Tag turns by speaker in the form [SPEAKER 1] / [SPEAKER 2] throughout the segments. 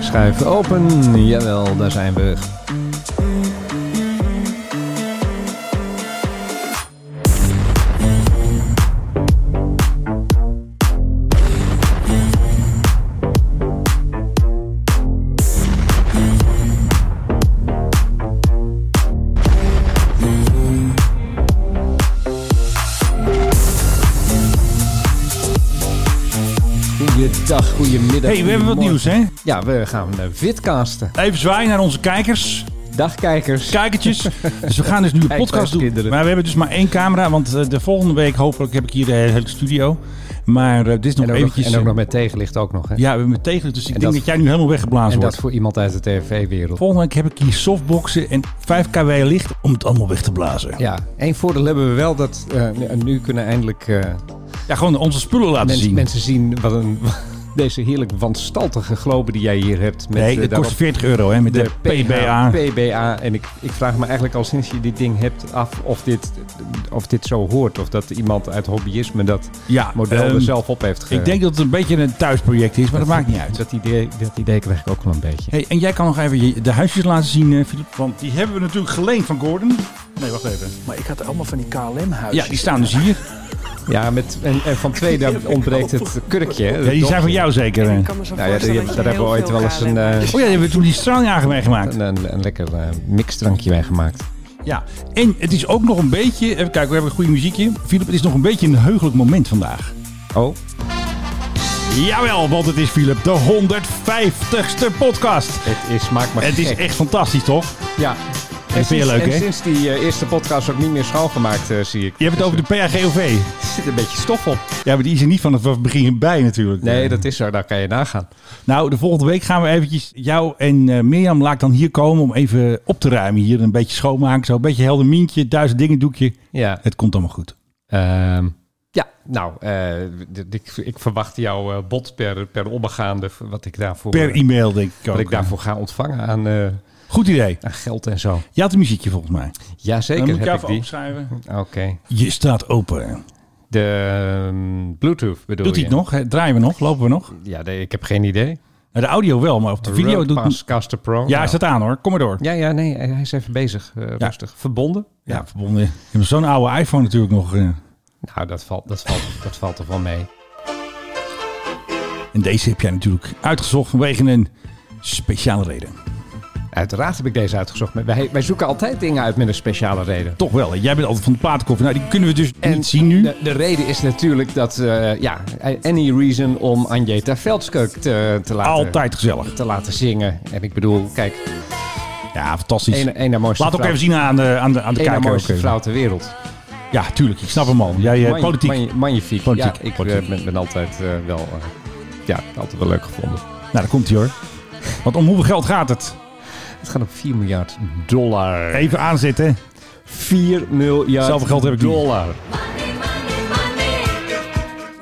[SPEAKER 1] schuif open. Jawel, daar zijn we. Goeiedag, goedemiddag.
[SPEAKER 2] Hey, we hebben wat
[SPEAKER 1] goedemorgen.
[SPEAKER 2] nieuws, hè?
[SPEAKER 1] Ja, we gaan eh, vidcasten.
[SPEAKER 2] Even zwaaien naar onze kijkers,
[SPEAKER 1] Dag kijkers.
[SPEAKER 2] kijkertjes. dus we gaan dus nu een podcast doen.
[SPEAKER 1] Kijkskinderen.
[SPEAKER 2] Maar we hebben dus maar één camera, want eh, de volgende week hopelijk heb ik hier de hele studio. Maar eh, dit is nog
[SPEAKER 1] En ook, nog,
[SPEAKER 2] eventjes...
[SPEAKER 1] en ook
[SPEAKER 2] eh,
[SPEAKER 1] nog met tegenlicht ook nog, hè?
[SPEAKER 2] Ja, we hebben met tegen, dus ik denk
[SPEAKER 1] dat-
[SPEAKER 2] dat, jij nu helemaal weggeblazen
[SPEAKER 1] en dat
[SPEAKER 2] wordt.
[SPEAKER 1] voor iemand uit de tv-wereld.
[SPEAKER 2] Volgende week heb ik hier softboxen en 5 kW licht om het allemaal weg te blazen. Ja,
[SPEAKER 1] Ja, één voordeel hebben we wel dat eh, nu- nu kunnen eindelijk eh,
[SPEAKER 2] gewoon onze spullen laten
[SPEAKER 1] mensen-
[SPEAKER 2] zien.
[SPEAKER 1] mensen zien wat een, deze heerlijk wanstaltige globe die jij hier hebt. Met,
[SPEAKER 2] nee,
[SPEAKER 1] eh,
[SPEAKER 2] dat
[SPEAKER 1] daarop
[SPEAKER 2] kost 40 euro, hè, met de, PBA.
[SPEAKER 1] PBA. En ik, ik vraag me eigenlijk al sinds je dit ding hebt af of dit, of dit zo hoort. Of dat iemand uit hobbyisme dat
[SPEAKER 2] ja,
[SPEAKER 1] model
[SPEAKER 2] ehm,
[SPEAKER 1] er zelf op heeft ge...
[SPEAKER 2] Ik denk dat het een beetje een thuisproject is, maar dat maakt niet uit.
[SPEAKER 1] Dat idee, dat idee krijg ik ook wel een beetje.
[SPEAKER 2] Hey, en jij kan nog even je- de huisjes laten zien, eh, Filip. Want die hebben we natuurlijk geleend van Gordon. Nee, wacht even.
[SPEAKER 3] Maar ik had allemaal van die KLM-huizen.
[SPEAKER 2] Ja, die staan dus hier.
[SPEAKER 1] Ja, met, en, en van twee daar ontbreekt het kurkje. hè,
[SPEAKER 2] Ja, die
[SPEAKER 1] het
[SPEAKER 2] zijn van
[SPEAKER 1] dopje.
[SPEAKER 2] jou zeker.
[SPEAKER 4] Ik
[SPEAKER 2] eh.
[SPEAKER 4] kan me zo
[SPEAKER 1] Nou ja,
[SPEAKER 4] voorstellen
[SPEAKER 1] die-
[SPEAKER 4] dat je
[SPEAKER 1] daar hebben we
[SPEAKER 4] heel
[SPEAKER 1] ooit
[SPEAKER 4] veel
[SPEAKER 1] wel eens een,
[SPEAKER 4] KLM
[SPEAKER 1] eh,
[SPEAKER 2] Oh ja, die hebben we toen die straaljager meegemaakt.
[SPEAKER 1] Een, een, een lekker eh, mixdrankje bij gemaakt.
[SPEAKER 2] Ja. En het is ook nog een beetje... Even kijken, we hebben een goede muziekje. Filip, het is nog een beetje een heugelijk moment vandaag.
[SPEAKER 1] Oh,
[SPEAKER 2] Jawel, want het is Filip, de 150ste podcast.
[SPEAKER 1] het is maak maar
[SPEAKER 2] Het is
[SPEAKER 1] gek.
[SPEAKER 2] echt fantastisch, toch?
[SPEAKER 1] Ja. En
[SPEAKER 2] vind je
[SPEAKER 1] sinds-
[SPEAKER 2] leuk,
[SPEAKER 1] en
[SPEAKER 2] hè?
[SPEAKER 1] sinds die eh, eerste podcast ook niet meer schoongemaakt, eh, zie ik. eh,
[SPEAKER 2] Je hebt het over de PAGOV.
[SPEAKER 1] Er zit een beetje stof op.
[SPEAKER 2] Ja, maar die is er niet van het begin bij natuurlijk.
[SPEAKER 1] Nee, dat is zo. Daar kan je nagaan.
[SPEAKER 2] Nou, de volgende week gaan we eventjes jou en eh, Mirjam laat ik dan hier komen om even op te ruimen. Hier een beetje schoonmaken, zo een beetje helder mientje, duizend dingen doekje.
[SPEAKER 1] Ja.
[SPEAKER 2] Het komt allemaal goed.
[SPEAKER 1] Ehm, ja, nou, eh, d- ik, ik verwacht jouw eh, bod per, per onbegaande, v- wat ik daarvoor,
[SPEAKER 2] Per e- e-mail denk ik ook.
[SPEAKER 1] wat ik daarvoor ga ontvangen aan, eh,
[SPEAKER 2] Goed idee.
[SPEAKER 1] aan geld en zo.
[SPEAKER 2] Je had een muziekje volgens mij.
[SPEAKER 1] Jazeker,
[SPEAKER 2] dan moet
[SPEAKER 1] heb
[SPEAKER 2] ik
[SPEAKER 1] ik
[SPEAKER 2] jou even
[SPEAKER 1] die.
[SPEAKER 2] opschrijven.
[SPEAKER 1] Oké.
[SPEAKER 2] Je staat open.
[SPEAKER 1] De ehm, Bluetooth bedoel
[SPEAKER 2] Doet
[SPEAKER 1] je?
[SPEAKER 2] hij het nog? Hè? Draaien we nog? Lopen we nog? Nou,
[SPEAKER 1] Ja, nee, ik heb geen idee.
[SPEAKER 2] De audio wel, maar op de video doet
[SPEAKER 1] Roadpass Caster Pro.
[SPEAKER 2] Ja,
[SPEAKER 1] Nou.
[SPEAKER 2] hij staat aan hoor. Kom maar door.
[SPEAKER 1] Ja, ja, nee, hij is even bezig. eh,
[SPEAKER 2] Ja.
[SPEAKER 1] Rustig. Verbonden?
[SPEAKER 2] Ja, verbonden. Je hebt zo'n oude iPhone natuurlijk nog. eh.
[SPEAKER 1] Nou, dat valt, dat valt, dat valt toch wel mee.
[SPEAKER 2] En deze heb jij natuurlijk uitgezocht vanwege een speciale reden.
[SPEAKER 1] Uiteraard heb ik deze uitgezocht. maar Wij, wij zoeken altijd dingen uit met een speciale reden.
[SPEAKER 2] Toch wel. hè? Jij bent altijd van de platenkoffie. Nou, die kunnen we dus
[SPEAKER 1] En
[SPEAKER 2] niet zien nu.
[SPEAKER 1] De, de reden is natuurlijk dat, eh, ja, any reason om Anjeta Veldskeuk te, te, laten,
[SPEAKER 2] Altijd gezellig.
[SPEAKER 1] te laten zingen. En ik bedoel, kijk,
[SPEAKER 2] Ja, fantastisch.
[SPEAKER 1] een, een der mooiste
[SPEAKER 2] Laat ook
[SPEAKER 1] vrouw-
[SPEAKER 2] even zien aan de, aan de, aan de
[SPEAKER 1] een der
[SPEAKER 2] kijker. ook
[SPEAKER 1] mooiste
[SPEAKER 2] even.
[SPEAKER 1] vrouw ter wereld.
[SPEAKER 2] Ja, tuurlijk. Ik snap hem al. Jij, eh,
[SPEAKER 1] Mag-
[SPEAKER 2] politiek.
[SPEAKER 1] mag- magnifiek.
[SPEAKER 2] Politiek,
[SPEAKER 1] Ja, ik eh,
[SPEAKER 2] politiek.
[SPEAKER 1] ben, ben altijd eh, wel, eh, ja, altijd wel leuk gevonden.
[SPEAKER 2] Nou, daar komt hij hoor. Want om hoeveel geld gaat het?
[SPEAKER 1] Het gaat om 4 miljard dollar.
[SPEAKER 2] Even aanzetten.
[SPEAKER 1] 4 miljard
[SPEAKER 2] Zoveel geld heb ik niet.
[SPEAKER 1] dollar.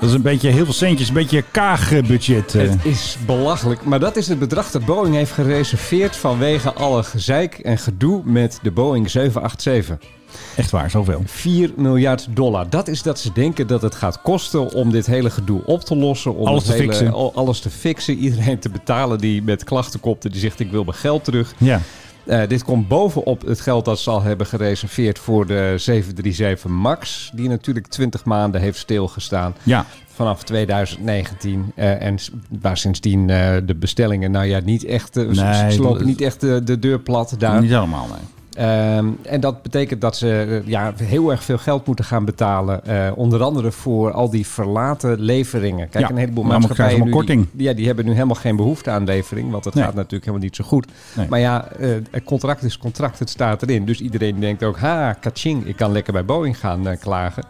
[SPEAKER 2] Dat is een beetje heel veel centjes. Een beetje kaag eh, budget. eh.
[SPEAKER 1] Het is belachelijk. Maar dat is het bedrag dat Boeing heeft gereserveerd vanwege alle gezeik en gedoe met de Boeing 787.
[SPEAKER 2] Echt waar, zoveel.
[SPEAKER 1] 4 miljard dollar. Dat is dat ze denken dat het gaat kosten om dit hele gedoe op te lossen. Om
[SPEAKER 2] Alles
[SPEAKER 1] het
[SPEAKER 2] te
[SPEAKER 1] hele-
[SPEAKER 2] fixen.
[SPEAKER 1] al- Alles te fixen. Iedereen te betalen die met klachten komt en die zegt ik wil mijn geld terug.
[SPEAKER 2] Ja.
[SPEAKER 1] Eh, dit komt bovenop het geld dat ze al hebben gereserveerd voor de 737 MAX. Die natuurlijk 20 maanden heeft stilgestaan
[SPEAKER 2] ja.
[SPEAKER 1] vanaf 2019. eh, en s- waar sindsdien eh, de bestellingen, nou ja, niet echt. eh, ze-
[SPEAKER 2] Nee,
[SPEAKER 1] ze lopen
[SPEAKER 2] dat-
[SPEAKER 1] niet echt eh, de, de deur plat daar.
[SPEAKER 2] Niet allemaal, nee.
[SPEAKER 1] Ehm, en dat betekent dat ze eh, ja, heel erg veel geld moeten gaan betalen. eh, onder andere voor al die verlaten leveringen. Kijk,
[SPEAKER 2] Ja,
[SPEAKER 1] een heleboel
[SPEAKER 2] maar dan krijgen
[SPEAKER 1] maatschappijen.
[SPEAKER 2] ze
[SPEAKER 1] nu,
[SPEAKER 2] allemaal
[SPEAKER 1] Die, ja, die hebben nu helemaal geen behoefte aan levering. Want het
[SPEAKER 2] Nee.
[SPEAKER 1] gaat natuurlijk helemaal niet zo goed.
[SPEAKER 2] Nee.
[SPEAKER 1] Maar ja, eh, het contract is contract. Het staat erin. Dus iedereen denkt ook: ha, kaching, ik kan lekker bij Boeing gaan eh, klagen.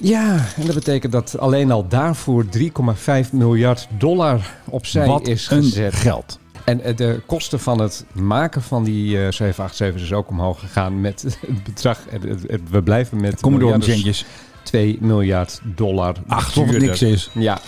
[SPEAKER 1] Ja, en dat betekent dat alleen al daarvoor 3,5 miljard dollar opzij
[SPEAKER 2] Wat
[SPEAKER 1] is
[SPEAKER 2] een
[SPEAKER 1] gezet.
[SPEAKER 2] geld.
[SPEAKER 1] En eh, de kosten van het maken van die eh, 787 is ook omhoog gegaan met het bedrag. En het- het- we blijven met
[SPEAKER 2] Kom maar door,
[SPEAKER 1] miljarden-
[SPEAKER 2] centjes.
[SPEAKER 1] 2 miljard dollar.
[SPEAKER 2] Ach, alsof het
[SPEAKER 1] duurder.
[SPEAKER 2] niks is.
[SPEAKER 1] Ja.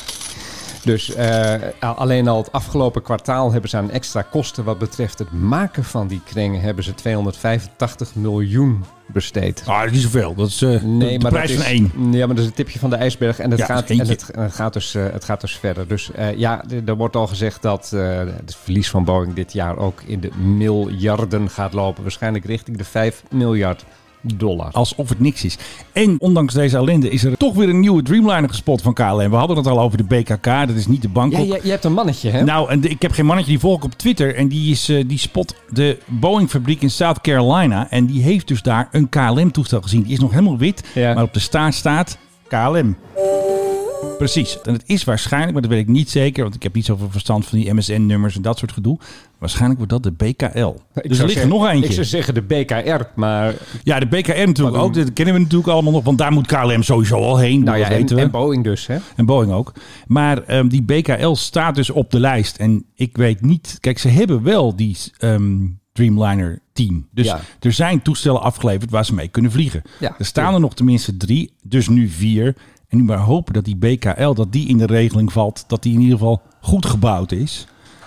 [SPEAKER 1] Dus eh, al- alleen al het afgelopen kwartaal hebben ze aan extra kosten wat betreft het maken van die kringen hebben ze 285 miljoen besteed.
[SPEAKER 2] Ah, dat is niet zoveel. Dat is eh, de, de prijs
[SPEAKER 1] dat
[SPEAKER 2] van
[SPEAKER 1] is,
[SPEAKER 2] één.
[SPEAKER 1] Ja, maar dat is het tipje van de ijsberg. En het,
[SPEAKER 2] Ja,
[SPEAKER 1] gaat,
[SPEAKER 2] dat is
[SPEAKER 1] en
[SPEAKER 2] eentje.
[SPEAKER 1] het, en het gaat, dus, eh, het gaat dus verder. Dus eh, ja, d- er wordt al gezegd dat eh, het verlies van Boeing dit jaar ook in de miljarden gaat lopen. Waarschijnlijk richting de 5 miljard dollar.
[SPEAKER 2] Alsof het niks is. En ondanks deze ellende is er toch weer een nieuwe Dreamliner gespot van KLM. We hadden het al over de BKK. Dat is niet de
[SPEAKER 1] Ja,
[SPEAKER 2] Bangkok.
[SPEAKER 1] je, je hebt een mannetje, hè?
[SPEAKER 2] Nou, en de- ik heb geen mannetje, die volg ik op Twitter. En die, is, eh, die spot de Boeing-fabriek in South Carolina. En die heeft dus daar een KLM-toestel gezien. Die is nog helemaal wit,
[SPEAKER 1] Ja.
[SPEAKER 2] maar op de staart staat KLM. Precies. En het is waarschijnlijk, maar dat weet ik niet zeker... want ik heb niet zoveel verstand van die MSN-nummers en dat soort gedoe. Waarschijnlijk wordt dat de BKL.
[SPEAKER 1] Ik
[SPEAKER 2] dus er
[SPEAKER 1] zou
[SPEAKER 2] ligt er
[SPEAKER 1] zeggen-
[SPEAKER 2] nog
[SPEAKER 1] Ik zou
[SPEAKER 2] eentje.
[SPEAKER 1] zeggen de BKR, maar...
[SPEAKER 2] Ja, de BKM natuurlijk
[SPEAKER 1] Maar
[SPEAKER 2] ook. Dat kennen we natuurlijk allemaal nog, want daar moet KLM sowieso al heen.
[SPEAKER 1] Nou ja,
[SPEAKER 2] dat
[SPEAKER 1] en,
[SPEAKER 2] weten we.
[SPEAKER 1] en Boeing dus, hè?
[SPEAKER 2] En Boeing ook. Maar ehm, die BKL staat dus op de lijst. En ik weet niet. Kijk, ze hebben wel die ehm, Dreamliner 10. Dus
[SPEAKER 1] Ja.
[SPEAKER 2] er zijn toestellen afgeleverd waar ze mee kunnen vliegen.
[SPEAKER 1] Ja,
[SPEAKER 2] er staan er nog tenminste drie. Dus nu vier. En nu maar hopen dat die BKL, dat die in de regeling valt. Dat die in ieder geval goed gebouwd is.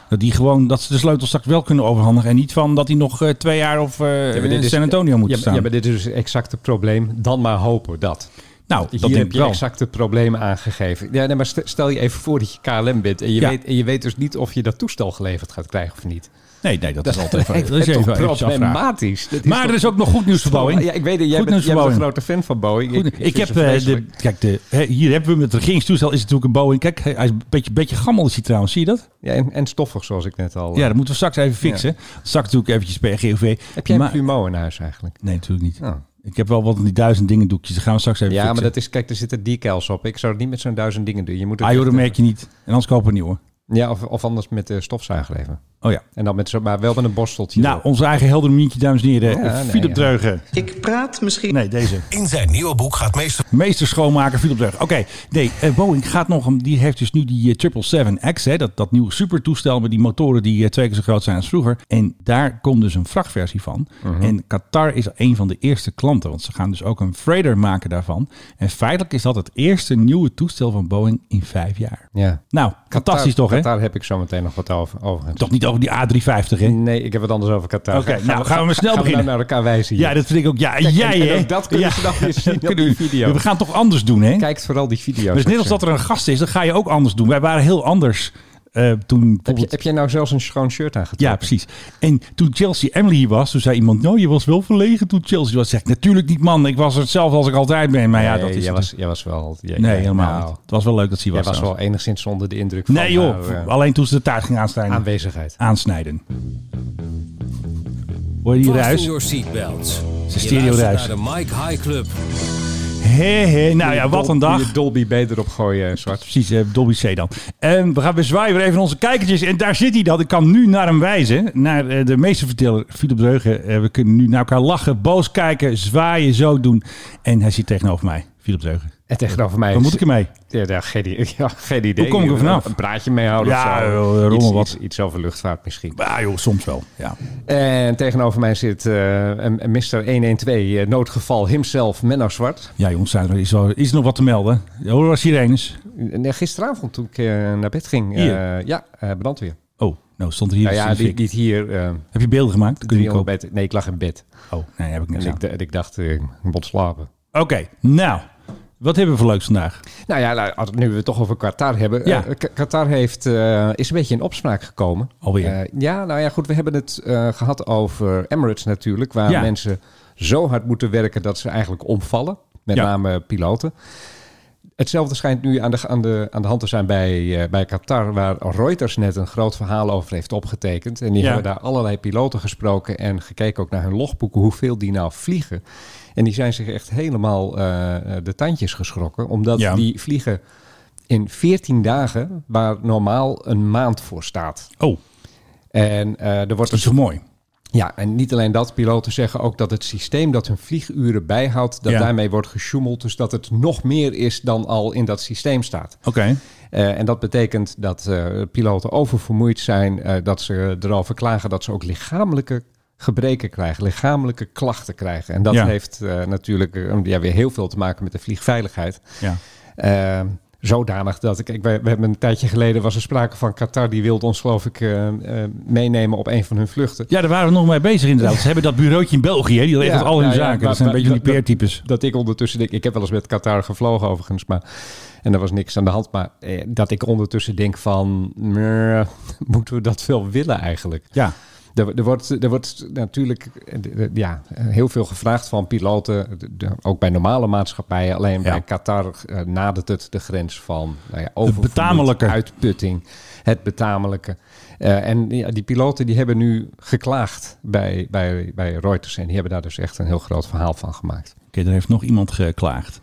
[SPEAKER 2] Dat, die gewoon, dat ze de sleutel straks wel kunnen overhandigen. En niet van dat hij nog eh, twee jaar of eh,
[SPEAKER 1] maar dit
[SPEAKER 2] in
[SPEAKER 1] is-
[SPEAKER 2] San Antonio moet
[SPEAKER 1] Ja,
[SPEAKER 2] staan.
[SPEAKER 1] ja, maar dit is dus exact het probleem. Dan maar hopen dat.
[SPEAKER 2] nou, dat
[SPEAKER 1] Hier
[SPEAKER 2] denk
[SPEAKER 1] heb
[SPEAKER 2] ik
[SPEAKER 1] je
[SPEAKER 2] wel.
[SPEAKER 1] exact het probleem aangegeven. Ja, nee, maar st- stel je even voor dat je KLM bent en je,
[SPEAKER 2] Ja.
[SPEAKER 1] weet, en je weet dus niet of je dat toestel geleverd gaat krijgen of niet.
[SPEAKER 2] Nee, nee, dat, is altijd dat is
[SPEAKER 1] toch
[SPEAKER 2] even, eventjes afvragen.
[SPEAKER 1] problematisch. Dat
[SPEAKER 2] Maar
[SPEAKER 1] toch-
[SPEAKER 2] er is ook nog goed nieuws voor Boeing.
[SPEAKER 1] Ja, ik weet dat jij,
[SPEAKER 2] Goed
[SPEAKER 1] bent,
[SPEAKER 2] nieuws
[SPEAKER 1] jij
[SPEAKER 2] voor
[SPEAKER 1] bent een
[SPEAKER 2] Boeing.
[SPEAKER 1] grote fan van Boeing.
[SPEAKER 2] Goed, ik,
[SPEAKER 1] vind
[SPEAKER 2] heb
[SPEAKER 1] ze
[SPEAKER 2] eh, de,
[SPEAKER 1] vreselijk.
[SPEAKER 2] kijk, de, hè, hier hebben we hem, het regeringstoestel is natuurlijk een Boeing. Kijk, hij is een beetje, beetje gammel is hij trouwens, zie je dat?
[SPEAKER 1] ja, en, en stoffig, zoals ik net al... eh,
[SPEAKER 2] Ja, dat moeten we straks even fixen. Straks natuurlijk eventjes bij GOV.
[SPEAKER 1] heb jij een
[SPEAKER 2] Maar-
[SPEAKER 1] plumeau in huis eigenlijk?
[SPEAKER 2] Nee, natuurlijk niet.
[SPEAKER 1] Nou.
[SPEAKER 2] Ik heb wel wat van die duizend dingen doekjes, die gaan we straks even
[SPEAKER 1] Ja,
[SPEAKER 2] fixen.
[SPEAKER 1] maar dat is, kijk, er zitten decals op. Ik zou het niet met zo'n duizend dingen doen. Je moet het
[SPEAKER 2] Ah joh, dat
[SPEAKER 1] echt, eh,
[SPEAKER 2] merk je niet. En anders kopen we een nieuwe.
[SPEAKER 1] Ja, of, of anders met de stofzuiger even.
[SPEAKER 2] Oh ja.
[SPEAKER 1] En dan met zo, maar wel met een borsteltje.
[SPEAKER 2] Nou, onze eigen helder mientje, dames en heren. Eh,
[SPEAKER 1] Ja, nee,
[SPEAKER 2] Philip
[SPEAKER 1] ja.
[SPEAKER 2] Dreugen.
[SPEAKER 4] Ik praat misschien.
[SPEAKER 2] Nee, deze.
[SPEAKER 5] In zijn nieuwe boek gaat meester
[SPEAKER 2] Meester schoonmaker Philip Dreugen. Oké, nee, eh, Boeing gaat nog, om- die heeft dus nu die eh, 777X, hè, dat, dat nieuwe supertoestel met die motoren die eh, twee keer zo groot zijn als vroeger. En daar komt dus een vrachtversie van.
[SPEAKER 1] Mhm.
[SPEAKER 2] En Qatar is een van de eerste klanten, want ze gaan dus ook een freighter maken daarvan. En feitelijk is dat het eerste nieuwe toestel van Boeing in vijf jaar.
[SPEAKER 1] ja.
[SPEAKER 2] Nou, fantastisch toch, hè?
[SPEAKER 1] Daar heb ik zo meteen nog wat over. overigens.
[SPEAKER 2] Toch niet over die A350, hè?
[SPEAKER 1] Nee, ik heb het anders over Qatar.
[SPEAKER 2] Oké, nou, gaan we maar snel
[SPEAKER 1] gaan
[SPEAKER 2] beginnen.
[SPEAKER 1] We nou naar elkaar wijzen hier.
[SPEAKER 2] Ja, dat vind ik ook. Ja,
[SPEAKER 1] Kijk,
[SPEAKER 2] jij,
[SPEAKER 1] en- en
[SPEAKER 2] hè?
[SPEAKER 1] ook dat kunnen
[SPEAKER 2] Ja.
[SPEAKER 1] ze dan weer zien op die
[SPEAKER 2] Kunnen we-
[SPEAKER 1] video.
[SPEAKER 2] We gaan toch anders doen, hè?
[SPEAKER 1] Kijkt vooral die video's.
[SPEAKER 2] Dus net als
[SPEAKER 1] Ik zeg.
[SPEAKER 2] dat er een gast is, dan ga je ook anders doen. Wij waren heel anders eh, toen.
[SPEAKER 1] Heb, je,
[SPEAKER 2] bijvoorbeeld-
[SPEAKER 1] heb jij nou zelfs een schoon shirt aangetrokken?
[SPEAKER 2] ja, precies. En toen Chelsea Emily hier was, toen zei iemand: Nou, je was wel verlegen toen Chelsea was. Zeg, ik, natuurlijk niet, man. Ik was hetzelfde als ik altijd ben. Maar ja,
[SPEAKER 1] Nee,
[SPEAKER 2] dat is.
[SPEAKER 1] jij,
[SPEAKER 2] het.
[SPEAKER 1] was, jij was wel... jij-
[SPEAKER 2] nee,
[SPEAKER 1] jij-
[SPEAKER 2] helemaal.
[SPEAKER 1] nou,
[SPEAKER 2] niet. Het was wel leuk dat ze hier
[SPEAKER 1] Jij
[SPEAKER 2] was.
[SPEAKER 1] was
[SPEAKER 2] trouwens.
[SPEAKER 1] wel enigszins onder de indruk
[SPEAKER 2] nee,
[SPEAKER 1] van
[SPEAKER 2] joh.
[SPEAKER 1] haar, eh,
[SPEAKER 2] alleen toen ze de taart ging aansnijden.
[SPEAKER 1] aanwezigheid.
[SPEAKER 2] aansnijden. Hoor je die
[SPEAKER 5] Fasten
[SPEAKER 2] ruis?
[SPEAKER 5] your seatbelts.
[SPEAKER 2] Zijn
[SPEAKER 5] Je
[SPEAKER 2] stereo
[SPEAKER 5] luistert
[SPEAKER 2] ruis.
[SPEAKER 5] naar de Mike High Club.
[SPEAKER 2] Hé, hé. Nou ja, wat een
[SPEAKER 1] Dol-
[SPEAKER 2] dag.
[SPEAKER 1] Je Dolby B erop gooien, eh, Zwart.
[SPEAKER 2] Precies, eh, Dolby C dan. En we gaan weer zwaaien weer even naar onze kijkertjes. En daar zit hij dan. Ik kan nu naar hem wijzen. Naar eh, de meesterverteller, Philip Dreugen. Eh, we kunnen nu naar elkaar lachen, boos kijken, zwaaien, zo doen. En hij zit tegenover mij, Philip Dreugen.
[SPEAKER 1] En Eh, tegenover mij...
[SPEAKER 2] Waar
[SPEAKER 1] is-
[SPEAKER 2] moet ik ermee?
[SPEAKER 1] Ja, ja, geen, i- ja, geen idee. Eh,
[SPEAKER 2] kom ik er vanaf?
[SPEAKER 1] Een praatje mee houden
[SPEAKER 2] Ja,
[SPEAKER 1] of zo.
[SPEAKER 2] joh, rommel
[SPEAKER 1] iets,
[SPEAKER 2] wat.
[SPEAKER 1] Iets, iets over luchtvaart misschien.
[SPEAKER 2] Ah joh, soms wel. Ja.
[SPEAKER 1] En tegenover mij zit eh, een- een Mr. 112, eh, noodgeval himself, Menno Zwart.
[SPEAKER 2] Ja jongens, zijn er- is, er- is er nog wat te melden? Hoor was sirenes?
[SPEAKER 1] Nee, gisteravond toen ik eh, naar bed ging. eh,
[SPEAKER 2] Hier?
[SPEAKER 1] ja, eh, brandweer.
[SPEAKER 2] Oh, nou stond er hier.
[SPEAKER 1] Nou ja,
[SPEAKER 2] dus
[SPEAKER 1] niet,
[SPEAKER 2] ik-
[SPEAKER 1] niet hier. eh
[SPEAKER 2] Heb je beelden gemaakt? Kun je
[SPEAKER 1] 300
[SPEAKER 2] kopen?
[SPEAKER 1] bed. Nee, ik lag in bed.
[SPEAKER 2] Oh, nee, heb ik
[SPEAKER 1] En
[SPEAKER 2] niks aan.
[SPEAKER 1] ik, d- en ik dacht, eh, ik moet slapen.
[SPEAKER 2] Oké, nou. Wat hebben we voor leuks vandaag?
[SPEAKER 1] Nou ja, nou, als- nu we het toch over Qatar hebben.
[SPEAKER 2] Ja.
[SPEAKER 1] eh, K- Qatar heeft, eh, is een beetje in opspraak gekomen.
[SPEAKER 2] Alweer.
[SPEAKER 1] Eh, ja, nou ja, goed. We hebben het eh, gehad over Emirates natuurlijk. Waar
[SPEAKER 2] Ja.
[SPEAKER 1] mensen zo hard moeten werken dat ze eigenlijk omvallen. Met
[SPEAKER 2] Ja.
[SPEAKER 1] name piloten. Hetzelfde schijnt nu aan de, aan de, aan de hand te zijn bij, eh, bij Qatar, waar Reuters net een groot verhaal over heeft opgetekend. En die
[SPEAKER 2] Ja.
[SPEAKER 1] hebben daar allerlei piloten gesproken en gekeken ook naar hun logboeken, hoeveel die nou vliegen. En die zijn zich echt helemaal eh, de tandjes geschrokken, omdat
[SPEAKER 2] Ja.
[SPEAKER 1] die vliegen in 14 dagen, waar normaal een maand voor staat.
[SPEAKER 2] Oh,
[SPEAKER 1] En eh, er wordt
[SPEAKER 2] dat is toch mooi?
[SPEAKER 1] ja, en niet alleen dat. Piloten zeggen ook dat het systeem dat hun vlieguren bijhoudt, dat
[SPEAKER 2] Ja.
[SPEAKER 1] daarmee wordt gesjoemeld. Dus dat het nog meer is dan al in dat systeem staat.
[SPEAKER 2] Oké.
[SPEAKER 1] Eh, en dat betekent dat eh, piloten oververmoeid zijn, eh, dat ze erover klagen dat ze ook lichamelijke gebreken krijgen, lichamelijke klachten krijgen. En dat
[SPEAKER 2] Ja.
[SPEAKER 1] heeft eh, natuurlijk eh, ja, weer heel veel te maken met de vliegveiligheid.
[SPEAKER 2] Ja.
[SPEAKER 1] Eh, zodanig dat ik... ik we, we hebben een tijdje geleden was er sprake van Qatar. Die wilde ons geloof ik eh, eh, meenemen op een van hun vluchten.
[SPEAKER 2] Ja, daar waren we nog mee bezig inderdaad. Ze hebben dat bureautje in België, hè, die regelt
[SPEAKER 1] Ja,
[SPEAKER 2] al hun
[SPEAKER 1] nou ja,
[SPEAKER 2] zaken.
[SPEAKER 1] maar-
[SPEAKER 2] dat zijn een
[SPEAKER 1] maar-
[SPEAKER 2] beetje die
[SPEAKER 1] dat-
[SPEAKER 2] peertypes.
[SPEAKER 1] Dat ik ondertussen denk, ik heb wel eens met Qatar gevlogen overigens, maar en er was niks aan de hand. Maar eh, dat ik ondertussen denk van, meh, moeten we dat wel willen eigenlijk?
[SPEAKER 2] Ja,
[SPEAKER 1] Er, er wordt, er wordt natuurlijk eh, eh, ja, heel veel gevraagd van piloten, de- de- ook bij normale maatschappijen. Alleen
[SPEAKER 2] Ja.
[SPEAKER 1] bij Qatar eh, nadert het de grens van nou ja, overvloed,
[SPEAKER 2] betamelijke.
[SPEAKER 1] uitputting, het betamelijke. Eh, en ja, die piloten die hebben nu geklaagd bij, bij, bij Reuters en die hebben daar dus echt een heel groot verhaal van gemaakt.
[SPEAKER 2] Oké, er heeft nog iemand geklaagd.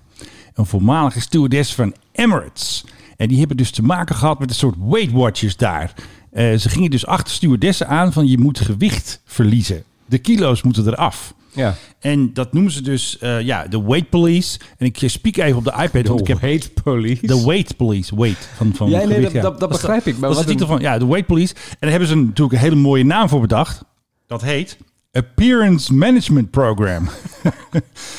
[SPEAKER 2] Een voormalige stewardess van Emirates. En die hebben dus te maken gehad met een soort Weight Watchers daar. Eh, ze gingen dus achter stewardessen aan van je moet gewicht verliezen. De kilo's moeten eraf.
[SPEAKER 1] Ja,
[SPEAKER 2] En dat noemen ze dus eh, ja, de Weight Police. En ik eh, spiek even op de iPad, want ik heb
[SPEAKER 1] hate police.
[SPEAKER 2] de Weight Police. Weight. Van, van
[SPEAKER 1] Ja, nee,
[SPEAKER 2] gewicht,
[SPEAKER 1] dat- dat- dat
[SPEAKER 2] is de-
[SPEAKER 1] begrijp ik, maar
[SPEAKER 2] Dat is de
[SPEAKER 1] wat
[SPEAKER 2] titel van ja, de Weight Police. En daar hebben ze natuurlijk een hele mooie naam voor bedacht. Dat heet Appearance Management Program.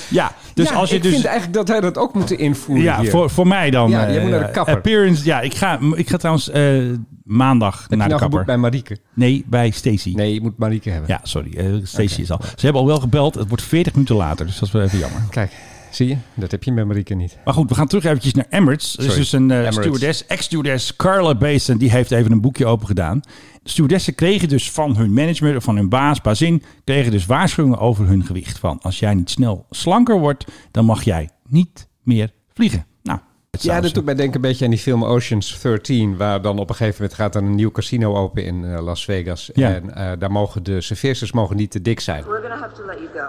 [SPEAKER 2] ja, dus als je
[SPEAKER 1] ik
[SPEAKER 2] dus
[SPEAKER 1] vind eigenlijk dat hij dat ook moet invoeren
[SPEAKER 2] ja,
[SPEAKER 1] hier.
[SPEAKER 2] voor, voor mij dan.
[SPEAKER 1] Ja,
[SPEAKER 2] eh,
[SPEAKER 1] jij moet naar de kapper.
[SPEAKER 2] Appearance, ja, ik ga, ik ga trouwens eh, maandag
[SPEAKER 1] Heb
[SPEAKER 2] naar
[SPEAKER 1] je
[SPEAKER 2] de
[SPEAKER 1] nou geboekt
[SPEAKER 2] kapper.
[SPEAKER 1] bij Marieke?
[SPEAKER 2] Nee, bij Stacy.
[SPEAKER 1] Nee, je moet Marieke hebben.
[SPEAKER 2] Ja, sorry, eh, Stacy is al. Ze hebben al wel gebeld, het wordt 40 minuten later, dus dat is wel even jammer.
[SPEAKER 1] Kijk, zie je? Dat heb je met Marieke niet.
[SPEAKER 2] Maar goed, we gaan terug eventjes naar Emirates. Er is
[SPEAKER 1] Sorry,
[SPEAKER 2] dus een eh,
[SPEAKER 1] Emirates.
[SPEAKER 2] stewardess, ex-stewardess Carla Basin, die heeft even een boekje open gedaan. De stewardessen kregen dus van hun management, of van hun baas, bazin, kregen dus waarschuwingen over hun gewicht. Van als jij niet snel slanker wordt, dan mag jij niet meer vliegen. Nou, het zou
[SPEAKER 1] Ja, dat
[SPEAKER 2] ze-
[SPEAKER 1] doet mij denken een beetje aan die film Oceans 13, waar dan op een gegeven moment gaat er een nieuw casino open in eh, Las Vegas.
[SPEAKER 2] Ja.
[SPEAKER 1] En eh, daar mogen de serveersters mogen niet te dik zijn.
[SPEAKER 4] We're gonna have to let you go.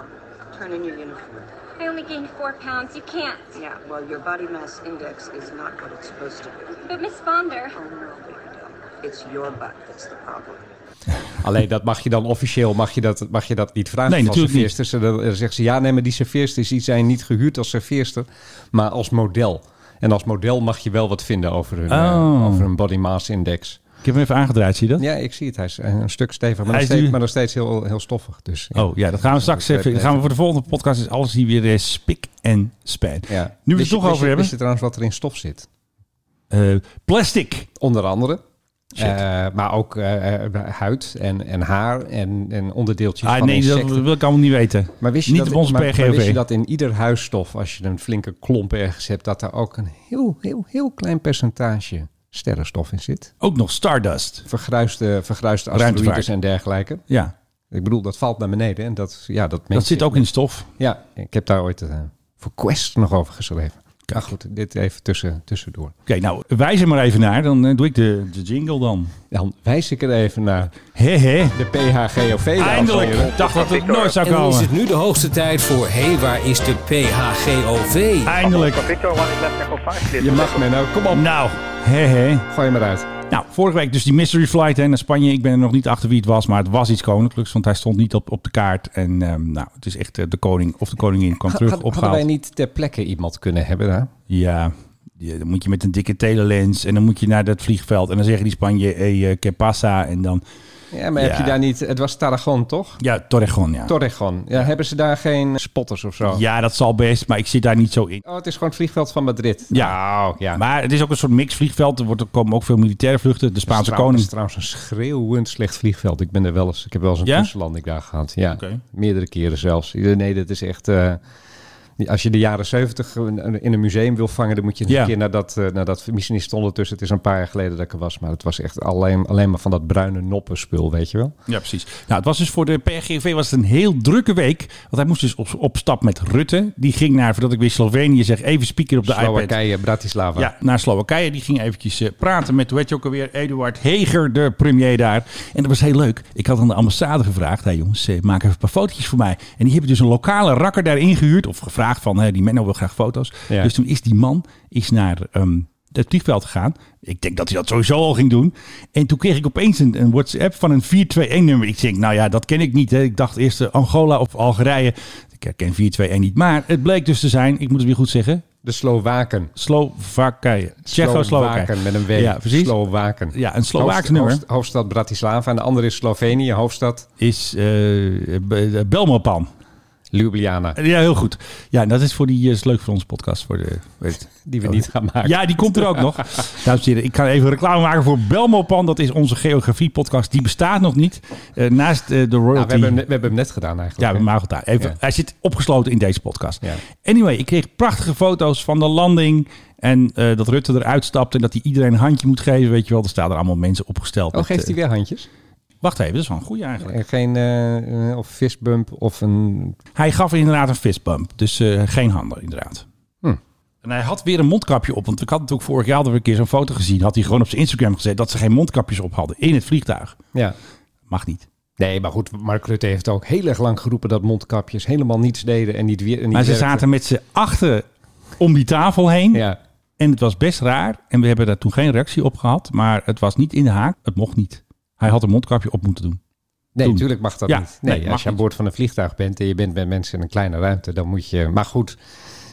[SPEAKER 4] Turn in your uniform.
[SPEAKER 6] I only gained four pounds. You can't.
[SPEAKER 4] Yeah, well, your body mass index is not what it's supposed to be.
[SPEAKER 6] But Miss Fonder,
[SPEAKER 4] Oh, no, baby, no. It's your butt that's the problem.
[SPEAKER 1] Alleen dat mag je dan officieel mag je dat, mag je dat niet vragen
[SPEAKER 2] Nee,
[SPEAKER 1] van
[SPEAKER 2] natuurlijk niet.
[SPEAKER 1] serveersters. En dan eh, zeggen ze ja, nee, maar die serveersters die zijn niet gehuurd als serveerster, maar als model. En als model mag je wel wat vinden over hun, eh,
[SPEAKER 2] Oh.
[SPEAKER 1] over hun body mass index.
[SPEAKER 2] Ik heb hem even aangedraaid, zie je dat?
[SPEAKER 1] Ja, ik zie het. Hij is een stuk stevig, maar,
[SPEAKER 2] Hij
[SPEAKER 1] nog
[SPEAKER 2] is
[SPEAKER 1] steeds,
[SPEAKER 2] nu-
[SPEAKER 1] maar nog steeds heel, heel stoffig. Dus, ja.
[SPEAKER 2] Oh ja, dat gaan we straks
[SPEAKER 1] dat
[SPEAKER 2] even. Dat gaan we voor de volgende podcast is alles hier weer eh, spik en span.
[SPEAKER 1] Ja.
[SPEAKER 2] Nu we
[SPEAKER 1] Wist
[SPEAKER 2] het
[SPEAKER 1] je-
[SPEAKER 2] er toch
[SPEAKER 1] wist je-
[SPEAKER 2] over hebben.
[SPEAKER 1] Wist je trouwens wat er in stof zit?
[SPEAKER 2] eh, plastic.
[SPEAKER 1] Onder andere. Eh, maar ook eh, eh, huid en, en haar en, en onderdeeltjes
[SPEAKER 2] Ah,
[SPEAKER 1] van
[SPEAKER 2] nee, dat
[SPEAKER 1] insecten.
[SPEAKER 2] wil ik allemaal niet weten.
[SPEAKER 1] maar wist, je
[SPEAKER 2] niet
[SPEAKER 1] dat,
[SPEAKER 2] op onze
[SPEAKER 1] maar, maar wist
[SPEAKER 2] PGOV.
[SPEAKER 1] je dat in ieder huisstof, als je een flinke klomp ergens hebt, dat daar ook een heel, heel, heel klein percentage sterrenstof in zit?
[SPEAKER 2] Ook nog Stardust.
[SPEAKER 1] Vergruiste, vergruiste
[SPEAKER 2] Ruimtevaart.
[SPEAKER 1] asteroïdes en dergelijke.
[SPEAKER 2] Ja,
[SPEAKER 1] Ik bedoel, dat valt naar beneden. En dat, ja, dat,
[SPEAKER 2] dat
[SPEAKER 1] mensen-
[SPEAKER 2] zit ook in stof.
[SPEAKER 1] Ja, ik heb daar ooit eh, voor Quest nog over geschreven. Maar goed, dit even tussen, tussendoor.
[SPEAKER 2] Oké, nou, wijs er maar even naar. Dan eh, doe ik de, de jingle dan.
[SPEAKER 1] Dan wijs ik er even naar
[SPEAKER 2] Hé, hé.
[SPEAKER 1] de PHGOV.
[SPEAKER 2] Eindelijk. Ik dacht dat het nooit zou
[SPEAKER 5] En dan is
[SPEAKER 2] komen.
[SPEAKER 5] het nu de hoogste tijd voor... Hé, waar is de PHGOV?
[SPEAKER 2] Eindelijk.
[SPEAKER 1] Je mag me nou, kom op.
[SPEAKER 2] Nou, hé, hé.
[SPEAKER 1] Gooi maar uit.
[SPEAKER 2] Nou, vorige week dus die mystery flight hè, naar Spanje. Ik ben er nog niet achter wie het was, maar het was iets koninklijks. Want hij stond niet op, op de kaart. En ehm, nou, het is echt eh, de koning of de koningin kwam terug
[SPEAKER 1] Had- hadden
[SPEAKER 2] opgehaald.
[SPEAKER 1] wij niet ter plekke iemand kunnen hebben daar?
[SPEAKER 2] Ja, ja, dan moet je met een dikke telelens en dan moet je naar dat vliegveld. En dan zeggen die Spanje, hey, eh, que pasa? En dan,
[SPEAKER 1] Ja, maar
[SPEAKER 2] Ja.
[SPEAKER 1] heb je daar niet... Het was Tarragon, toch?
[SPEAKER 2] ja, Torrejon, ja.
[SPEAKER 1] Torregon. Ja, hebben ze daar geen spotters of zo?
[SPEAKER 2] ja, dat zal best, maar ik zit daar niet zo in.
[SPEAKER 1] Oh, het is gewoon het vliegveld van Madrid.
[SPEAKER 2] Ah, Ja.
[SPEAKER 1] Nou, ja.
[SPEAKER 2] Maar het is ook een soort mixvliegveld. Er, wordt, er komen ook veel militaire vluchten. De
[SPEAKER 1] Het is
[SPEAKER 2] Spaanse
[SPEAKER 1] trouwens-
[SPEAKER 2] koning.
[SPEAKER 1] het is trouwens een schreeuwend slecht vliegveld. Ik ben er wel eens, ik heb wel eens een
[SPEAKER 2] Ja?
[SPEAKER 1] tussenlanding daar gehad. Ja,
[SPEAKER 2] Oké.
[SPEAKER 1] meerdere keren zelfs. Nee, dat is echt. eh, als je de jaren zeventig in een museum wil vangen, dan moet je een
[SPEAKER 2] Ja.
[SPEAKER 1] keer naar dat, eh, naar dat. Misschien is het ondertussen, het is een paar jaar geleden dat ik er was, maar het was echt alleen, alleen maar van dat bruine noppenspul, weet je wel.
[SPEAKER 2] Ja, precies. Nou, het was dus voor de PRGV was het een heel drukke week. Want hij moest dus op, op stap met Rutte. Die ging naar, voordat ik weer Slovenië zeg, even speaker op de iPad.
[SPEAKER 1] Slowakije, Bratislava.
[SPEAKER 2] Ja, naar Slowakije. Die ging eventjes eh, praten met, hoe heet je ook alweer, Eduard Heger, de premier daar. En dat was heel leuk. Ik had aan de ambassade gevraagd, hé jongens, eh, maak even een paar fotootjes voor mij. En die hebben dus een lokale rakker daar ingehuurd. Of gevraagd van, hé, die Menno wil graag foto's.
[SPEAKER 1] Ja.
[SPEAKER 2] Dus toen is die man is naar ehm, het vliegveld gegaan. Ik denk dat hij dat sowieso al ging doen. En toen kreeg ik opeens een, een WhatsApp van een 421-nummer. Ik denk, nou ja, dat ken ik niet. Hè. Ik dacht eerst eh, Angola of Algerije. Ik herken 421 niet. Maar het bleek dus te zijn, ik moet het weer goed zeggen,
[SPEAKER 1] De Slowaken.
[SPEAKER 2] Slowakije. Tsjechoslowakije.
[SPEAKER 1] Slowaken met een W.
[SPEAKER 2] Ja, precies.
[SPEAKER 1] Slowaken.
[SPEAKER 2] Ja, een Slovaaks
[SPEAKER 1] Hoofd-
[SPEAKER 2] nummer.
[SPEAKER 1] hoofd- hoofdstad Bratislava en de andere is Slovenië, hoofdstad
[SPEAKER 2] is eh, B- eh, Belmopan.
[SPEAKER 1] Ljubljana.
[SPEAKER 2] Ja, heel goed. Ja, dat is voor die eh, is leuk voor onze podcast. Voor de,
[SPEAKER 1] Die we niet gaan maken.
[SPEAKER 2] Oh,
[SPEAKER 1] Nou,
[SPEAKER 2] ja, die komt er ook nog. Dames en heren, ik ga even reclame maken voor Belmopan. Dat is onze geografie-podcast. Die bestaat nog niet. Eh, naast eh, de royalty...
[SPEAKER 1] Nou, we, hebben hem, net- we hebben hem net gedaan eigenlijk.
[SPEAKER 2] Ja, we
[SPEAKER 1] hè?
[SPEAKER 2] maken het daar. Even,
[SPEAKER 1] Ja.
[SPEAKER 2] Hij zit opgesloten in deze podcast.
[SPEAKER 1] Ja.
[SPEAKER 2] Anyway, ik kreeg prachtige foto's van de landing. En eh, dat Rutte eruit stapt en dat hij iedereen een handje moet geven. Weet je wel, er staan er allemaal mensen opgesteld.
[SPEAKER 1] Oh,
[SPEAKER 2] met,
[SPEAKER 1] geeft hij
[SPEAKER 2] eh,
[SPEAKER 1] weer handjes?
[SPEAKER 2] Wacht even, dat is wel een goeie eigenlijk.
[SPEAKER 1] En geen eh, eh, of fistbump of een...
[SPEAKER 2] Hij gaf inderdaad een fistbump. Dus eh, geen handen, inderdaad.
[SPEAKER 1] Hm.
[SPEAKER 2] En hij had weer een mondkapje op. Want ik had natuurlijk vorig jaar alweer een keer zo'n foto gezien. Had hij gewoon op zijn Instagram gezet dat ze geen mondkapjes op hadden. In het vliegtuig.
[SPEAKER 1] Ja.
[SPEAKER 2] Mag niet.
[SPEAKER 1] Nee, maar goed, Mark Rutte heeft ook heel erg lang geroepen dat mondkapjes helemaal niets deden en niet weer. en niet
[SPEAKER 2] Maar ze
[SPEAKER 1] werkten.
[SPEAKER 2] zaten met z'n achter om die tafel heen.
[SPEAKER 1] Ja.
[SPEAKER 2] En het was best raar. En we hebben daar toen geen reactie op gehad. Maar het was niet in de haak. Het mocht niet. Hij had een mondkapje op moeten doen.
[SPEAKER 1] Nee,
[SPEAKER 2] Doen.
[SPEAKER 1] natuurlijk mag dat
[SPEAKER 2] Ja,
[SPEAKER 1] niet. Nee,
[SPEAKER 2] nee, mag
[SPEAKER 1] als je aan
[SPEAKER 2] niet.
[SPEAKER 1] boord van een vliegtuig bent en je bent met mensen in een kleine ruimte, dan moet je. Maar goed,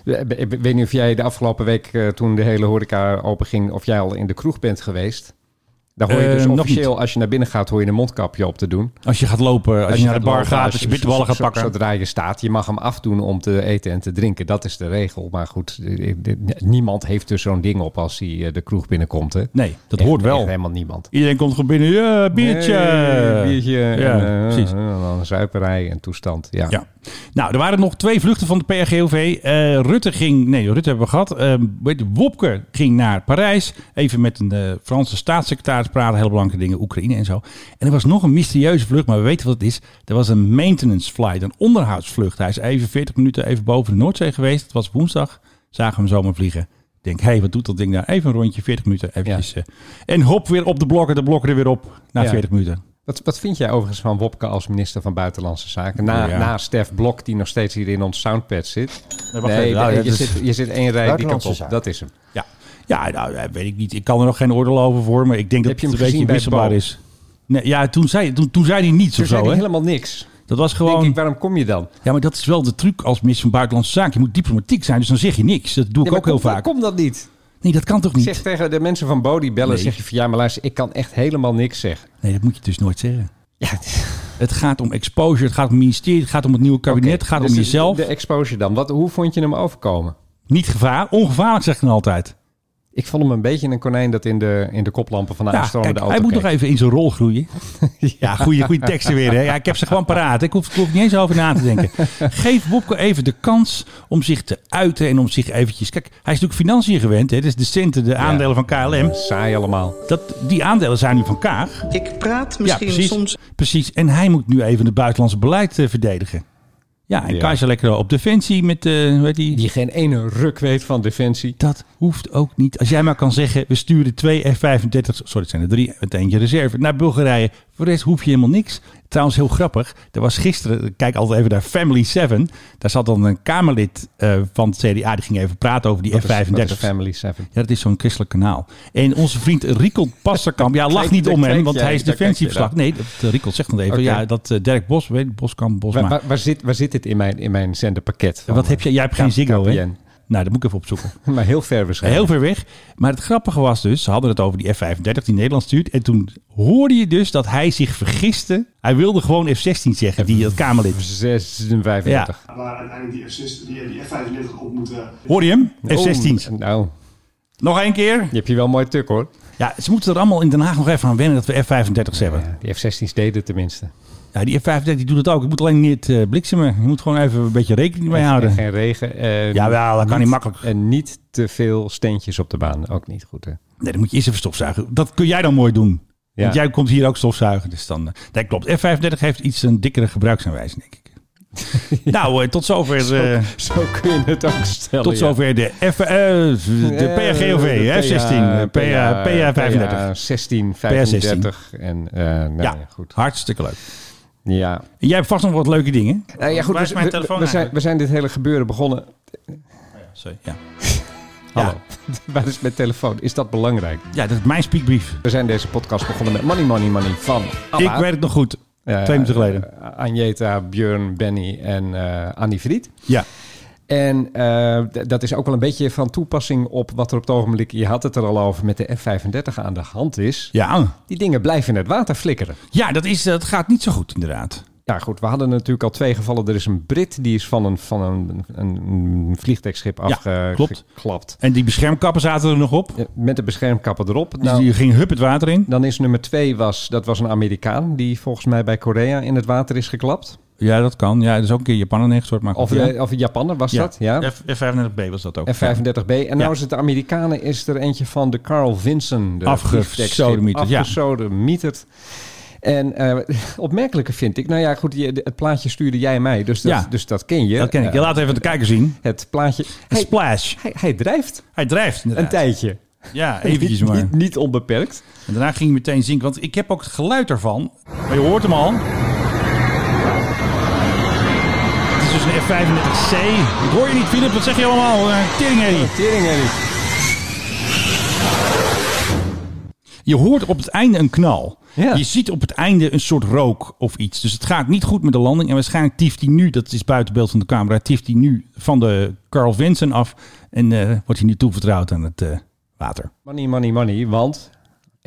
[SPEAKER 1] ik ik weet niet of jij de afgelopen week, eh, toen de hele horeca openging, of jij al in de kroeg bent geweest. Dan hoor je
[SPEAKER 2] Eh,
[SPEAKER 1] dus
[SPEAKER 2] nog
[SPEAKER 1] officieel, als je naar binnen gaat, hoor je een mondkapje op te doen.
[SPEAKER 2] Als je gaat lopen, als, je, naar de
[SPEAKER 1] gaat
[SPEAKER 2] bar
[SPEAKER 1] lopen,
[SPEAKER 2] gaat, als je bitterballen gaat
[SPEAKER 1] zo-
[SPEAKER 2] pakken.
[SPEAKER 1] Zodra je staat, je mag hem afdoen om te eten en te drinken. Dat is de regel. Maar goed, eh, eh, niemand heeft dus zo'n ding op als hij eh, de kroeg binnenkomt. Hè?
[SPEAKER 2] nee, dat
[SPEAKER 1] Echt-
[SPEAKER 2] hoort wel.
[SPEAKER 1] echt helemaal niemand.
[SPEAKER 2] Iedereen komt gewoon binnen. Ja, biertje.
[SPEAKER 1] Hey, biertje.
[SPEAKER 2] Ja,
[SPEAKER 1] en, eh,
[SPEAKER 2] precies.
[SPEAKER 1] en dan zuiperij en toestand. Ja.
[SPEAKER 2] Ja. Nou, er waren nog twee vluchten van de PRGOV. Eh, Rutte ging... Nee, Rutte hebben we gehad. Eh, weet je, Wopke ging naar Parijs. Even met een eh, Franse staatssecretaris praten. Hele belangrijke dingen. Oekraïne en zo. En er was nog een mysterieuze vlucht. Maar we weten wat het is. Er was een maintenance flight. Een onderhoudsvlucht. Hij is even 40 minuten even boven de Noordzee geweest. Het was woensdag. Zagen we hem zomaar vliegen. Ik denk, hé, hey, wat doet dat ding nou? Even een rondje, 40 minuten. Eventjes, eh, en hop, weer op de blokken. De blokken er weer op. Na
[SPEAKER 1] Ja.
[SPEAKER 2] 40 minuten.
[SPEAKER 1] Wat, wat vind jij overigens van Wopke als minister van Buitenlandse Zaken? Na,
[SPEAKER 2] Oh, ja.
[SPEAKER 1] na Stef Blok, die nog steeds hier in ons soundpad zit.
[SPEAKER 2] Nee, wacht
[SPEAKER 1] Nee,
[SPEAKER 2] even. Nou,
[SPEAKER 1] nee,
[SPEAKER 2] dat
[SPEAKER 1] je,
[SPEAKER 2] is-
[SPEAKER 1] zit, je zit één rij die
[SPEAKER 7] Buitenlandse
[SPEAKER 1] kant op.
[SPEAKER 7] zaken.
[SPEAKER 1] Dat is hem.
[SPEAKER 2] Ja, ja nou, eh, weet ik niet. Ik kan er nog geen oordeel over voor, maar ik denk
[SPEAKER 1] Heb je
[SPEAKER 2] dat het
[SPEAKER 1] hem
[SPEAKER 2] een beetje
[SPEAKER 1] gezien bij
[SPEAKER 2] wisselbaar
[SPEAKER 1] Bo?
[SPEAKER 2] is. Nee, ja, toen zei, toen, toen zei hij niets
[SPEAKER 1] Toen
[SPEAKER 2] of zo.
[SPEAKER 1] zei hij
[SPEAKER 2] Hè?
[SPEAKER 1] helemaal niks.
[SPEAKER 2] Dat was
[SPEAKER 1] Denk
[SPEAKER 2] gewoon.
[SPEAKER 1] ik, waarom kom je dan?
[SPEAKER 2] Ja, maar dat is wel de truc als minister van Buitenlandse Zaken. Je moet diplomatiek zijn, dus dan zeg je niks. Dat doe ik
[SPEAKER 1] Nee, maar
[SPEAKER 2] ook heel
[SPEAKER 1] kom-
[SPEAKER 2] vaak.
[SPEAKER 1] Kom dat niet.
[SPEAKER 2] Nee, dat kan toch niet?
[SPEAKER 1] Zeg tegen de mensen van Bodie bellen.
[SPEAKER 2] Nee.
[SPEAKER 1] Zeg je van ja, maar luister, ik kan echt helemaal niks zeggen.
[SPEAKER 2] Nee, dat moet je dus nooit zeggen.
[SPEAKER 1] Ja,
[SPEAKER 2] Het gaat om exposure, het gaat om het ministerie, het gaat om het nieuwe kabinet, het gaat
[SPEAKER 1] dus
[SPEAKER 2] om
[SPEAKER 1] de-
[SPEAKER 2] jezelf.
[SPEAKER 1] De exposure dan. Wat, hoe vond je hem overkomen?
[SPEAKER 2] Niet gevaar, ongevaarlijk zeg ik dan altijd.
[SPEAKER 1] Ik vond hem een beetje een konijn dat in de, in de koplampen van de
[SPEAKER 2] Ja,
[SPEAKER 1] aanstormende
[SPEAKER 2] kijk,
[SPEAKER 1] auto
[SPEAKER 2] hij moet nog
[SPEAKER 1] keek.
[SPEAKER 2] even in zijn rol groeien. ja, goede, goede teksten weer. Hè? Ja, ik heb ze gewoon paraat. Ik hoef, ik hoef niet eens over na te denken. Geef Wopke even de kans om zich te uiten en om zich eventjes... Kijk, hij is natuurlijk financiën gewend. Hè? Dus de centen, de aandelen van KLM.
[SPEAKER 1] Saai allemaal.
[SPEAKER 2] Dat, die aandelen zijn nu van Kaag.
[SPEAKER 8] Ik praat
[SPEAKER 2] Ja,
[SPEAKER 8] misschien
[SPEAKER 2] precies.
[SPEAKER 8] soms
[SPEAKER 2] Precies. En hij moet nu even het buitenlandse beleid eh, verdedigen. Ja, en
[SPEAKER 1] Ja.
[SPEAKER 2] Kaiser lekker op defensie met... eh hoe heet die?
[SPEAKER 1] Die geen ene ruk weet van defensie.
[SPEAKER 2] Dat hoeft ook niet. Als jij maar kan zeggen, we sturen twee F-35's, sorry het zijn er drie, met eentje reserve, naar Bulgarije. Voor de rest hoef je helemaal niks. Trouwens, heel grappig. Er was gisteren, ik kijk altijd even naar Family 7. Daar zat dan een Kamerlid eh, van het CDA, die ging even praten over die
[SPEAKER 1] Dat is- dat is
[SPEAKER 2] F-35's.
[SPEAKER 1] Family 7.
[SPEAKER 2] Ja, dat is zo'n christelijk kanaal. En onze vriend Rikon Pasterkamp, ja, lach
[SPEAKER 1] Kijk,
[SPEAKER 2] niet
[SPEAKER 1] daar
[SPEAKER 2] om hem,
[SPEAKER 1] kijk
[SPEAKER 2] want
[SPEAKER 1] jij,
[SPEAKER 2] hij is
[SPEAKER 1] daar kijk je
[SPEAKER 2] defensieverslag. Nee, dat, eh, Rikon zegt nog even,
[SPEAKER 1] Oké.
[SPEAKER 2] ja, dat eh, Dirk Bos, weet, je, Boskamp, Bosma.
[SPEAKER 1] Waar, waar, waar zit, waar zit dit in mijn, in mijn zenderpakket? van,
[SPEAKER 2] Wat heb je? Jij hebt geen
[SPEAKER 1] K-
[SPEAKER 2] Ziggo, hè?
[SPEAKER 1] KPN?
[SPEAKER 2] Nou, dat moet ik even opzoeken.
[SPEAKER 1] Maar heel ver
[SPEAKER 2] Heel
[SPEAKER 1] waarschijnlijk.
[SPEAKER 2] ver weg. Maar het grappige was dus, ze hadden het over die F-35 die Nederland stuurt. En toen hoorde je dus dat hij zich vergiste. Hij wilde gewoon F-16 zeggen, die dat Kamerlid.
[SPEAKER 1] 36.
[SPEAKER 9] Waar uiteindelijk die F-16 die, die F-35 op moeten.
[SPEAKER 2] Hoorde je hem?
[SPEAKER 1] Oh,
[SPEAKER 2] F-16.
[SPEAKER 1] nou,
[SPEAKER 2] Nog één keer.
[SPEAKER 1] je hebt hier wel mooi tuk hoor.
[SPEAKER 2] Ja, ze moeten er allemaal in Den Haag nog even aan wennen dat we F-35's hebben.
[SPEAKER 1] Ja, die F-16's deden tenminste.
[SPEAKER 2] Ja, die F-35 die doet het ook. Ik moet alleen niet eh, bliksemen. Je moet gewoon even een beetje rekening mee
[SPEAKER 1] En
[SPEAKER 2] houden.
[SPEAKER 1] geen regen. eh,
[SPEAKER 2] Jawel, dat kan niet makkelijk.
[SPEAKER 1] En niet te veel steentjes op de baan. Ook niet goed hè.
[SPEAKER 2] Nee, dan moet je eerst even stofzuigen. Dat kun jij dan mooi doen.
[SPEAKER 1] Ja.
[SPEAKER 2] Want jij komt hier ook stofzuigen. Dus dan, eh, nee, klopt. F-35 heeft iets een dikkere gebruiksaanwijzing, denk ik. Nou, eh, tot zover... eh,
[SPEAKER 1] Zo kun je het ook stellen. ja.
[SPEAKER 2] Tot zover de, F, eh, de
[SPEAKER 1] Eh,
[SPEAKER 2] PRGOV,
[SPEAKER 1] de
[SPEAKER 2] F16,
[SPEAKER 1] PA,
[SPEAKER 2] PA35.
[SPEAKER 1] 16, 35. En, eh, nou, ja.
[SPEAKER 2] Ja,
[SPEAKER 1] goed.
[SPEAKER 2] hartstikke leuk.
[SPEAKER 1] Ja.
[SPEAKER 2] En Jij hebt vast nog wat leuke dingen.
[SPEAKER 1] Nou ja, goed.
[SPEAKER 2] Waar is
[SPEAKER 1] we-
[SPEAKER 2] mijn
[SPEAKER 1] we-
[SPEAKER 2] telefoon
[SPEAKER 1] we, zijn,
[SPEAKER 2] eigenlijk?
[SPEAKER 1] we zijn dit hele gebeuren begonnen.
[SPEAKER 2] Sorry, ja.
[SPEAKER 1] Hallo. Waar is mijn telefoon? Is dat belangrijk?
[SPEAKER 2] ja, dat is mijn speakbrief.
[SPEAKER 1] We zijn deze podcast begonnen met Money Money Money van Abba.
[SPEAKER 2] Ik weet het nog goed.
[SPEAKER 1] Eh,
[SPEAKER 2] twee minuten geleden.
[SPEAKER 1] eh, Agneta, Björn, Benny en eh Annie Vriet.
[SPEAKER 2] Ja.
[SPEAKER 1] En eh, d- dat is ook wel een beetje van toepassing op wat er op het ogenblik, je had het er al over, met de F-35 aan de hand is.
[SPEAKER 2] Ja.
[SPEAKER 1] Die dingen blijven in het water flikkeren.
[SPEAKER 2] ja, dat is, dat gaat niet zo goed inderdaad.
[SPEAKER 1] Nou goed, we hadden natuurlijk al twee gevallen. Er is een Brit die is van een, van een, een, een vliegtuigschip
[SPEAKER 2] klopt.
[SPEAKER 1] afgeklapt.
[SPEAKER 2] En die beschermkappen zaten er nog op.
[SPEAKER 1] Ja, Met de beschermkappen erop.
[SPEAKER 2] Dus
[SPEAKER 1] Nou,
[SPEAKER 2] die ging hup het water in.
[SPEAKER 1] dan is nummer twee, was, dat was een Amerikaan die volgens mij bij Korea in het water is geklapt.
[SPEAKER 2] Ja, dat kan. Ja, dat is ook een keer Japan en soort. Maar
[SPEAKER 1] Of,
[SPEAKER 2] ja.
[SPEAKER 1] eh, of een Japanner was dat, ja.
[SPEAKER 2] F- F35B was dat ook.
[SPEAKER 1] F-35B. En nou
[SPEAKER 2] Ja.
[SPEAKER 1] is het de Amerikanen, is er eentje van de Carl Vinson. De vliegdekschip.
[SPEAKER 2] Afgesodemieterd, ja.
[SPEAKER 1] Afgesodemieterd. En eh opmerkelijke vind ik, nou ja, goed, je- het plaatje stuurde jij mij, dus dat,
[SPEAKER 2] Ja.
[SPEAKER 1] dus dat ken je.
[SPEAKER 2] Dat ken ik.
[SPEAKER 1] Eh,
[SPEAKER 2] Ja, laat even de kijker zien.
[SPEAKER 1] het plaatje. Hij,
[SPEAKER 2] Splash.
[SPEAKER 1] hij, hij drijft
[SPEAKER 2] Hij drijft
[SPEAKER 1] een
[SPEAKER 2] inderdaad.
[SPEAKER 1] tijdje.
[SPEAKER 2] Ja, eventjes
[SPEAKER 1] niet,
[SPEAKER 2] maar.
[SPEAKER 1] Niet, niet onbeperkt.
[SPEAKER 2] En daarna ging hij meteen zinken. Want ik heb ook het geluid ervan. Maar je hoort hem al. Het is dus een F35C. Ik hoor je niet, Philip. Wat zeg je allemaal? Eh, Teringherrie.
[SPEAKER 1] Tering, Eddie.
[SPEAKER 2] Je hoort op het einde een knal.
[SPEAKER 1] Ja.
[SPEAKER 2] Je ziet op het einde een soort rook of iets. Dus het gaat niet goed met de landing. En waarschijnlijk tieft hij nu, dat is buiten beeld van de camera, tieft hij nu van de Carl Vinson af. En eh, wordt hij nu toevertrouwd aan het eh, water.
[SPEAKER 1] Money, money, money, want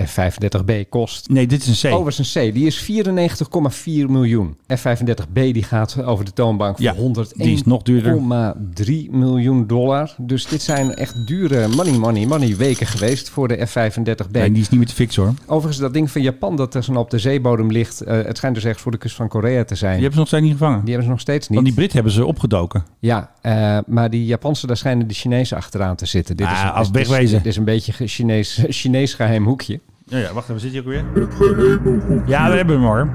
[SPEAKER 1] F-35B kost...
[SPEAKER 2] Nee, dit is een C.
[SPEAKER 1] Oh, was een C. Die is 94,4 miljoen. F-35B die gaat over de toonbank voor
[SPEAKER 2] Ja,
[SPEAKER 1] 101,3
[SPEAKER 2] die is nog duurder.
[SPEAKER 1] miljoen dollar. Dus dit zijn echt dure money, money, money weken geweest voor de F-35B.
[SPEAKER 2] nee, die is niet meer te fixen hoor.
[SPEAKER 1] Overigens, dat ding van Japan dat er zo op de zeebodem ligt... eh, het schijnt dus echt voor de kust van Korea te zijn.
[SPEAKER 2] Die hebben ze nog steeds niet gevangen.
[SPEAKER 1] Die hebben ze nog steeds niet.
[SPEAKER 2] Want die Brit hebben ze opgedoken.
[SPEAKER 1] Ja, eh, maar die Japanse, daar schijnen de Chinezen achteraan te zitten. Dit
[SPEAKER 2] Ah,
[SPEAKER 1] is, een-
[SPEAKER 2] als
[SPEAKER 1] dit is-
[SPEAKER 2] wegwezen.
[SPEAKER 1] Dit is een beetje ge- Chinees, Chinees geheim hoekje.
[SPEAKER 2] Ja, ja wacht even. Zit hij ook weer? Ja, we hebben hem hoor.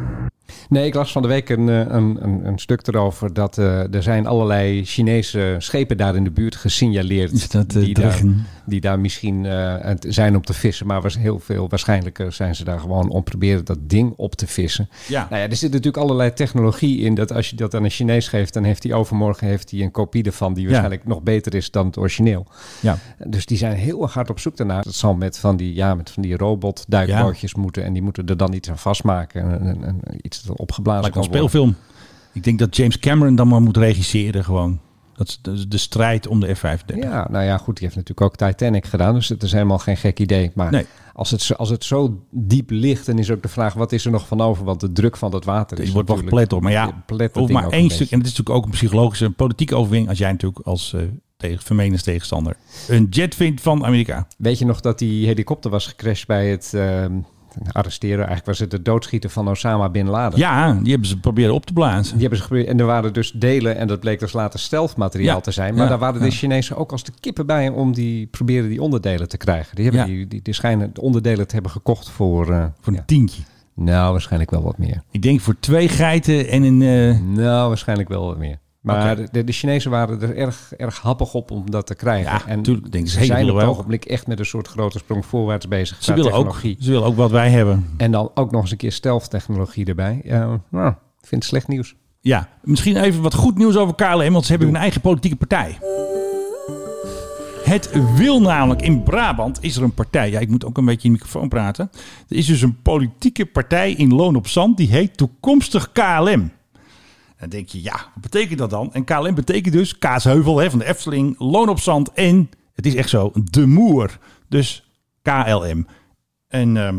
[SPEAKER 1] Nee, ik las van de week een, eh, een, een, een stuk erover dat eh, er zijn allerlei Chinese schepen daar in de buurt gesignaleerd.
[SPEAKER 2] Is dat, eh,
[SPEAKER 1] die, daar,
[SPEAKER 2] dreigen?
[SPEAKER 1] die daar misschien eh, het zijn om te vissen, maar was heel veel waarschijnlijker zijn ze daar gewoon om proberen dat ding op te vissen.
[SPEAKER 2] Ja.
[SPEAKER 1] Nou ja, er zit natuurlijk allerlei technologie in dat als je dat aan een Chinees geeft, dan heeft hij overmorgen heeft hij een kopie ervan die waarschijnlijk nog beter is dan het origineel.
[SPEAKER 2] Ja.
[SPEAKER 1] Dus die zijn heel erg hard op zoek daarnaar. Dat zal met van die, ja, met van die robotduikbootjes moeten. En die moeten er dan iets aan vastmaken. En, en, en iets dat opgeblazen
[SPEAKER 2] Lijkt wel een
[SPEAKER 1] kan worden.
[SPEAKER 2] speelfilm. Ik denk dat James Cameron dan maar moet regisseren gewoon. Dat is de, de strijd om de F35.
[SPEAKER 1] Ja, nou ja, goed. Die heeft natuurlijk ook Titanic gedaan. Dus het is helemaal geen gek idee. Maar
[SPEAKER 2] Nee.
[SPEAKER 1] als, het, zo- als het zo diep ligt, dan is ook de vraag... wat is er nog van over? Want de druk van dat water is
[SPEAKER 2] Je wordt wel
[SPEAKER 1] natuurlijk-
[SPEAKER 2] geplet door. Maar ja,
[SPEAKER 1] Ja, plet dat
[SPEAKER 2] hoeft
[SPEAKER 1] ding
[SPEAKER 2] maar
[SPEAKER 1] ook
[SPEAKER 2] één
[SPEAKER 1] een
[SPEAKER 2] stuk.
[SPEAKER 1] beetje.
[SPEAKER 2] En het is natuurlijk ook een psychologische en politieke overwinning. Als jij natuurlijk als eh tegen, vermenens tegenstander een jet vindt van Amerika.
[SPEAKER 1] Weet je nog dat die helikopter was gecrashed bij het... ehm, arresteren, eigenlijk was het het doodschieten van Osama Bin Laden.
[SPEAKER 2] Ja, die hebben ze proberen op te blazen.
[SPEAKER 1] Die hebben ze geprobeerd. En er waren dus delen, en dat bleek dus later stealth-materiaal
[SPEAKER 2] Ja,
[SPEAKER 1] te zijn. Maar
[SPEAKER 2] ja,
[SPEAKER 1] daar waren
[SPEAKER 2] ja.
[SPEAKER 1] de Chinezen ook als de kippen bij om die proberen die onderdelen te krijgen. Die, hebben
[SPEAKER 2] Ja.
[SPEAKER 1] die, die, die schijnen de onderdelen te hebben gekocht voor. eh,
[SPEAKER 2] Voor een
[SPEAKER 1] ja.
[SPEAKER 2] tientje.
[SPEAKER 1] Nou, waarschijnlijk wel wat meer.
[SPEAKER 2] Ik denk voor twee geiten en een... eh,
[SPEAKER 1] Nou, waarschijnlijk wel wat meer. Maar de, de Chinezen waren er erg, erg happig op om dat te krijgen.
[SPEAKER 2] Ja,
[SPEAKER 1] en
[SPEAKER 2] tuurlijk, denk ik, ze
[SPEAKER 1] ze zijn
[SPEAKER 2] willen
[SPEAKER 1] op het
[SPEAKER 2] wel.
[SPEAKER 1] ogenblik echt met een soort grote sprong voorwaarts bezig.
[SPEAKER 2] ze,
[SPEAKER 1] qua
[SPEAKER 2] willen ook,
[SPEAKER 1] technologie.
[SPEAKER 2] ze willen ook wat wij hebben.
[SPEAKER 1] En dan ook nog eens een keer stealth-technologie erbij. Eh, nou, ik vind het slecht nieuws.
[SPEAKER 2] Ja, misschien even wat goed nieuws over KLM, want ze hebben hun eigen politieke partij. Het wil namelijk in Brabant is er een partij. Ja, ik moet ook een beetje in de microfoon praten. Er is dus een politieke partij in Loon op Zand die heet Toekomstig KLM. Dan denk je, ja, wat betekent dat dan? En KLM betekent dus Kaasheuvel hè, van de Efteling, Loon op Zand en, het is echt zo, De Moer. Dus KLM. En ehm,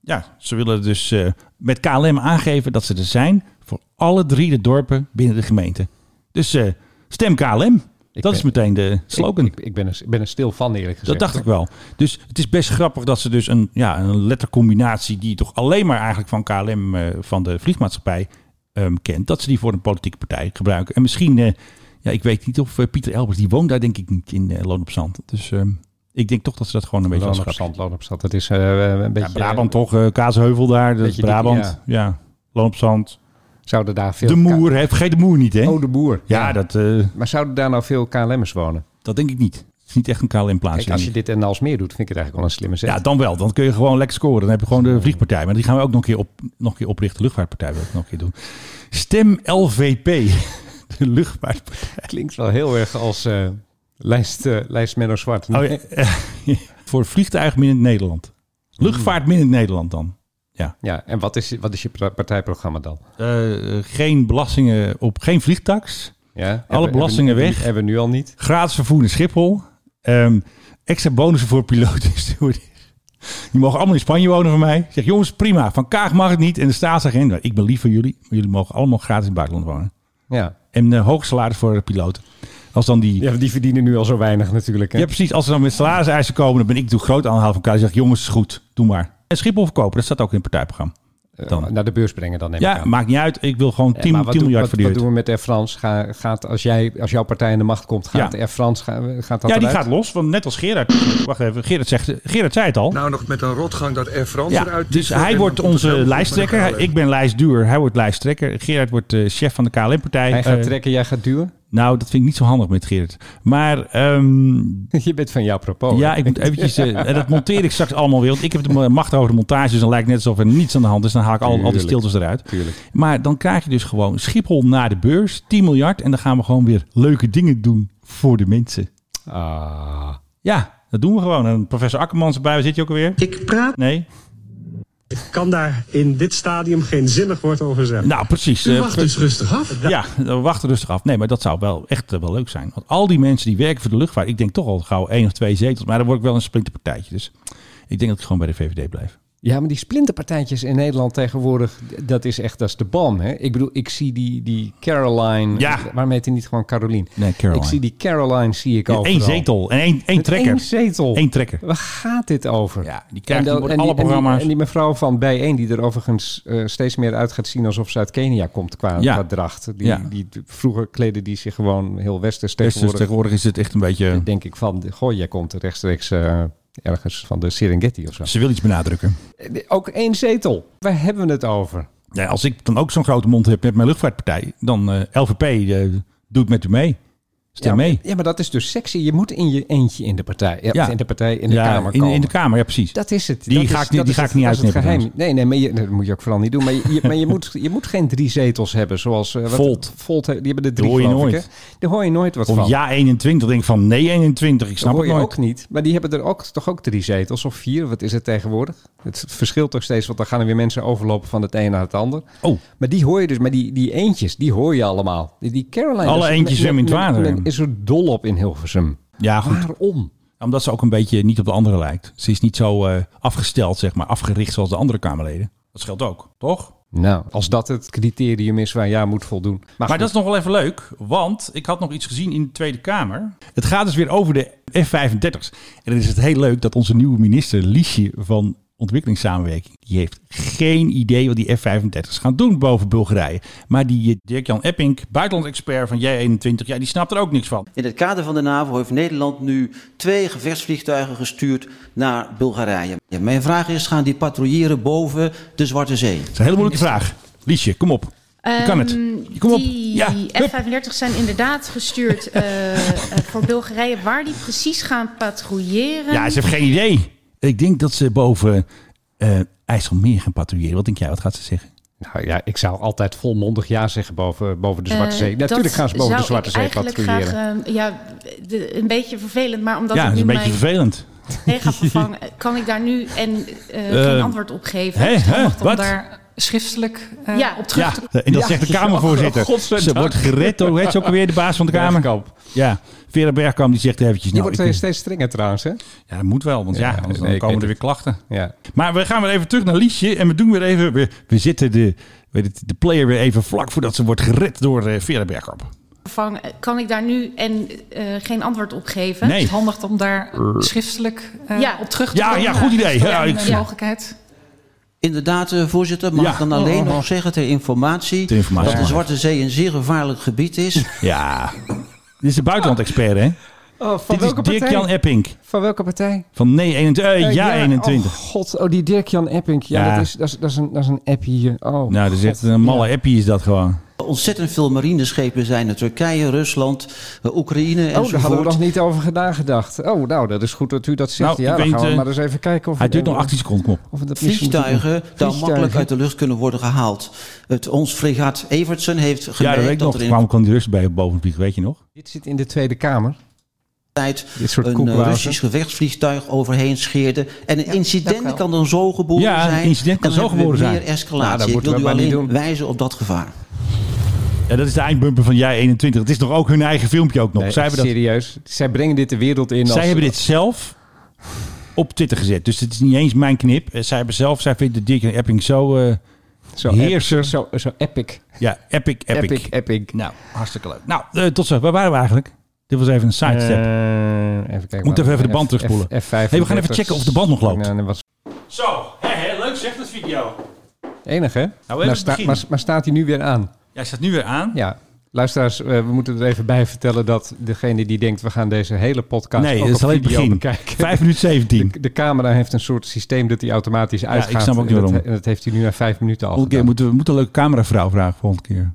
[SPEAKER 2] ja, ze willen dus eh, met KLM aangeven dat ze er zijn voor alle drie de dorpen binnen de gemeente. Dus eh, stem KLM.
[SPEAKER 1] Ik ben-
[SPEAKER 2] dat is meteen de slogan.
[SPEAKER 1] Ik, ik, ben er, ik ben er stil van, eerlijk gezegd.
[SPEAKER 2] dat dacht ik wel. Dus het is best grappig dat ze dus een, ja, een lettercombinatie die je toch alleen maar eigenlijk van KLM, eh, van de vliegmaatschappij, ehm, kent, dat ze die voor een politieke partij gebruiken. En misschien, eh, ja, ik weet niet of eh, Pieter Elbers, die woont daar denk ik niet in eh, Loon op Zand. Dus ehm, ik denk toch dat ze dat gewoon een beetje als
[SPEAKER 1] Loon op
[SPEAKER 2] grapje-
[SPEAKER 1] zand, loon op zand. Dat is eh, een beetje...
[SPEAKER 2] Ja, Brabant toch, eh Kaasheuvel daar, dat is
[SPEAKER 1] Beetje dik,
[SPEAKER 2] Brabant.
[SPEAKER 1] ja.
[SPEAKER 2] ja. Loon op Zand.
[SPEAKER 1] Zouden daar veel...
[SPEAKER 2] De Moer, hè? vergeet de Moer niet hè?
[SPEAKER 1] K- Oh, de boer.
[SPEAKER 2] ja, dat, eh,
[SPEAKER 1] Maar zouden daar nou veel KLM'ers wonen?
[SPEAKER 2] dat denk ik niet. Het is niet echt een KLM plaatsje.
[SPEAKER 1] Kijk, als je dit en als meer doet, vind ik het eigenlijk wel een slimme zet.
[SPEAKER 2] Ja, dan wel. Dan kun je gewoon lekker scoren. Dan heb je gewoon de vliegpartij. Maar die gaan we ook nog een keer, op, nog een keer oprichten. Luchtvaartpartij wil ik nog een keer doen. Stem LVP. De luchtvaartpartij.
[SPEAKER 1] Klinkt wel heel erg als eh, lijst, eh, lijst Menno Zwart.
[SPEAKER 2] Oh, ja. Voor vliegtuigen in Nederland. Luchtvaart in Nederland dan.
[SPEAKER 1] Ja, en wat is, wat is je pra- partijprogramma dan?
[SPEAKER 2] Eh, geen belastingen op, geen vliegtax.
[SPEAKER 1] Ja, hebben-
[SPEAKER 2] belastingen
[SPEAKER 1] hebben-
[SPEAKER 2] weg.
[SPEAKER 1] Hebben we nu al niet.
[SPEAKER 2] Gratis vervoer in Schiphol. Ehm, extra bonussen voor piloten en stewardess. Die mogen allemaal in Spanje wonen van mij. Ik zeg, jongens, prima. Van Kaag mag het niet. En de staatsagent, nou, ik ben lief voor jullie. Maar jullie mogen allemaal gratis in het buitenland wonen.
[SPEAKER 1] Ja.
[SPEAKER 2] En eh hoog salaris voor de piloten. Als dan die... Ja.
[SPEAKER 1] ja, die verdienen nu al zo weinig natuurlijk. Hè?
[SPEAKER 2] precies. Als ze dan met salariseisen komen, dan ben ik natuurlijk groot aanhaal van Kaag. Ik zeg, jongens, is goed. Doe maar. En Schiphol verkopen, dat staat ook in het partijprogramma. Dan.
[SPEAKER 1] Naar de beurs brengen dan neem ik
[SPEAKER 2] Ja,
[SPEAKER 1] aan.
[SPEAKER 2] maakt niet uit. Ik wil gewoon 10,
[SPEAKER 1] maar
[SPEAKER 2] 10
[SPEAKER 1] doen-
[SPEAKER 2] miljard
[SPEAKER 1] wat,
[SPEAKER 2] verdienen.
[SPEAKER 1] wat doen we met Air France? Ga, gaat, als, jij, als jouw partij in de macht komt, gaat
[SPEAKER 2] Ja.
[SPEAKER 1] Air France ga, gaat dat
[SPEAKER 2] ja, die
[SPEAKER 1] eruit?
[SPEAKER 2] gaat los. Want net als Gerard. Wacht even. Gerard, zegt, Gerard zei het al.
[SPEAKER 7] Nou, nog met een rotgang dat Air France
[SPEAKER 2] ja,
[SPEAKER 7] eruit
[SPEAKER 2] dus
[SPEAKER 7] tikt en
[SPEAKER 2] hij
[SPEAKER 7] dan
[SPEAKER 2] wordt
[SPEAKER 7] komt het
[SPEAKER 2] onze
[SPEAKER 7] geld van de
[SPEAKER 2] lijsttrekker. Hij-
[SPEAKER 7] KLM.
[SPEAKER 2] Ik ben lijstduur. Hij wordt lijsttrekker. Gerard wordt eh, chef van de KLM-partij.
[SPEAKER 1] Hij gaat
[SPEAKER 2] Eh,
[SPEAKER 1] trekken, jij gaat duwen?
[SPEAKER 2] nou, dat vind ik niet zo handig met Gerard. Maar ehm,
[SPEAKER 1] Je bent van jouw propos.
[SPEAKER 2] ja, ik moet eventjes... eh, en dat monteer ik straks allemaal weer. Want ik heb de ma- macht over de montage. Dus dan lijkt het net alsof er niets aan de hand is. Dan haal ik al, al die
[SPEAKER 1] Tuurlijk.
[SPEAKER 2] stiltes eruit.
[SPEAKER 1] Tuurlijk.
[SPEAKER 2] Maar dan krijg je dus gewoon Schiphol naar de beurs. 10 miljard. En dan gaan we gewoon weer leuke dingen doen voor de mensen.
[SPEAKER 1] Ah.
[SPEAKER 2] Ja, dat doen we gewoon. En professor Akkermans erbij, zit je ook alweer?
[SPEAKER 8] Ik praat.
[SPEAKER 2] Nee?
[SPEAKER 8] Ik kan daar in dit stadium geen zinnig woord over zeggen.
[SPEAKER 2] Nou, precies. Eh,
[SPEAKER 7] Wacht dus rustig af.
[SPEAKER 2] ja, we wachten rustig af. Nee, maar dat zou wel echt eh, wel leuk zijn. Want al die mensen die werken voor de luchtvaart, ik denk toch al gauw één of twee zetels. Maar dan word ik wel een splinterpartijtje. Dus ik denk dat ik gewoon bij de VVD blijf.
[SPEAKER 1] Ja, maar die splinterpartijtjes in Nederland tegenwoordig, dat is echt, dat is de bom. Hè? Ik bedoel, ik zie die, die Caroline.
[SPEAKER 2] Ja.
[SPEAKER 1] Waarom heet hij niet gewoon Caroline?
[SPEAKER 2] Nee, Caroline.
[SPEAKER 1] Ik zie die Caroline, zie ik
[SPEAKER 2] Ja,
[SPEAKER 1] overal.
[SPEAKER 2] Eén zetel en één, één
[SPEAKER 1] Met
[SPEAKER 2] trekker.
[SPEAKER 1] één zetel.
[SPEAKER 2] Eén trekker.
[SPEAKER 1] Waar gaat dit over?
[SPEAKER 2] Ja, die krijgt- die wordt
[SPEAKER 1] en
[SPEAKER 2] alle
[SPEAKER 1] en
[SPEAKER 2] programma's-
[SPEAKER 1] En die, mevrouw van Bijeen, die er overigens eh, steeds meer uit gaat zien alsof ze uit Kenia komt qua,
[SPEAKER 2] Ja.
[SPEAKER 1] qua dracht. Die,
[SPEAKER 2] Ja.
[SPEAKER 1] die, vroeger kleden die zich gewoon heel westers
[SPEAKER 2] Dus
[SPEAKER 1] tegenwoordig.
[SPEAKER 2] tegenwoordig is het echt een beetje...
[SPEAKER 1] Denk ik van, goh, jij komt rechtstreeks eh, ergens van de Serengeti of zo.
[SPEAKER 2] Ze wil iets benadrukken.
[SPEAKER 1] Eh, Ook één zetel. Waar hebben we het over?
[SPEAKER 2] Ja, als ik dan ook zo'n grote mond heb met mijn luchtvaartpartij, dan eh LVP eh, doet met u mee. Stem
[SPEAKER 1] ja,
[SPEAKER 2] mee.
[SPEAKER 1] Ja, maar dat is dus sexy. Je moet in je eentje in de partij. Ja,
[SPEAKER 2] Ja.
[SPEAKER 1] In de partij, in de
[SPEAKER 2] ja,
[SPEAKER 1] Kamer
[SPEAKER 2] in,
[SPEAKER 1] komen.
[SPEAKER 2] in de Kamer, ja precies.
[SPEAKER 1] Dat is het.
[SPEAKER 2] Die
[SPEAKER 1] dat
[SPEAKER 2] ga
[SPEAKER 1] is,
[SPEAKER 2] ik niet-
[SPEAKER 1] dat is
[SPEAKER 2] die ga ik
[SPEAKER 1] het-
[SPEAKER 2] niet
[SPEAKER 1] dat is het
[SPEAKER 2] uitknippen,
[SPEAKER 1] geheim. Nee, nee, maar je, dat moet je ook vooral niet doen. Maar je, je- maar je, moet, je moet geen drie zetels hebben zoals... eh, wat-
[SPEAKER 2] Volt.
[SPEAKER 1] Volt, he- die hebben de drie,
[SPEAKER 2] hoor je
[SPEAKER 1] geloof ik,
[SPEAKER 2] nooit.
[SPEAKER 1] hè? Daar hoor je nooit wat
[SPEAKER 2] Of
[SPEAKER 1] van.
[SPEAKER 2] ja 21, denk ik van nee 21, ik
[SPEAKER 1] Dat
[SPEAKER 2] snap
[SPEAKER 1] hoor
[SPEAKER 2] het
[SPEAKER 1] je
[SPEAKER 2] nooit.
[SPEAKER 1] ook niet. Maar die hebben er ook, toch ook drie zetels of vier. Wat is het tegenwoordig? Het verschilt toch steeds, want dan gaan er weer mensen overlopen van het een naar het ander.
[SPEAKER 2] Oh,
[SPEAKER 1] Maar die hoor je dus, maar die, die eentjes, die hoor je allemaal. Die, die Caroline...
[SPEAKER 2] Alle
[SPEAKER 1] is- men-
[SPEAKER 2] eentjes zwemmen in het
[SPEAKER 1] men-
[SPEAKER 2] water.
[SPEAKER 1] men is er dol op in Hilversum.
[SPEAKER 2] ja goed.
[SPEAKER 1] Waarom?
[SPEAKER 2] Omdat ze ook een beetje niet op de anderen lijkt. Ze is niet zo eh, afgesteld, zeg maar, afgericht zoals de andere Kamerleden. Dat scheelt ook, toch?
[SPEAKER 1] Nou, als dat het criterium is waar jij moet voldoen. Maar,
[SPEAKER 2] Maar
[SPEAKER 1] goed,
[SPEAKER 2] dat is nog wel even leuk, want ik had nog iets gezien in de Tweede Kamer. Het gaat dus weer over de F-35's. En dan is het heel leuk dat onze nieuwe minister Liesje van Ontwikkelingssamenwerking, die heeft geen idee wat die F-35's gaan doen boven Bulgarije. Maar die eh, Dirk-Jan Epping, buitenlandexpert van J21, ja, die snapt er ook niks van.
[SPEAKER 10] In het kader van de NAVO heeft Nederland nu twee gevechtsvliegtuigen gestuurd naar Bulgarije. Ja, Mijn vraag is, gaan die patrouilleren boven de Zwarte Zee?
[SPEAKER 2] Dat is een hele moeilijke vraag. Liesje, kom op. Je kan
[SPEAKER 8] Ehm,
[SPEAKER 2] het. Je Kom op. Ja, hup.
[SPEAKER 8] F-35 zijn inderdaad gestuurd eh, voor Bulgarije. Waar die precies gaan patrouilleren.
[SPEAKER 2] ja, ze heeft geen idee. Ik denk dat ze boven eh, IJsselmeer gaan patrouilleren. Wat denk jij? Wat gaat ze zeggen?
[SPEAKER 1] nou ja, ik zou altijd volmondig ja zeggen boven, boven de Zwarte Zee. Natuurlijk gaan ze boven de Zwarte Zee patrouilleren.
[SPEAKER 8] ja, de- een beetje vervelend, maar omdat
[SPEAKER 2] ja,
[SPEAKER 8] ik
[SPEAKER 2] dat is
[SPEAKER 8] nu
[SPEAKER 2] een beetje
[SPEAKER 8] mijn
[SPEAKER 2] vervelend.
[SPEAKER 8] collega vervang, eh, kan ik daar nu en, eh, geen
[SPEAKER 2] Eh,
[SPEAKER 8] antwoord op geven.
[SPEAKER 2] Hé, hè? Wat?
[SPEAKER 11] schriftelijk
[SPEAKER 8] ja, op
[SPEAKER 2] Ja, en dat zegt de Kamervoorzitter. ze wordt gered door, hoe heet ze ook alweer, de baas van de Kamer?
[SPEAKER 1] Bergkamp.
[SPEAKER 2] Ja, Vera Bergkamp die zegt eventjes...
[SPEAKER 1] Die
[SPEAKER 2] Nou,
[SPEAKER 1] wordt
[SPEAKER 2] ik-
[SPEAKER 1] eh, steeds strenger trouwens, hè?
[SPEAKER 2] ja, dat moet wel, want ja,
[SPEAKER 1] Ja,
[SPEAKER 2] anders
[SPEAKER 1] nee,
[SPEAKER 2] dan
[SPEAKER 1] ik
[SPEAKER 2] komen
[SPEAKER 1] weet
[SPEAKER 2] er weer
[SPEAKER 1] het.
[SPEAKER 2] klachten.
[SPEAKER 1] Ja.
[SPEAKER 2] Maar we gaan weer even terug naar Liesje en we doen weer even... We, we zitten de, weet het, de player weer even vlak voordat ze wordt gered door eh Vera Bergkamp.
[SPEAKER 8] vervang, eh, kan ik daar nu en eh, geen antwoord op geven.
[SPEAKER 2] Nee.
[SPEAKER 11] handig om daar schriftelijk
[SPEAKER 8] Ja.
[SPEAKER 11] op terug
[SPEAKER 2] te Ja, komen. ja, goed idee. Ja, ik-
[SPEAKER 8] Ja.
[SPEAKER 11] mogelijkheid.
[SPEAKER 10] Inderdaad, eh, voorzitter, mag
[SPEAKER 2] Ja.
[SPEAKER 10] ik dan alleen
[SPEAKER 1] Oh,
[SPEAKER 10] nog zeggen ter informatie,
[SPEAKER 2] Ter informatie,
[SPEAKER 10] dat de
[SPEAKER 2] ja.
[SPEAKER 10] Zwarte Zee een zeer gevaarlijk gebied is.
[SPEAKER 2] Ja, dit is de buitenlandexpert, hè?
[SPEAKER 1] Oh, van,
[SPEAKER 2] dit
[SPEAKER 1] welke
[SPEAKER 2] is Dirk-Jan
[SPEAKER 1] partij?
[SPEAKER 2] Epping
[SPEAKER 1] van welke partij?
[SPEAKER 2] van Nee 21, eh, ja, 21.
[SPEAKER 1] Oh, god. Oh, die Dirk-Jan Epping. Ja,
[SPEAKER 2] Ja.
[SPEAKER 1] Dat, is, dat, is, dat, is een, dat is een appie hier. Oh,
[SPEAKER 2] nou, dat is
[SPEAKER 1] god.
[SPEAKER 2] echt een malle appie is dat gewoon.
[SPEAKER 10] Ontzettend veel marineschepen zijn naar Turkije, Rusland, eh, Oekraïne
[SPEAKER 1] Oh, daar
[SPEAKER 10] enzovoort.
[SPEAKER 1] hadden we nog niet over nagedacht. Oh, nou, dat is goed dat u dat zegt.
[SPEAKER 2] Nou, ik
[SPEAKER 1] ja, dan
[SPEAKER 2] weet,
[SPEAKER 1] gaan we
[SPEAKER 2] eh,
[SPEAKER 1] maar eens even kijken of...
[SPEAKER 2] Hij duurt
[SPEAKER 1] eh,
[SPEAKER 2] nog 18 seconden, kom op.
[SPEAKER 1] Of we dat misschien moeten doen.
[SPEAKER 10] Vliegtuigen dan makkelijk
[SPEAKER 1] Vliegtuigen.
[SPEAKER 10] uit de lucht kunnen worden gehaald. Het, ons fregaat Evertsen heeft
[SPEAKER 2] Ja, dat weet ik
[SPEAKER 10] gemerkt dat,
[SPEAKER 2] nog.
[SPEAKER 10] er
[SPEAKER 2] Toen
[SPEAKER 10] in
[SPEAKER 2] kwam kwam die rust bij boven het vlieg, weet je nog?
[SPEAKER 1] Dit zit in de Tweede Kamer.
[SPEAKER 10] tijd
[SPEAKER 1] Dit soort
[SPEAKER 10] een eh,
[SPEAKER 1] koekwazen.
[SPEAKER 10] Russisch gevechtsvliegtuig overheen scheerde. En een incident kan dan zo geboren
[SPEAKER 2] Ja, een
[SPEAKER 10] zijn.
[SPEAKER 2] incident kan
[SPEAKER 10] En dan
[SPEAKER 2] zo
[SPEAKER 10] hebben we
[SPEAKER 2] geboren
[SPEAKER 10] Meer
[SPEAKER 2] zijn.
[SPEAKER 1] Nou,
[SPEAKER 10] escalatie.
[SPEAKER 1] dat
[SPEAKER 10] Ik
[SPEAKER 1] moeten
[SPEAKER 10] wil
[SPEAKER 1] we
[SPEAKER 10] u
[SPEAKER 1] maar niet
[SPEAKER 10] alleen
[SPEAKER 1] doen.
[SPEAKER 10] wijzen op dat gevaar.
[SPEAKER 2] Ja, dat is de eindbumper van Jij 21. Het is toch ook hun eigen filmpje ook nog.
[SPEAKER 1] Nee,
[SPEAKER 2] zij hebben, dat,
[SPEAKER 1] serieus. Zij brengen dit de wereld in
[SPEAKER 2] zij
[SPEAKER 1] als...
[SPEAKER 2] hebben dit zelf op Twitter gezet. Dus het is niet eens mijn knip. Eh, Zij hebben zelf, zij vindt de Deacon Epping zo, eh,
[SPEAKER 1] Zo
[SPEAKER 2] Heerser.
[SPEAKER 1] ep- Zo, zo epic.
[SPEAKER 2] ja, epic, epic.
[SPEAKER 1] Epic, epic.
[SPEAKER 2] Nou, hartstikke leuk. Nou, eh, tot zo. Waar waren we eigenlijk? Dit was even een sidestep.
[SPEAKER 1] Eh, even kijken.
[SPEAKER 2] Moet
[SPEAKER 1] waar-
[SPEAKER 2] even even de band
[SPEAKER 1] F- F-
[SPEAKER 2] terugspoelen.
[SPEAKER 1] F- F35.
[SPEAKER 2] Hey, we gaan even checken of de band nog loopt.
[SPEAKER 1] Nou, dat was
[SPEAKER 2] Zo, hè, hè, leuk zeg, dat video.
[SPEAKER 1] enig, hè?
[SPEAKER 2] even
[SPEAKER 1] maar,
[SPEAKER 2] Nou, het
[SPEAKER 1] sta-
[SPEAKER 2] begin.
[SPEAKER 1] maar, maar staat hij nu weer aan?
[SPEAKER 2] Jij staat nu weer aan.
[SPEAKER 1] Ja. Luisteraars, eh, we moeten er even bij vertellen dat degene die denkt... we gaan deze hele podcast
[SPEAKER 2] nee,
[SPEAKER 1] ook
[SPEAKER 2] dat
[SPEAKER 1] op
[SPEAKER 2] is alleen het
[SPEAKER 1] video
[SPEAKER 2] begin.
[SPEAKER 1] bekijken.
[SPEAKER 2] 5 minuten 17.
[SPEAKER 1] De camera heeft een soort systeem dat hij automatisch uitgaat.
[SPEAKER 2] ik snap ook niet
[SPEAKER 1] En dat-
[SPEAKER 2] waarom.
[SPEAKER 1] En dat heeft hij nu na vijf minuten al
[SPEAKER 2] Volgende keer
[SPEAKER 1] gedaan.
[SPEAKER 2] moeten we moeten een leuke cameravrouw vragen volgende keer.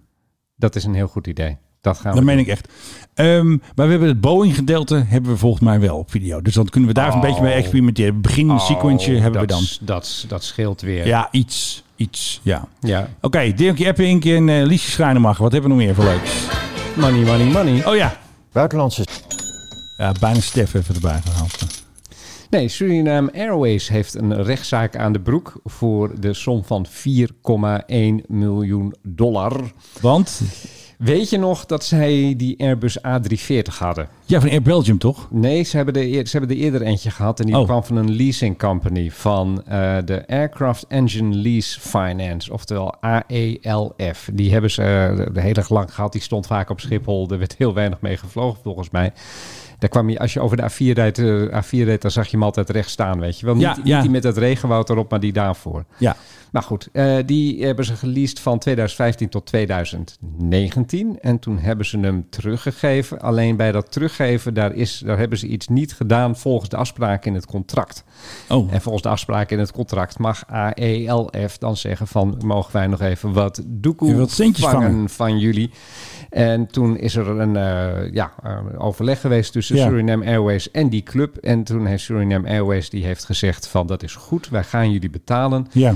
[SPEAKER 1] Dat is een heel goed idee. Dat gaan
[SPEAKER 2] Oh, Dat
[SPEAKER 1] we
[SPEAKER 2] meen ik echt. Ehm, maar we hebben het Boeing gedeelte hebben we volgens mij wel op video. Dus dan kunnen we daar een beetje mee experimenteren. Het Begin
[SPEAKER 1] Oh,
[SPEAKER 2] sequentje hebben we
[SPEAKER 1] dat
[SPEAKER 2] dan.
[SPEAKER 1] s- Dat, s- dat scheelt weer.
[SPEAKER 2] Ja, iets. Iets, ja.
[SPEAKER 1] Ja.
[SPEAKER 2] Oké, Dirkie Epping en eh, Liesje Schrijnemacher. Wat hebben we nog meer voor leuks?
[SPEAKER 1] Money, money, money.
[SPEAKER 2] Oh ja.
[SPEAKER 3] Buitenlandse
[SPEAKER 2] Ja, bijna Stef even erbij gehaald.
[SPEAKER 1] Nee, Suriname Airways heeft een rechtszaak aan de broek voor de som van 4,1 miljoen dollar.
[SPEAKER 2] Want,
[SPEAKER 1] Weet je nog dat zij die Airbus A340 hadden?
[SPEAKER 2] ja, van Air Belgium toch?
[SPEAKER 1] Nee, ze hebben, de, eer- ze hebben er eerder eentje gehad. En die
[SPEAKER 2] Oh.
[SPEAKER 1] kwam van een leasing company van eh, de Aircraft Engine Lease Finance, oftewel AELF. Die hebben ze eh, de hele dag lang gehad. Die stond vaak op Schiphol. Er werd heel weinig mee gevlogen volgens mij. Daar kwam je, als je over de A4 reed, eh, A4 reed, dan zag je hem altijd recht staan, weet je wel. Niet,
[SPEAKER 2] Ja,
[SPEAKER 1] niet
[SPEAKER 2] ja.
[SPEAKER 1] die met het regenwoud erop, maar die daarvoor.
[SPEAKER 2] Ja.
[SPEAKER 1] Maar goed, eh, die hebben ze geleased van 2015 tot 2019. En toen hebben ze hem teruggegeven. Alleen bij dat teruggeven, daar, is, daar hebben ze iets niet gedaan volgens de afspraak in het contract.
[SPEAKER 2] Oh,
[SPEAKER 1] En volgens de afspraak in het contract mag AELF dan zeggen van... mogen wij nog even wat
[SPEAKER 2] Je
[SPEAKER 1] doekoe
[SPEAKER 2] wilt centjes
[SPEAKER 1] vangen,
[SPEAKER 2] vangen.
[SPEAKER 1] van jullie. En toen is er een eh, ja, eh, overleg geweest tussen
[SPEAKER 2] Ja.
[SPEAKER 1] Suriname Airways en die club. En toen heeft Suriname Airways die heeft gezegd van... dat is goed, wij gaan jullie betalen.
[SPEAKER 2] ja.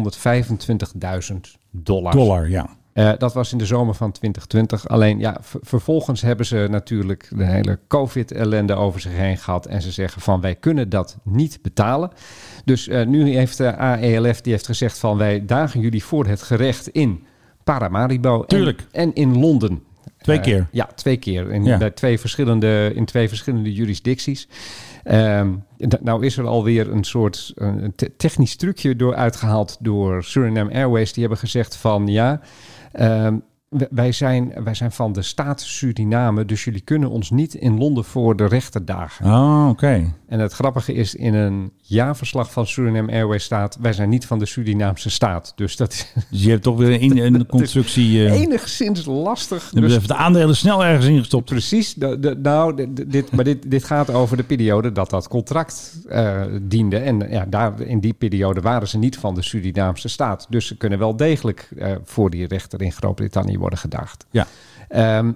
[SPEAKER 1] 4.125.000 dollar.
[SPEAKER 2] Dollar, ja.
[SPEAKER 1] Eh, dat was in de zomer van 2020. Alleen ja, ver- vervolgens hebben ze natuurlijk de hele COVID-ellende over zich heen gehad. En ze zeggen van wij kunnen dat niet betalen. Dus eh, nu heeft de AELF die heeft gezegd van wij dagen jullie voor het gerecht in Paramaribo en-
[SPEAKER 2] Tuurlijk.
[SPEAKER 1] En, in Londen.
[SPEAKER 2] Twee
[SPEAKER 1] Eh,
[SPEAKER 2] keer.
[SPEAKER 1] ja, twee keer. In,
[SPEAKER 2] Ja.
[SPEAKER 1] bij twee verschillende, in twee verschillende jurisdicties. Ehm, d- nou is er alweer een soort eh, een te- technisch trucje door uitgehaald door Suriname Airways. Die hebben gezegd van ja, ehm, w- wij, zijn, wij zijn van de staat Suriname, dus jullie kunnen ons niet in Londen voor de rechter dagen.
[SPEAKER 2] Oh, oké.
[SPEAKER 1] En het grappige is, in een jaarverslag van Suriname Airways staat, wij zijn niet van de Surinaamse staat. Dus dat is
[SPEAKER 2] Dus je hebt toch weer een, een constructie... eh
[SPEAKER 1] enigszins lastig.
[SPEAKER 2] hebben
[SPEAKER 1] Dus
[SPEAKER 2] ze even de aandelen snel ergens ingestopt.
[SPEAKER 1] Precies. De- de- nou, de- de- dit, maar dit, dit gaat over de periode dat dat contract eh, diende. En eh, ja, daar, in die periode waren ze niet van de Surinaamse staat. Dus ze kunnen wel degelijk eh, voor die rechter in Groot-Brittannië worden gedaagd.
[SPEAKER 2] Ja.
[SPEAKER 1] Ehm,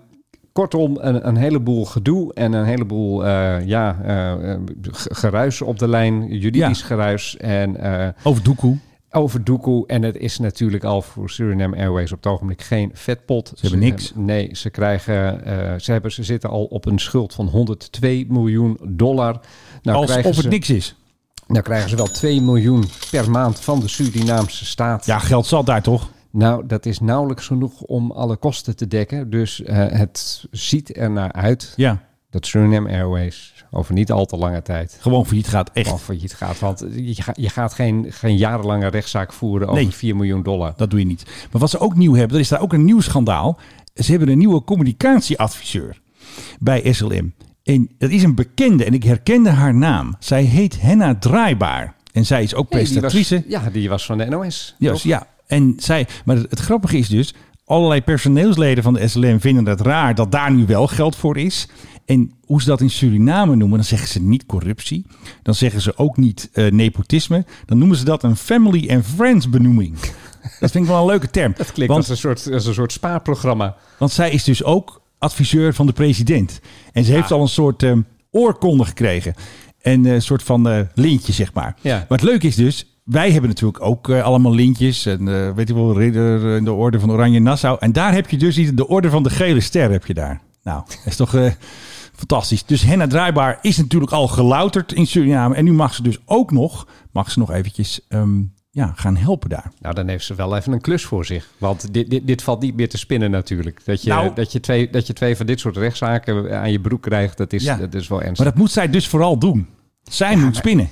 [SPEAKER 1] kortom, een, een heleboel gedoe en een heleboel eh, ja, eh, eh, g- geruis op de lijn. Juridisch
[SPEAKER 2] Ja.
[SPEAKER 1] geruis en eh,
[SPEAKER 2] Over Doekoe.
[SPEAKER 1] over Doekoe. En het is natuurlijk al voor Suriname Airways op het ogenblik geen vetpot. Ze
[SPEAKER 2] hebben niks.
[SPEAKER 1] nee, ze, krijgen, eh, ze, hebben, ze zitten al op een schuld van 102 miljoen dollar. Nou
[SPEAKER 2] Als
[SPEAKER 1] krijgen
[SPEAKER 2] of het
[SPEAKER 1] ze,
[SPEAKER 2] niks is.
[SPEAKER 1] Nou krijgen ze wel 2 miljoen per maand van de Surinaamse staat.
[SPEAKER 2] Ja, geld zat daar toch?
[SPEAKER 1] Nou, dat is nauwelijks genoeg om alle kosten te dekken. Dus eh, het ziet ernaar uit
[SPEAKER 2] Ja.
[SPEAKER 1] dat Suriname Airways over niet al te lange tijd
[SPEAKER 2] Gewoon failliet gaat.
[SPEAKER 1] al
[SPEAKER 2] Echt.
[SPEAKER 1] failliet gaat. Want je, ga- je gaat geen, geen jarenlange rechtszaak voeren over
[SPEAKER 2] Nee.
[SPEAKER 1] 4 miljoen dollar.
[SPEAKER 2] Dat doe je niet. Maar wat ze ook nieuw hebben, er is daar ook een nieuw schandaal. Ze hebben een nieuwe communicatieadviseur bij SLM. En dat is een bekende en ik herkende haar naam. Zij heet Henna Draaibaar. En zij is ook
[SPEAKER 1] Hey, die
[SPEAKER 2] prestatrice.
[SPEAKER 1] was- ja, die was van de NOS.
[SPEAKER 2] Juist, ja. En zij, maar het, het grappige is dus, allerlei personeelsleden van de SLM vinden het raar dat daar nu wel geld voor is. En hoe ze dat in Suriname noemen, dan zeggen ze niet corruptie. Dan zeggen ze ook niet eh, nepotisme. Dan noemen ze dat een family and friends benoeming. Dat vind ik wel een leuke term.
[SPEAKER 1] Dat klinkt als,
[SPEAKER 2] want,
[SPEAKER 1] een soort, als een soort spaarprogramma.
[SPEAKER 2] want zij is dus ook adviseur van de president. En ze heeft al een soort eh, oorkonde gekregen. En eh, een soort van eh, lintje, zeg maar.
[SPEAKER 1] Ja.
[SPEAKER 2] Maar het leuke is dus, wij hebben natuurlijk ook eh, allemaal lintjes. En eh, weet je wel, ridder eh, in de orde van Oranje Nassau. En daar heb je dus iets- de orde van de gele ster heb je daar. Nou, dat is toch eh, fantastisch. Dus Henna Draaibaar is natuurlijk al gelouterd in Suriname. En nu mag ze dus ook nog, mag ze nog eventjes ehm, ja, gaan helpen daar.
[SPEAKER 1] Nou, dan heeft ze wel even een klus voor zich. Want dit, dit, dit valt niet meer te spinnen natuurlijk. Dat je,
[SPEAKER 2] Nou.
[SPEAKER 1] dat, je twee, dat je twee van dit soort rechtszaken aan je broek krijgt, dat is,
[SPEAKER 2] Ja.
[SPEAKER 1] Dus dat is wel
[SPEAKER 2] Maar
[SPEAKER 1] ernstig.
[SPEAKER 2] dat moet zij dus vooral doen. Zij moet spinnen.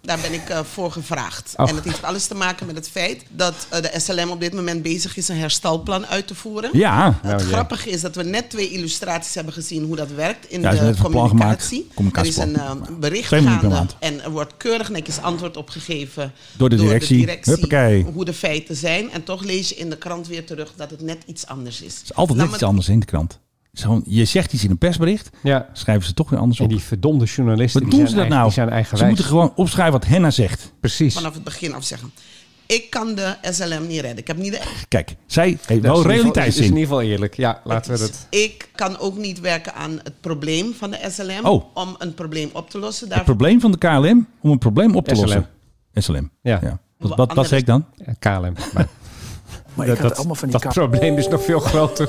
[SPEAKER 12] Daar ben ik eh, voor gevraagd.
[SPEAKER 2] Och.
[SPEAKER 12] En dat heeft alles te maken met het feit dat eh, de SLM op dit moment bezig is een herstelplan uit te voeren.
[SPEAKER 2] Ja.
[SPEAKER 12] Het
[SPEAKER 2] Nou, ja.
[SPEAKER 12] grappige is dat we net twee illustraties hebben gezien hoe dat werkt in
[SPEAKER 2] Ja, er is
[SPEAKER 12] de
[SPEAKER 2] net een plan
[SPEAKER 12] eh, communicatie.
[SPEAKER 2] gemaakt, communicatieplan.
[SPEAKER 12] Er is een eh, bericht
[SPEAKER 2] Twee minuten per
[SPEAKER 12] gaande
[SPEAKER 2] maand.
[SPEAKER 12] en er wordt keurig netjes antwoord op gegeven
[SPEAKER 2] Door de directie.
[SPEAKER 12] directie
[SPEAKER 2] Huppakee.
[SPEAKER 12] hoe de feiten zijn. En toch lees je in de krant weer terug dat het net iets anders is.
[SPEAKER 2] Het is altijd net iets anders in de krant. Zo, je zegt iets in een persbericht, schrijven ze toch weer anders op. En die
[SPEAKER 1] verdomde journalisten,
[SPEAKER 2] Wat
[SPEAKER 1] die
[SPEAKER 2] doen ze
[SPEAKER 1] zijn eigen-
[SPEAKER 2] dat nou?
[SPEAKER 1] die zijn
[SPEAKER 2] ze
[SPEAKER 1] eigenwijs.
[SPEAKER 2] moeten gewoon opschrijven wat Henna zegt.
[SPEAKER 1] Precies.
[SPEAKER 12] Vanaf het begin af zeggen. Ik kan de SLM niet redden. Ik heb niet de
[SPEAKER 2] Kijk, zij
[SPEAKER 1] Dat is
[SPEAKER 2] heeft
[SPEAKER 1] in ieder
[SPEAKER 2] wel
[SPEAKER 1] geval-
[SPEAKER 2] realiteitszin.
[SPEAKER 1] is in ieder geval eerlijk. Ja, laten we dat...
[SPEAKER 12] Dus Ik kan ook niet werken aan het probleem van de SLM
[SPEAKER 2] Oh.
[SPEAKER 12] om een probleem op te lossen.
[SPEAKER 2] Het
[SPEAKER 12] Daarvoor
[SPEAKER 2] probleem van de KLM om een probleem op te
[SPEAKER 1] SLM.
[SPEAKER 2] lossen. SLM.
[SPEAKER 1] Ja.
[SPEAKER 2] Wat, wat, wat zeg ik dan?
[SPEAKER 1] eh, KLM. Maar,
[SPEAKER 3] Maar
[SPEAKER 1] dat,
[SPEAKER 3] ik had
[SPEAKER 1] dat-
[SPEAKER 3] allemaal van die
[SPEAKER 1] dat
[SPEAKER 3] ka-
[SPEAKER 1] probleem is nog veel groter.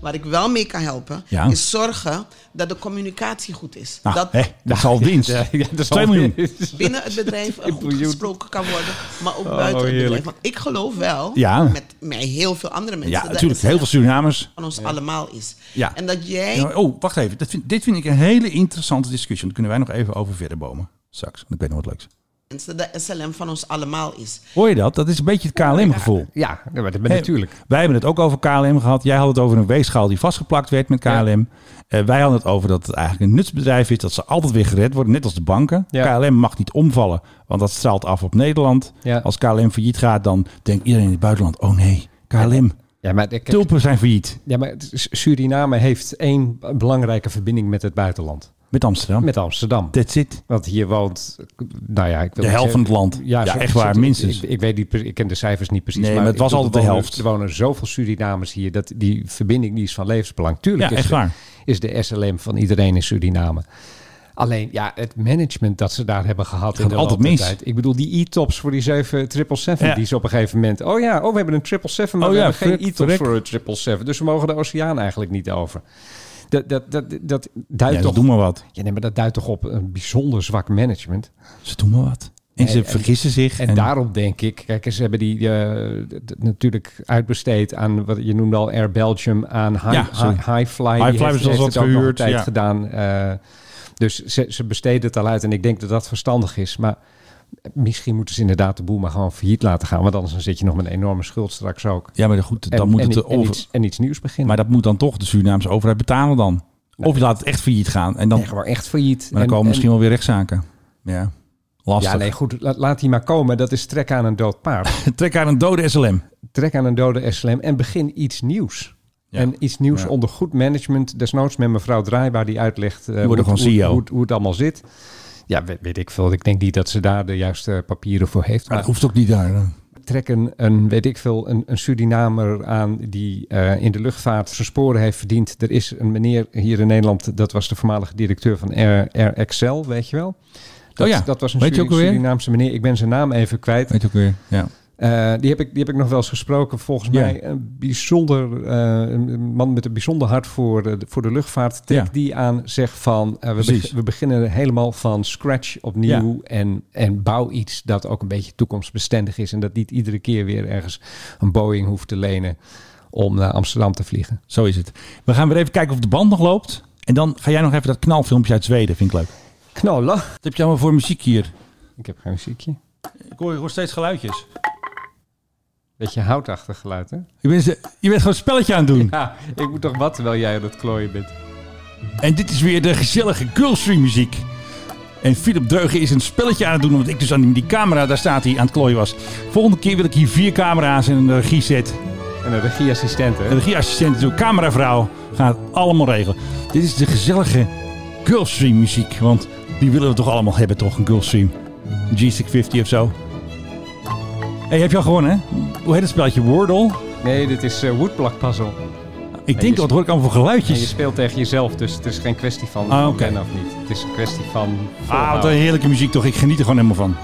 [SPEAKER 12] waar ik wel mee kan helpen,
[SPEAKER 2] Ja.
[SPEAKER 12] is zorgen dat de communicatie goed is.
[SPEAKER 2] Nou,
[SPEAKER 12] dat
[SPEAKER 2] hè, dat is al winst.
[SPEAKER 1] Ja, ja, dat is
[SPEAKER 2] Twee
[SPEAKER 1] al
[SPEAKER 2] miljoen.
[SPEAKER 12] binnen het bedrijf eh, goed
[SPEAKER 1] miljoen.
[SPEAKER 12] gesproken kan worden, maar ook
[SPEAKER 2] Oh,
[SPEAKER 12] buiten het bedrijf.
[SPEAKER 2] heerlijk.
[SPEAKER 12] Want ik geloof wel,
[SPEAKER 2] Ja.
[SPEAKER 12] met mij heel veel andere mensen,
[SPEAKER 2] Ja,
[SPEAKER 12] dat
[SPEAKER 2] natuurlijk.
[SPEAKER 12] de
[SPEAKER 2] Heel veel Surinamers.
[SPEAKER 12] van ons allemaal is.
[SPEAKER 2] Ja.
[SPEAKER 12] En dat jij...
[SPEAKER 2] Ja, oh, wacht even. Dat vind, dit vind ik een hele interessante discussie. Daar kunnen wij nog even over verder bomen. Straks. Want ik weet nog wat leuks.
[SPEAKER 12] mensen de SLM van ons allemaal is.
[SPEAKER 2] Hoor je dat? Dat is een beetje het KLM-gevoel.
[SPEAKER 1] Ja, maar dat
[SPEAKER 2] Hè,
[SPEAKER 1] natuurlijk.
[SPEAKER 2] Wij hebben het ook over KLM gehad. Jij had het over een weegschaal die vastgeplakt werd met KLM. Eh, wij hadden het over dat het eigenlijk een nutsbedrijf is. Dat ze altijd weer gered worden, net als de banken.
[SPEAKER 1] Ja.
[SPEAKER 2] KLM mag niet omvallen, want dat straalt af op Nederland.
[SPEAKER 1] Ja.
[SPEAKER 2] Als KLM failliet gaat, dan denkt iedereen in het buitenland... oh nee, KLM,
[SPEAKER 1] Ja, maar ik-
[SPEAKER 2] tulpen zijn failliet.
[SPEAKER 1] Ja, maar het is- Suriname heeft één belangrijke verbinding met het buitenland.
[SPEAKER 2] Met Amsterdam.
[SPEAKER 1] Met Amsterdam.
[SPEAKER 2] That's it.
[SPEAKER 1] Want hier woont, nou ja, ik wil
[SPEAKER 2] De
[SPEAKER 1] niet
[SPEAKER 2] helft van het
[SPEAKER 1] zeggen-
[SPEAKER 2] land. Ja,
[SPEAKER 1] zo-
[SPEAKER 2] echt
[SPEAKER 1] zo-
[SPEAKER 2] waar, minstens.
[SPEAKER 1] Ik, ik weet niet, pre- ik ken de cijfers niet precies.
[SPEAKER 2] Nee, maar het
[SPEAKER 1] ik
[SPEAKER 2] was
[SPEAKER 1] bedoel,
[SPEAKER 2] altijd de
[SPEAKER 1] er wonen-
[SPEAKER 2] helft.
[SPEAKER 1] Er wonen zoveel Surinamers hier dat die verbinding die is van levensbelang. Tuurlijk
[SPEAKER 2] Ja,
[SPEAKER 1] is,
[SPEAKER 2] echt
[SPEAKER 1] de,
[SPEAKER 2] waar.
[SPEAKER 1] is de SLM van iedereen in Suriname. Alleen ja, het management dat ze daar hebben gehad in de
[SPEAKER 2] altijd
[SPEAKER 1] loop der
[SPEAKER 2] mis.
[SPEAKER 1] tijd. Ik bedoel, die e-tops voor die 777,
[SPEAKER 2] Ja.
[SPEAKER 1] die is op een gegeven moment. Oh ja, oh, we hebben een 777, maar
[SPEAKER 2] Oh
[SPEAKER 1] we
[SPEAKER 2] ja,
[SPEAKER 1] hebben geen
[SPEAKER 2] verrek,
[SPEAKER 1] e-tops
[SPEAKER 2] verrek.
[SPEAKER 1] voor een 777. Dus we mogen de oceaan eigenlijk niet over. Dat, dat, dat, dat duidt
[SPEAKER 2] Ja, ze
[SPEAKER 1] toch
[SPEAKER 2] doen maar wat.
[SPEAKER 1] ja, nee, maar dat duidt toch op een bijzonder zwak management.
[SPEAKER 2] Ze doen maar wat. En ze vergissen zich.
[SPEAKER 1] En, daarom denk ik, kijk, ze hebben die eh, d- d- natuurlijk uitbesteed aan wat je noemde al Air Belgium, aan High,
[SPEAKER 2] Ja, sorry.
[SPEAKER 1] Hi- Highfly.
[SPEAKER 2] Highfly
[SPEAKER 1] Die heeft,
[SPEAKER 2] hebben ze
[SPEAKER 1] heeft het
[SPEAKER 2] ons wat
[SPEAKER 1] ook nog een
[SPEAKER 2] gehuurd,
[SPEAKER 1] tijd
[SPEAKER 2] ja.
[SPEAKER 1] gedaan. eh, dus ze, ze besteden het al uit en ik denk dat dat verstandig is. Maar misschien moeten ze inderdaad de boel maar gewoon failliet laten gaan. Want anders dan zit je nog met een enorme schuld straks ook.
[SPEAKER 2] Ja, maar goed, dan
[SPEAKER 1] En-
[SPEAKER 2] moet
[SPEAKER 1] en
[SPEAKER 2] het...
[SPEAKER 1] i-
[SPEAKER 2] eh,
[SPEAKER 1] en
[SPEAKER 2] over-
[SPEAKER 1] iets, en iets nieuws beginnen.
[SPEAKER 2] Maar dat moet dan toch de Surinaamse overheid betalen dan. Of je laat het echt failliet gaan. En dan,
[SPEAKER 1] Nee, gewoon echt failliet.
[SPEAKER 2] maar dan
[SPEAKER 1] En-
[SPEAKER 2] komen
[SPEAKER 1] en-
[SPEAKER 2] misschien wel weer rechtszaken. Ja, lastig.
[SPEAKER 1] Ja, nee, goed. la- laat die maar komen. Dat is trek aan een dood paard.
[SPEAKER 2] Trek aan een dode SLM.
[SPEAKER 1] trek aan een dode SLM en begin iets nieuws. En iets nieuws
[SPEAKER 2] Ja.
[SPEAKER 1] onder goed management. Desnoods met mevrouw Draaibaar die uitlegt eh, hoe,
[SPEAKER 2] wordt
[SPEAKER 1] het-
[SPEAKER 2] gewoon E
[SPEAKER 1] hoe,
[SPEAKER 2] CEO.
[SPEAKER 1] hoe het- hoe het allemaal zit. Ja, weet, weet ik veel. Ik denk niet dat ze daar de juiste papieren voor heeft.
[SPEAKER 2] Maar
[SPEAKER 1] Maar
[SPEAKER 2] dat hoeft ook niet daar. hè.
[SPEAKER 1] trek een, een, weet ik veel, een, een Surinamer aan die eh, in de luchtvaart zijn sporen heeft verdiend. Er is een meneer hier in Nederland, dat was de voormalige directeur van Air, Air Excel, weet je wel. Dat,
[SPEAKER 2] Oh ja,
[SPEAKER 1] dat was een
[SPEAKER 2] weet je
[SPEAKER 1] Suri-
[SPEAKER 2] ook alweer?
[SPEAKER 1] Surinaamse meneer. Ik ben zijn naam even kwijt.
[SPEAKER 2] Weet je ook weer. Ja.
[SPEAKER 1] Eh, die, heb ik, die heb ik nog wel eens gesproken. Volgens
[SPEAKER 2] Ja.
[SPEAKER 1] mij een bijzonder eh, een man met een bijzonder hart voor de, voor de luchtvaart. Trek
[SPEAKER 2] Ja.
[SPEAKER 1] die aan, zeg van eh, we,
[SPEAKER 2] Precies.
[SPEAKER 1] beg- we beginnen helemaal van scratch opnieuw. En, en bouw iets dat ook een beetje toekomstbestendig is. En dat niet iedere keer weer ergens een Boeing hoeft te lenen om naar Amsterdam te vliegen.
[SPEAKER 2] Zo is het. We gaan weer even kijken of de band nog loopt. En dan ga jij nog even dat knalfilmpje uit Zweden. Vind ik leuk.
[SPEAKER 1] Knallen.
[SPEAKER 2] Wat heb je allemaal voor muziek hier?
[SPEAKER 1] Ik heb geen muziekje.
[SPEAKER 2] Ik hoor, steeds geluidjes.
[SPEAKER 1] Beetje houtachtig geluid, hè?
[SPEAKER 2] Je bent, je bent gewoon een spelletje aan het doen.
[SPEAKER 1] Ja, ik moet toch wat terwijl jij aan het klooien bent.
[SPEAKER 2] En dit is weer de gezellige Girlstream muziek. En Philip Deugen is een spelletje aan het doen, omdat ik dus aan die camera, daar staat hij, aan het klooien was. Volgende keer wil ik hier vier camera's en een regieset.
[SPEAKER 1] En een regieassistent, hè?
[SPEAKER 2] Een regieassistent, dus een cameravrouw, gaat het allemaal regelen. Dit is de gezellige Girlstream muziek, want die willen we toch allemaal hebben, toch? Een Girlstream. Een G650 of zo. hey, heb je al gewonnen, hè? Hoe heet het spelletje? Wordle?
[SPEAKER 1] Nee, dit is eh woodblock puzzle.
[SPEAKER 2] Ik
[SPEAKER 1] je
[SPEAKER 2] denk, wat hoor ik allemaal
[SPEAKER 1] En
[SPEAKER 2] voor
[SPEAKER 1] je
[SPEAKER 2] geluidjes?
[SPEAKER 1] speelt tegen jezelf, dus het is geen kwestie van
[SPEAKER 2] Ah,
[SPEAKER 1] van
[SPEAKER 2] oké.
[SPEAKER 1] winnen of niet. Het is een kwestie van
[SPEAKER 2] Ah, wat een
[SPEAKER 1] volhouden.
[SPEAKER 2] heerlijke muziek toch. Ik geniet er gewoon helemaal van.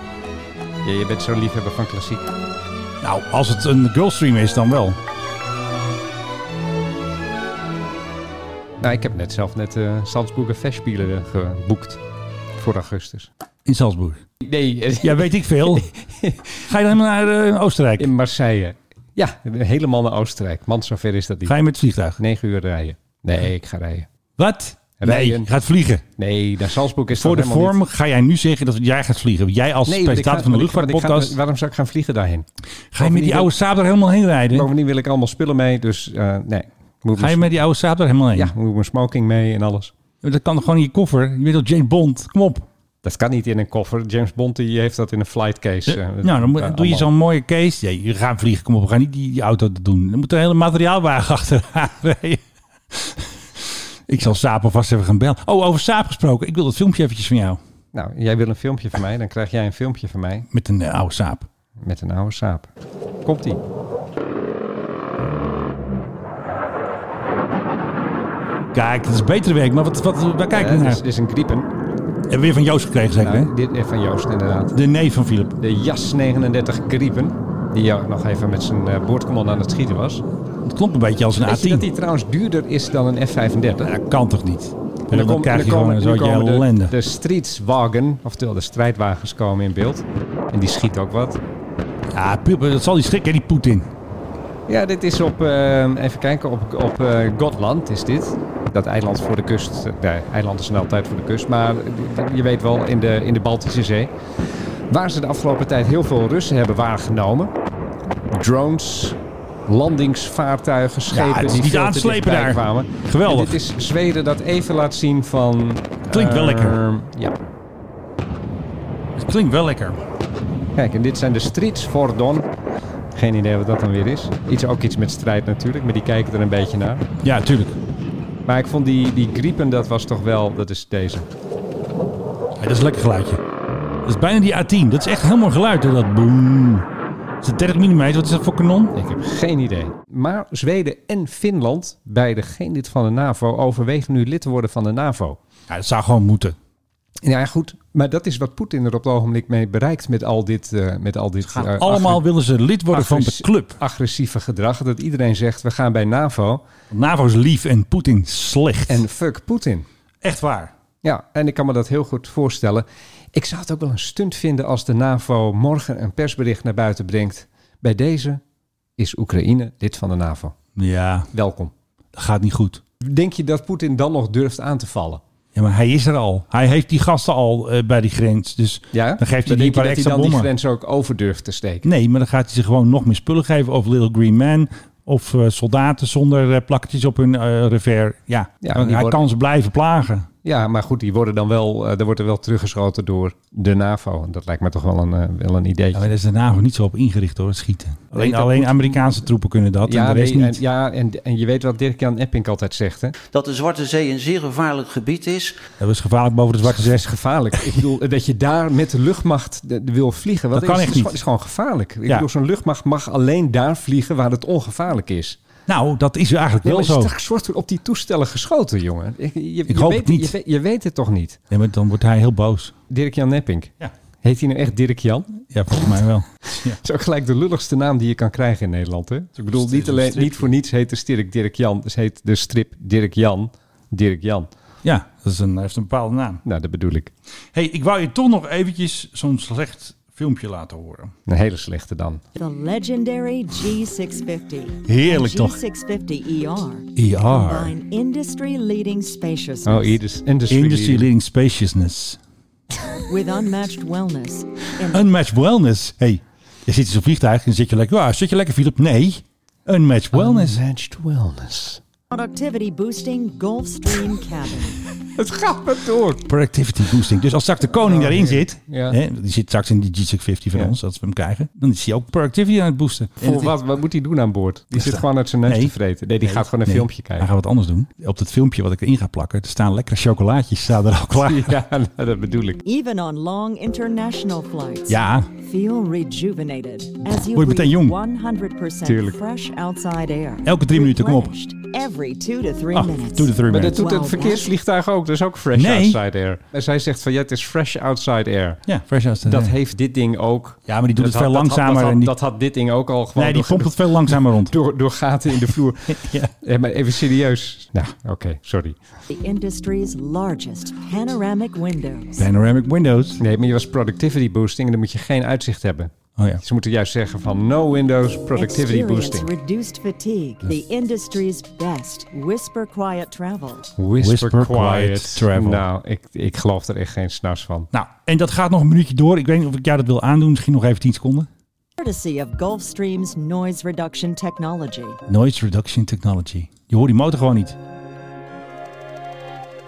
[SPEAKER 1] Ja, je bent zo'n liefhebber van klassiek.
[SPEAKER 2] Nou, als het een Girlstream is, dan wel.
[SPEAKER 1] Nou, ik heb net zelf net eh Salzburger Festspielen eh, geboekt voor augustus.
[SPEAKER 2] In Salzburg.
[SPEAKER 1] Nee, eh,
[SPEAKER 2] Ja, weet ik veel. Ga je dan helemaal naar eh, Oostenrijk?
[SPEAKER 1] in Marseille. Ja, helemaal naar Oostenrijk. Man, zover is dat niet.
[SPEAKER 2] Ga je met het vliegtuig?
[SPEAKER 1] Negen uur rijden. Nee, ik ga rijden.
[SPEAKER 2] Wat? Nee,
[SPEAKER 1] Rijden.
[SPEAKER 2] je gaat vliegen.
[SPEAKER 1] Nee, naar Salzburg is
[SPEAKER 2] Voor de
[SPEAKER 1] dat helemaal
[SPEAKER 2] vorm
[SPEAKER 1] niet-
[SPEAKER 2] ga jij nu zeggen dat jij gaat vliegen. Jij als
[SPEAKER 1] Nee, want ik
[SPEAKER 2] presentator
[SPEAKER 1] ga-
[SPEAKER 2] van de
[SPEAKER 1] want ik ga- want ik ga-
[SPEAKER 2] luchtvaartpodcast.
[SPEAKER 1] Waarom zou ik gaan vliegen daarheen?
[SPEAKER 2] Ga je met die oude Saab er helemaal heen rijden?
[SPEAKER 1] Bovendien wil ik allemaal spullen mee, dus eh, nee. Moet
[SPEAKER 2] Ga je
[SPEAKER 1] mijn-
[SPEAKER 2] met die oude Saab er helemaal heen?
[SPEAKER 1] Ja, moet mijn smoking mee en alles.
[SPEAKER 2] Dat kan gewoon in je koffer. Je weet al James Bond. Kom op.
[SPEAKER 1] Dat kan niet in een koffer. James Bond die heeft dat in een flight case. eh, dat-
[SPEAKER 2] nou, dan moet-
[SPEAKER 1] eh,
[SPEAKER 2] doe je
[SPEAKER 1] allemaal.
[SPEAKER 2] zo'n mooie case. Ja, je gaat vliegen. Kom op, we gaan niet die, die auto doen. Er moet een hele materiaalwagen achteraan rijden. Ik zal Saab alvast even gaan bellen. Oh, over Saab gesproken. Ik wil dat filmpje eventjes van jou.
[SPEAKER 1] Nou, jij wil een filmpje van mij, dan krijg jij een filmpje van mij
[SPEAKER 2] Met een eh, oude Saab.
[SPEAKER 1] met een oude saap. Komt-ie.
[SPEAKER 2] Kijk, dat is beter werk. Maar wat, wat, waar kijk
[SPEAKER 1] Eh,
[SPEAKER 2] je
[SPEAKER 1] dit,
[SPEAKER 2] naar?
[SPEAKER 1] is, dit is een griepen.
[SPEAKER 2] Hebben we weer van Joost gekregen, zeker?
[SPEAKER 1] Nou,
[SPEAKER 2] hè?
[SPEAKER 1] dit is van Joost inderdaad.
[SPEAKER 2] De neef van Philip.
[SPEAKER 1] De Jas 39 griepen. Die ook nog even met zijn eh, boordcommando aan het schieten was.
[SPEAKER 2] Het klonk een beetje als een
[SPEAKER 1] Weet je
[SPEAKER 2] A10.
[SPEAKER 1] dat die trouwens duurder is dan een F35?
[SPEAKER 2] Dat kan toch niet? En
[SPEAKER 1] En
[SPEAKER 2] dan,
[SPEAKER 1] kom-
[SPEAKER 2] krijg
[SPEAKER 1] en
[SPEAKER 2] je
[SPEAKER 1] komen-
[SPEAKER 2] gewoon een
[SPEAKER 1] nu
[SPEAKER 2] zootje
[SPEAKER 1] komen
[SPEAKER 2] ellende.
[SPEAKER 1] de, de streetswagen, oftewel de strijdwagens komen in beeld. En die schiet ook wat.
[SPEAKER 2] Ja, pu- dat zal die schrikken, die Poetin.
[SPEAKER 1] Ja, dit is op, eh, even kijken, op, op eh, Gotland is dit. Dat eiland voor de kust. Eh, Nee, eiland is een altijd voor de kust. Maar je weet wel, in de, in de Baltische Zee. Waar ze de afgelopen tijd heel veel Russen hebben waargenomen. Drones, landingsvaartuigen, schepen
[SPEAKER 2] het is
[SPEAKER 1] die
[SPEAKER 2] niet
[SPEAKER 1] veel te
[SPEAKER 2] aanslepen
[SPEAKER 1] dichtbij
[SPEAKER 2] daar.
[SPEAKER 1] kwamen.
[SPEAKER 2] Geweldig.
[SPEAKER 1] En dit is Zweden dat even laat zien van...
[SPEAKER 2] Klinkt
[SPEAKER 1] eh,
[SPEAKER 2] wel lekker.
[SPEAKER 1] Ja.
[SPEAKER 2] Het klinkt wel lekker.
[SPEAKER 1] Kijk, en dit zijn de Streets for Dawn. Geen idee wat dat dan weer is. Iets, ook iets met strijd natuurlijk, maar die kijken er een beetje naar.
[SPEAKER 2] Ja, tuurlijk.
[SPEAKER 1] Maar ik vond die, die griepen, dat was toch wel... Dat is deze.
[SPEAKER 2] Ja, dat is een lekker geluidje. Dat is bijna die A10. Dat is echt heel mooi geluid, hè, dat boem. Is dat 30 mm? Wat is dat voor kanon?
[SPEAKER 1] Ik heb geen idee. Maar Zweden en Finland, beide geen lid van de NAVO... overwegen nu lid te worden van de NAVO.
[SPEAKER 2] Ja, dat zou gewoon moeten.
[SPEAKER 1] Ja, ja, goed. Maar dat is wat Poetin er op het ogenblik mee bereikt met al dit... eh, met al dit
[SPEAKER 2] Gaan
[SPEAKER 1] eh,
[SPEAKER 2] allemaal
[SPEAKER 1] agre-
[SPEAKER 2] willen ze lid worden van de
[SPEAKER 1] agressie-
[SPEAKER 2] club.
[SPEAKER 1] agressieve gedrag. Dat iedereen zegt, we gaan bij NAVO.
[SPEAKER 2] NAVO is lief en Poetin slecht.
[SPEAKER 1] En fuck Poetin.
[SPEAKER 2] echt waar.
[SPEAKER 1] Ja, en ik kan me dat heel goed voorstellen. Ik zou het ook wel een stunt vinden als de NAVO morgen een persbericht naar buiten brengt. Bij deze is Oekraïne lid van de NAVO.
[SPEAKER 2] Ja,
[SPEAKER 1] Welkom.
[SPEAKER 2] dat gaat niet goed.
[SPEAKER 1] Denk je dat Poetin dan nog durft aan te vallen?
[SPEAKER 2] Ja, maar hij is er al. Hij heeft die gasten al eh, bij die grens. Dus
[SPEAKER 1] Ja?
[SPEAKER 2] dan geeft hij die
[SPEAKER 1] denk
[SPEAKER 2] een
[SPEAKER 1] je dat
[SPEAKER 2] paar
[SPEAKER 1] hij
[SPEAKER 2] extra
[SPEAKER 1] dan die
[SPEAKER 2] bommen.
[SPEAKER 1] grens ook over durft te steken.
[SPEAKER 2] Nee, maar dan gaat hij ze gewoon nog meer spullen geven. Of Little Green Man. Of eh, soldaten zonder eh, plakketjes op hun eh revers. Ja,
[SPEAKER 1] Ja,
[SPEAKER 2] hij
[SPEAKER 1] die worden-
[SPEAKER 2] kan ze blijven plagen.
[SPEAKER 1] Ja, maar goed, die worden dan wel, eh, er wordt er wel teruggeschoten door de NAVO. En Dat lijkt me toch wel een, eh, wel een idee.
[SPEAKER 2] Ja, maar daar is de NAVO niet zo op ingericht hoor, het schieten. Alleen,
[SPEAKER 1] dat
[SPEAKER 2] alleen
[SPEAKER 1] moet-
[SPEAKER 2] Amerikaanse troepen kunnen dat en de rest
[SPEAKER 1] nee, en,
[SPEAKER 2] niet.
[SPEAKER 1] ja en, en je weet wat Dirk-Jan Epping altijd zegt, hè?
[SPEAKER 10] Dat de Zwarte Zee een zeer gevaarlijk gebied is.
[SPEAKER 2] Dat is gevaarlijk boven de Zwarte
[SPEAKER 1] Dat is
[SPEAKER 2] Zee.
[SPEAKER 1] gevaarlijk. Ik bedoel, eh, dat je daar met de luchtmacht eh, de- de wil vliegen. Wat
[SPEAKER 2] Dat kan
[SPEAKER 1] is,
[SPEAKER 2] echt
[SPEAKER 1] is,
[SPEAKER 2] niet.
[SPEAKER 1] is gewoon gevaarlijk. Ik
[SPEAKER 2] Ja.
[SPEAKER 1] bedoel, zo'n luchtmacht mag alleen daar vliegen waar het ongevaarlijk is.
[SPEAKER 2] Nou, dat is eigenlijk
[SPEAKER 1] Nee,
[SPEAKER 2] wel
[SPEAKER 1] maar
[SPEAKER 2] zo.
[SPEAKER 1] straks wordt er op die toestellen geschoten, jongen. Je, je-
[SPEAKER 2] Ik
[SPEAKER 1] je
[SPEAKER 2] hoop
[SPEAKER 1] weet,
[SPEAKER 2] het niet.
[SPEAKER 1] Je, weet- je weet het toch niet?
[SPEAKER 2] Nee, maar dan wordt hij heel boos.
[SPEAKER 1] Dirk-Jan Nepping.
[SPEAKER 2] Ja.
[SPEAKER 1] Heet hij nou echt Dirk-Jan?
[SPEAKER 2] Ja, volgens mij wel.
[SPEAKER 1] Dat is ook gelijk de lulligste naam die je kan krijgen in Nederland. Hè? Dus Ik bedoel,
[SPEAKER 2] Het is
[SPEAKER 1] niet,
[SPEAKER 2] een
[SPEAKER 1] alleen,
[SPEAKER 2] stripje.
[SPEAKER 1] niet voor niets heet de sterk Dirk-Jan. Dus heet de strip Dirk-Jan Dirk-Jan.
[SPEAKER 2] Ja, dat is een, hij heeft een bepaalde naam.
[SPEAKER 1] Nou, dat bedoel ik.
[SPEAKER 2] hey, ik wou je toch nog eventjes zo'n slecht filmpje laten horen.
[SPEAKER 1] Een hele slechte dan.
[SPEAKER 13] The legendary G650.
[SPEAKER 2] Heerlijk toch?
[SPEAKER 13] E G650ER.
[SPEAKER 2] E ER.
[SPEAKER 13] Combine industry-leading spaciousness
[SPEAKER 1] Oh, Idris. Industry.
[SPEAKER 2] Industry Leading Spaciousness.
[SPEAKER 13] with unmatched wellness. And
[SPEAKER 2] Unmatched Wellness. hey, je zit in zo'n vliegtuig en zit je lekker... Ja, zit je lekker, Philip? Nee. Unmatched Wellness.
[SPEAKER 1] Unmatched Wellness.
[SPEAKER 13] productivity boosting Gulfstream cabin.
[SPEAKER 1] Het gaat maar door.
[SPEAKER 2] Productivity boosting. Dus als straks de koning daarin zit,
[SPEAKER 1] Oh, Ja.
[SPEAKER 2] hè, die zit straks in die G650 van
[SPEAKER 1] Ja.
[SPEAKER 2] ons, als we hem krijgen, dan is hij ook productivity aan het boosten. En
[SPEAKER 1] Voor
[SPEAKER 2] het-
[SPEAKER 1] wat, wat moet hij doen aan boord? Die zit
[SPEAKER 2] dat-
[SPEAKER 1] gewoon uit zijn neus
[SPEAKER 2] Nee.
[SPEAKER 1] te vreten. Nee, die gaat gewoon een
[SPEAKER 2] nee,
[SPEAKER 1] filmpje
[SPEAKER 2] Hij
[SPEAKER 1] kijken.
[SPEAKER 2] gaat wat anders doen. Op dat filmpje wat ik erin ga plakken, er staan lekkere chocolaatjes, staan er al klaar. Ja,
[SPEAKER 1] Ja, nou, dat bedoel ik.
[SPEAKER 13] Even on long international flights. Feel rejuvenated as you
[SPEAKER 2] Word je meteen
[SPEAKER 13] breathe
[SPEAKER 2] jong.
[SPEAKER 13] 100%
[SPEAKER 1] Tuurlijk.
[SPEAKER 13] fresh outside air.
[SPEAKER 2] elke drie minuten, kom op.
[SPEAKER 13] Replenished Every two to three
[SPEAKER 2] Ah,
[SPEAKER 13] minutes.
[SPEAKER 2] doe de three
[SPEAKER 1] Maar dat
[SPEAKER 2] minutes.
[SPEAKER 1] doet het
[SPEAKER 13] Wow.
[SPEAKER 1] verkeersvliegtuig ook. Dat is ook fresh
[SPEAKER 2] Nee.
[SPEAKER 1] outside air. En zij zegt van ja, het is fresh outside air.
[SPEAKER 2] Ja, fresh as the-
[SPEAKER 1] Dat heeft dit ding ook.
[SPEAKER 2] Ja, maar die doet
[SPEAKER 1] Dat
[SPEAKER 2] het veel
[SPEAKER 1] had- dat had-
[SPEAKER 2] langzamer
[SPEAKER 1] Dat had,
[SPEAKER 2] en die-
[SPEAKER 1] dat had dit ding ook al gewoon.
[SPEAKER 2] Nee, die
[SPEAKER 1] door-
[SPEAKER 2] pompt het veel langzamer rond.
[SPEAKER 1] Door, door gaten in de vloer.
[SPEAKER 2] Ja.
[SPEAKER 1] Eh, maar even serieus. Nou, oké, sorry.
[SPEAKER 13] The industry's largest panoramic windows.
[SPEAKER 2] Panoramic windows.
[SPEAKER 1] Nee, maar je was productivity boosting en dan moet je geen uitzicht hebben.
[SPEAKER 2] Oh ja.
[SPEAKER 1] Ze moeten juist zeggen van no windows productivity
[SPEAKER 13] Experience
[SPEAKER 1] boosting.
[SPEAKER 13] reduced fatigue, the industry's best whisper quiet travel.
[SPEAKER 1] Whisper,
[SPEAKER 2] Whisper
[SPEAKER 1] quiet.
[SPEAKER 2] quiet travel.
[SPEAKER 1] Nou, ik, ik geloof er echt geen snars van.
[SPEAKER 2] Nou, en dat gaat nog een minuutje door. Ik weet niet of ik jou dat wil aandoen. Misschien nog even 10 seconden.
[SPEAKER 13] Courtesy of Gulfstream's noise reduction technology.
[SPEAKER 2] Noise Reduction Technology. Je hoort die motor gewoon niet.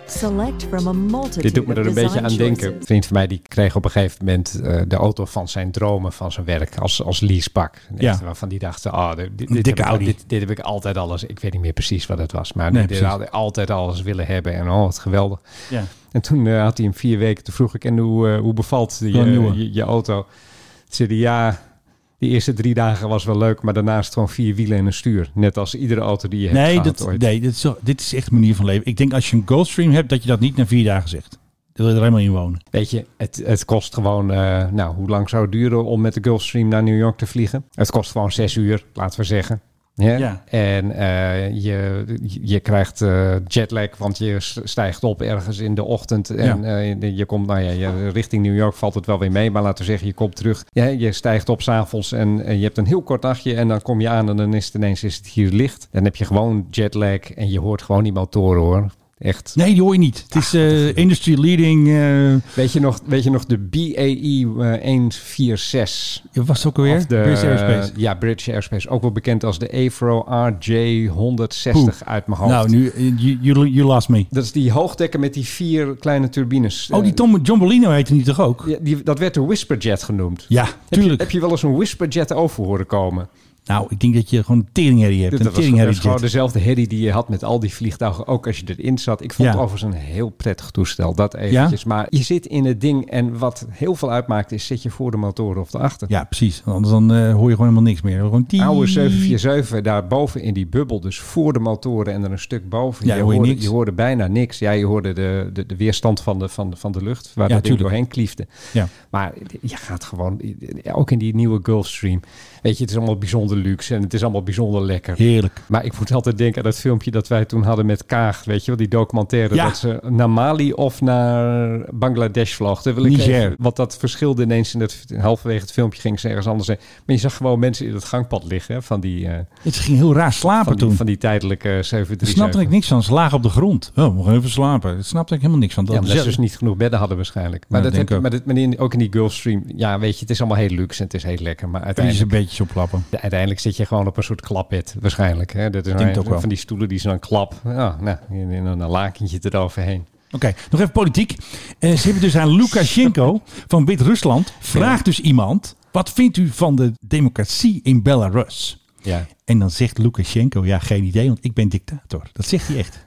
[SPEAKER 13] Select from a multitude
[SPEAKER 1] Dit doet me
[SPEAKER 13] of
[SPEAKER 1] er een beetje
[SPEAKER 13] design
[SPEAKER 1] aan denken. Een
[SPEAKER 13] choices.
[SPEAKER 1] vriend van mij die kreeg op een gegeven moment eh, de auto van zijn dromen van zijn werk als, als leasepak. Een
[SPEAKER 2] Ja.
[SPEAKER 1] echte Waarvan die dachten, ah, dit, dit,
[SPEAKER 2] Een
[SPEAKER 1] dit
[SPEAKER 2] dikke
[SPEAKER 1] heb ik-
[SPEAKER 2] Audi.
[SPEAKER 1] dit, dit heb ik altijd alles. Ik weet niet meer precies wat het was, maar
[SPEAKER 2] Nee,
[SPEAKER 1] dit
[SPEAKER 2] precies.
[SPEAKER 1] had ik altijd alles willen hebben en oh, wat geweldig.
[SPEAKER 2] Ja.
[SPEAKER 1] En toen eh, had hij in vier weken, toen vroeg ik, en hoe, eh, hoe bevalt je,
[SPEAKER 2] Wel een nieuwe.
[SPEAKER 1] je, je auto? Toen zei hij, ja, die eerste drie dagen was wel leuk, maar daarnaast gewoon vier wielen en een stuur. Net als iedere auto die je hebt
[SPEAKER 2] Nee,
[SPEAKER 1] gehad
[SPEAKER 2] dat,
[SPEAKER 1] ooit.
[SPEAKER 2] nee dit, is, zo- dit is echt een manier van leven. Ik denk als je een Goldstream hebt, dat je dat niet na vier dagen zegt. Dan wil je er helemaal in wonen.
[SPEAKER 1] Weet je, het, het kost gewoon, eh, nou, hoe lang zou het duren om met de Gulfstream naar New York te vliegen? Het kost gewoon zes uur, laten we zeggen. Ja.
[SPEAKER 2] Ja.
[SPEAKER 1] En eh, je, je krijgt eh, jetlag, want je s- stijgt op ergens in de ochtend. En eh, je komt, nou ja, je, richting New York valt het wel weer mee. Maar laten we zeggen, je komt terug. Ja, je stijgt op s'avonds en, en je hebt een heel kort nachtje. En dan kom je aan en dan is het ineens is het hier licht. Dan heb je gewoon jetlag en je hoort gewoon die motoren hoor. Echt.
[SPEAKER 2] Nee, die hoor je niet. Het is eh, industry leading. eh,
[SPEAKER 1] Weet je nog, weet je nog de BAE eh, 146?
[SPEAKER 2] was het ook alweer?
[SPEAKER 1] Of de,
[SPEAKER 2] British Aerospace.
[SPEAKER 1] eh, ja, British Airspace. Ook wel bekend als de AFRO RJ160 uit mijn hoofd.
[SPEAKER 2] nou, nu, eh, you, you, you lost me.
[SPEAKER 1] Dat is die hoogdekker met die vier kleine turbines.
[SPEAKER 2] Oh, die
[SPEAKER 1] Eh,
[SPEAKER 2] Tom, John Bolino heette niet toch ook?
[SPEAKER 1] ja, die, dat werd de Whisperjet genoemd.
[SPEAKER 2] Ja,
[SPEAKER 1] Heb je,
[SPEAKER 2] tuurlijk.
[SPEAKER 1] heb je wel eens een Whisperjet over horen komen?
[SPEAKER 2] Nou, ik denk dat je gewoon een teringherrie hebt.
[SPEAKER 1] Dit-
[SPEAKER 2] Een
[SPEAKER 1] dat was, dat is
[SPEAKER 2] teringherrie
[SPEAKER 1] gewoon
[SPEAKER 2] jet.
[SPEAKER 1] dezelfde herrie die je had met al die vliegtuigen, ook als je erin zat. Ik vond
[SPEAKER 2] Ja.
[SPEAKER 1] het overigens een heel prettig toestel, dat eventjes. Maar je zit in het ding en wat heel veel uitmaakt is, zit je voor de motoren of de achter.
[SPEAKER 2] Ja, precies. Want Anders dan eh, hoor je gewoon helemaal niks meer. Gewoon die...
[SPEAKER 1] oude 747 daarboven in die bubbel, dus voor de motoren en er een stuk boven.
[SPEAKER 2] Ja, hoor je
[SPEAKER 1] hoorde,
[SPEAKER 2] niks.
[SPEAKER 1] je hoorde bijna niks. Ja, je hoorde de, de, de weerstand van de, van, de, van de lucht, waar
[SPEAKER 2] Ja,
[SPEAKER 1] dat ding
[SPEAKER 2] tuurlijk.
[SPEAKER 1] doorheen kliefde.
[SPEAKER 2] Ja.
[SPEAKER 1] Maar je gaat gewoon, eh, ook in die nieuwe Gulfstream, weet je, het is allemaal bijzonder luxe en het is allemaal bijzonder lekker.
[SPEAKER 2] Heerlijk.
[SPEAKER 1] Maar ik moet altijd denken aan dat filmpje dat wij toen hadden met Kaag. Weet je wel, die documentaire.
[SPEAKER 2] Ja.
[SPEAKER 1] Dat ze naar Mali of naar Bangladesh vloog. Daar wil ik
[SPEAKER 2] Niger.
[SPEAKER 1] even- want dat verschilde ineens in het, halverwege het filmpje ging ze ergens anders heen. Maar je zag gewoon mensen in het gangpad liggen. hè, Van die, eh,
[SPEAKER 2] Het ging heel raar slapen
[SPEAKER 1] van
[SPEAKER 2] toen.
[SPEAKER 1] die, van die tijdelijke
[SPEAKER 2] Daar
[SPEAKER 1] 737.
[SPEAKER 2] snapte ik niks van. Ze lagen op de grond. Oh, we gaan even slapen. Daar snapte ik helemaal niks van.
[SPEAKER 1] Ja, omdat ze
[SPEAKER 2] zelf-
[SPEAKER 1] dus niet genoeg bedden hadden waarschijnlijk. Maar,
[SPEAKER 2] Ja,
[SPEAKER 1] dat
[SPEAKER 2] denk
[SPEAKER 1] heb,
[SPEAKER 2] ik
[SPEAKER 1] maar, dat, maar in- ook in die Gulfstream. Ja, weet je, het is allemaal heel luxe en het is heel lekker. Maar
[SPEAKER 2] Kun je ze
[SPEAKER 1] uiteindelijk...
[SPEAKER 2] een beetje oplappen.
[SPEAKER 1] De- Uiteindelijk zit je gewoon op een soort klapbed, waarschijnlijk. Hè? Dat is
[SPEAKER 2] Denk
[SPEAKER 1] een-
[SPEAKER 2] ook wel.
[SPEAKER 1] van die stoelen die ze dan klap. Ja, nou, en en dan een lakentje eroverheen.
[SPEAKER 2] Oké, nog even politiek. Eh, ze hebben dus aan Lukashenko van Wit-Rusland. Vraagt dus iemand, wat vindt u van de democratie in Belarus?
[SPEAKER 1] Ja.
[SPEAKER 2] En dan zegt Lukashenko, ja geen idee, want ik ben dictator. Dat zegt hij echt.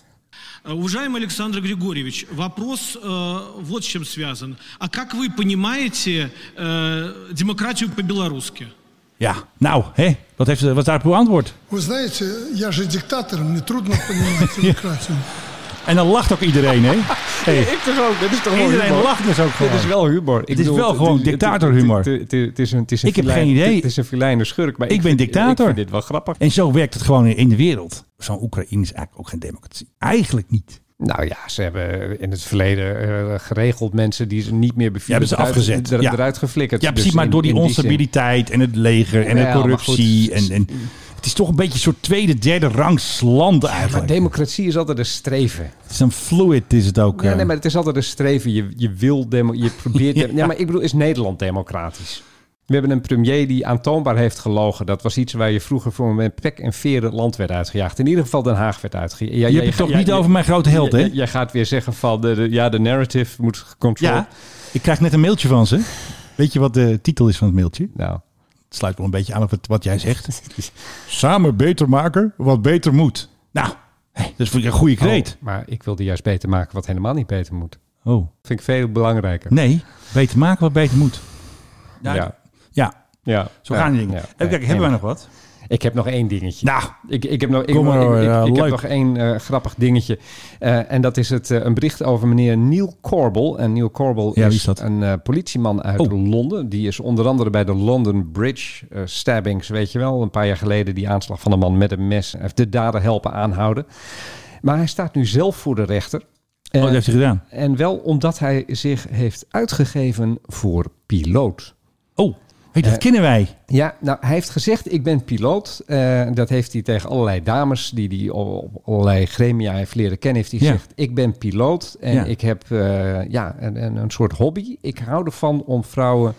[SPEAKER 14] Eh, Уважаемый Александр Григорьевич, вопрос э, вот с чем связан. А как вы понимаете э, демократию по-белорусски?
[SPEAKER 2] Ja, nou, hè, wat, heeft, wat is daarop uw antwoord?
[SPEAKER 15] Вы знаете, я же диктатор, мне трудно понимать демократию.
[SPEAKER 2] En dan lacht ook iedereen, hè? Hey.
[SPEAKER 1] ik dus ook. Dit is toch wel
[SPEAKER 2] Iedereen
[SPEAKER 1] humor?
[SPEAKER 2] lacht dus ook gewoon.
[SPEAKER 1] Dit is wel humor. Ik
[SPEAKER 2] Dit is
[SPEAKER 1] bedoel,
[SPEAKER 2] wel gewoon
[SPEAKER 1] het- het-
[SPEAKER 2] dictatorhumor.
[SPEAKER 1] het- het- het- het is een- het is een
[SPEAKER 2] Ik heb
[SPEAKER 1] filijn-
[SPEAKER 2] geen idee.
[SPEAKER 1] Het is een filijne schurk. Maar
[SPEAKER 2] Ik ben
[SPEAKER 1] vind-
[SPEAKER 2] dictator.
[SPEAKER 1] Ik vind dit wel grappig.
[SPEAKER 2] En zo werkt het gewoon in de wereld. Zo'n Oekraïne is eigenlijk ook geen democratie. Eigenlijk niet.
[SPEAKER 1] Nou ja, ze hebben in het verleden eh, geregeld mensen die ze niet meer bevielen.
[SPEAKER 2] hebben ze
[SPEAKER 1] eruit-
[SPEAKER 2] afgezet.
[SPEAKER 1] er-
[SPEAKER 2] Ja.
[SPEAKER 1] Eruit geflikkerd.
[SPEAKER 2] Ja, precies,
[SPEAKER 1] Dus
[SPEAKER 2] maar
[SPEAKER 1] in-
[SPEAKER 2] door die
[SPEAKER 1] in zin-
[SPEAKER 2] onstabiliteit en het leger en
[SPEAKER 1] Ja,
[SPEAKER 2] de
[SPEAKER 1] maar
[SPEAKER 2] corruptie.
[SPEAKER 1] goed. Mm.
[SPEAKER 2] En, en, het is toch een beetje een soort tweede, derde rangs land
[SPEAKER 1] Maar
[SPEAKER 2] eigenlijk.
[SPEAKER 1] democratie is altijd een streven.
[SPEAKER 2] Het is een fluid, is het ook.
[SPEAKER 1] Ja,
[SPEAKER 2] eh.
[SPEAKER 1] nee, maar het is altijd een streven. Je, je wil, demo, je probeert... ja. maar ik bedoel, is Nederland democratisch? We hebben een premier die aantoonbaar heeft gelogen. Dat was iets waar je vroeger voor met pek en veren het land werd uitgejaagd. In ieder geval Den Haag werd uitgejaagd. Ja,
[SPEAKER 2] je hebt het toch niet over mijn grote held, hè?
[SPEAKER 1] Jij, jij gaat weer zeggen van, de, de- ja, de narrative moet gecontroleerd.
[SPEAKER 2] Ja, ik krijg net een mailtje van ze. Weet je wat de titel is van het mailtje?
[SPEAKER 1] Nou,
[SPEAKER 2] Het sluit wel een beetje aan op het, wat jij zegt. Samen beter maken wat beter moet. Nou, hé, dat vind ik een goede kreet.
[SPEAKER 1] oh, maar ik wilde juist beter maken wat helemaal niet beter moet.
[SPEAKER 2] Oh.
[SPEAKER 1] Vind ik veel belangrijker.
[SPEAKER 2] nee. Beter maken wat beter moet. Ja, ja.
[SPEAKER 1] Ja. Ja,
[SPEAKER 2] zo
[SPEAKER 1] ja,
[SPEAKER 2] gaan die dingen.
[SPEAKER 1] ja.
[SPEAKER 2] Even
[SPEAKER 1] Nee,
[SPEAKER 2] kijken, hebben wij nog
[SPEAKER 1] helemaal.
[SPEAKER 2] wat?
[SPEAKER 1] Ik heb nog één dingetje.
[SPEAKER 2] Nou,
[SPEAKER 1] Ik, ik heb nog, ik,
[SPEAKER 2] Kom maar,
[SPEAKER 1] ik- ik-
[SPEAKER 2] eh,
[SPEAKER 1] ik
[SPEAKER 2] leuk.
[SPEAKER 1] heb nog één eh, grappig dingetje. Eh, en dat is het, eh, een bericht over meneer Neil Corbel. En Neil Corbel
[SPEAKER 2] Ja, wie
[SPEAKER 1] is,
[SPEAKER 2] is dat? Oh.
[SPEAKER 1] een eh, politieman uit Londen. Die is onder andere bij de London Bridge eh, stabbings, weet je wel. Een paar jaar geleden die aanslag van een man met een mes. Hij heeft de dader helpen aanhouden. Maar hij staat nu zelf voor de rechter.
[SPEAKER 2] oh,
[SPEAKER 1] Eh,
[SPEAKER 2] dat heeft hij gedaan.
[SPEAKER 1] en wel omdat hij zich heeft uitgegeven voor piloot.
[SPEAKER 2] Oh, Hey, dat kennen wij.
[SPEAKER 1] Ja, nou, hij heeft gezegd, ik ben piloot. Eh, dat heeft hij tegen allerlei dames die hij op allerlei gremia heeft leren kennen. Heeft hij
[SPEAKER 2] Ja.
[SPEAKER 1] gezegd, ik ben piloot en
[SPEAKER 2] Ja.
[SPEAKER 1] ik heb eh, ja, een, een, een soort hobby. Ik hou ervan om vrouwen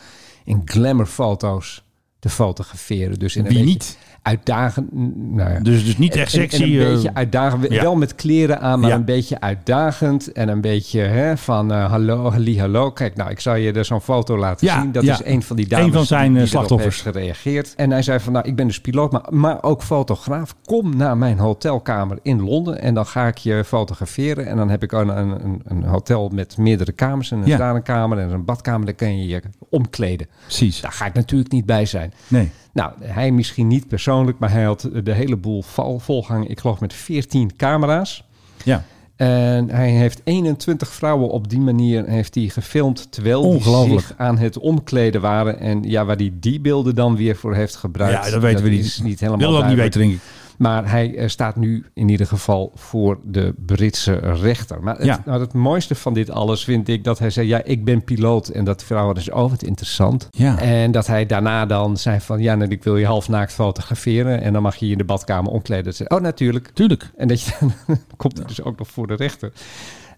[SPEAKER 1] in glamourfoto's te fotograferen. Dus in een
[SPEAKER 2] Wie
[SPEAKER 1] beetje
[SPEAKER 2] niet?
[SPEAKER 1] Uitdagend. Nou ja.
[SPEAKER 2] Dus- dus niet echt
[SPEAKER 1] En- en- en
[SPEAKER 2] sexy,
[SPEAKER 1] een
[SPEAKER 2] eh,
[SPEAKER 1] beetje uitdagend.
[SPEAKER 2] ja.
[SPEAKER 1] Wel met kleren aan, maar
[SPEAKER 2] Ja.
[SPEAKER 1] een beetje uitdagend. En een beetje hè, van eh, hallo, halli, hallo. Kijk, nou, ik zal je er zo'n foto laten
[SPEAKER 2] Ja,
[SPEAKER 1] zien. Dat
[SPEAKER 2] ja.
[SPEAKER 1] is een van die dames
[SPEAKER 2] Een van zijn, eh,
[SPEAKER 1] die erop
[SPEAKER 2] slachtoffers.
[SPEAKER 1] heeft gereageerd. En hij zei van, nou, ik ben dus piloot, maar, maar ook fotograaf. Kom naar mijn hotelkamer in Londen en dan ga ik je fotograferen. En dan heb ik een, een, een- een hotel met meerdere kamers. En een
[SPEAKER 2] Ja.
[SPEAKER 1] stralenkamer en een badkamer. Daar kun je je omkleden.
[SPEAKER 2] Precies.
[SPEAKER 1] Daar ga ik natuurlijk niet bij zijn.
[SPEAKER 2] Nee.
[SPEAKER 1] Nou, hij misschien niet persoonlijk, maar hij had de hele boel val, volgang. Ik geloof met 14 camera's.
[SPEAKER 2] Ja.
[SPEAKER 1] En hij heeft 21 vrouwen op die manier heeft hij gefilmd terwijl die
[SPEAKER 2] Ongelooflijk.
[SPEAKER 1] zich aan het omkleden waren. En ja, waar hij die beelden dan weer voor heeft gebruikt.
[SPEAKER 2] Ja, dat weten we niet.
[SPEAKER 1] is niet helemaal
[SPEAKER 2] Willen we ook niet
[SPEAKER 1] duidelijk.
[SPEAKER 2] weten, denk
[SPEAKER 1] Maar hij eh, staat nu in ieder geval voor de Britse rechter. Maar het,
[SPEAKER 2] Ja.
[SPEAKER 1] maar het mooiste van dit alles vind ik dat hij zei: Ja, ik ben piloot. En dat vrouw is oh, wat interessant.
[SPEAKER 2] Ja.
[SPEAKER 1] En dat hij daarna dan zei: van ja, nou, ik wil je halfnaakt fotograferen. En dan mag je je in de badkamer omkleden. Dat zei, oh, natuurlijk.
[SPEAKER 2] Tuurlijk.
[SPEAKER 1] En dat je dan komt het dus ook nog voor de rechter.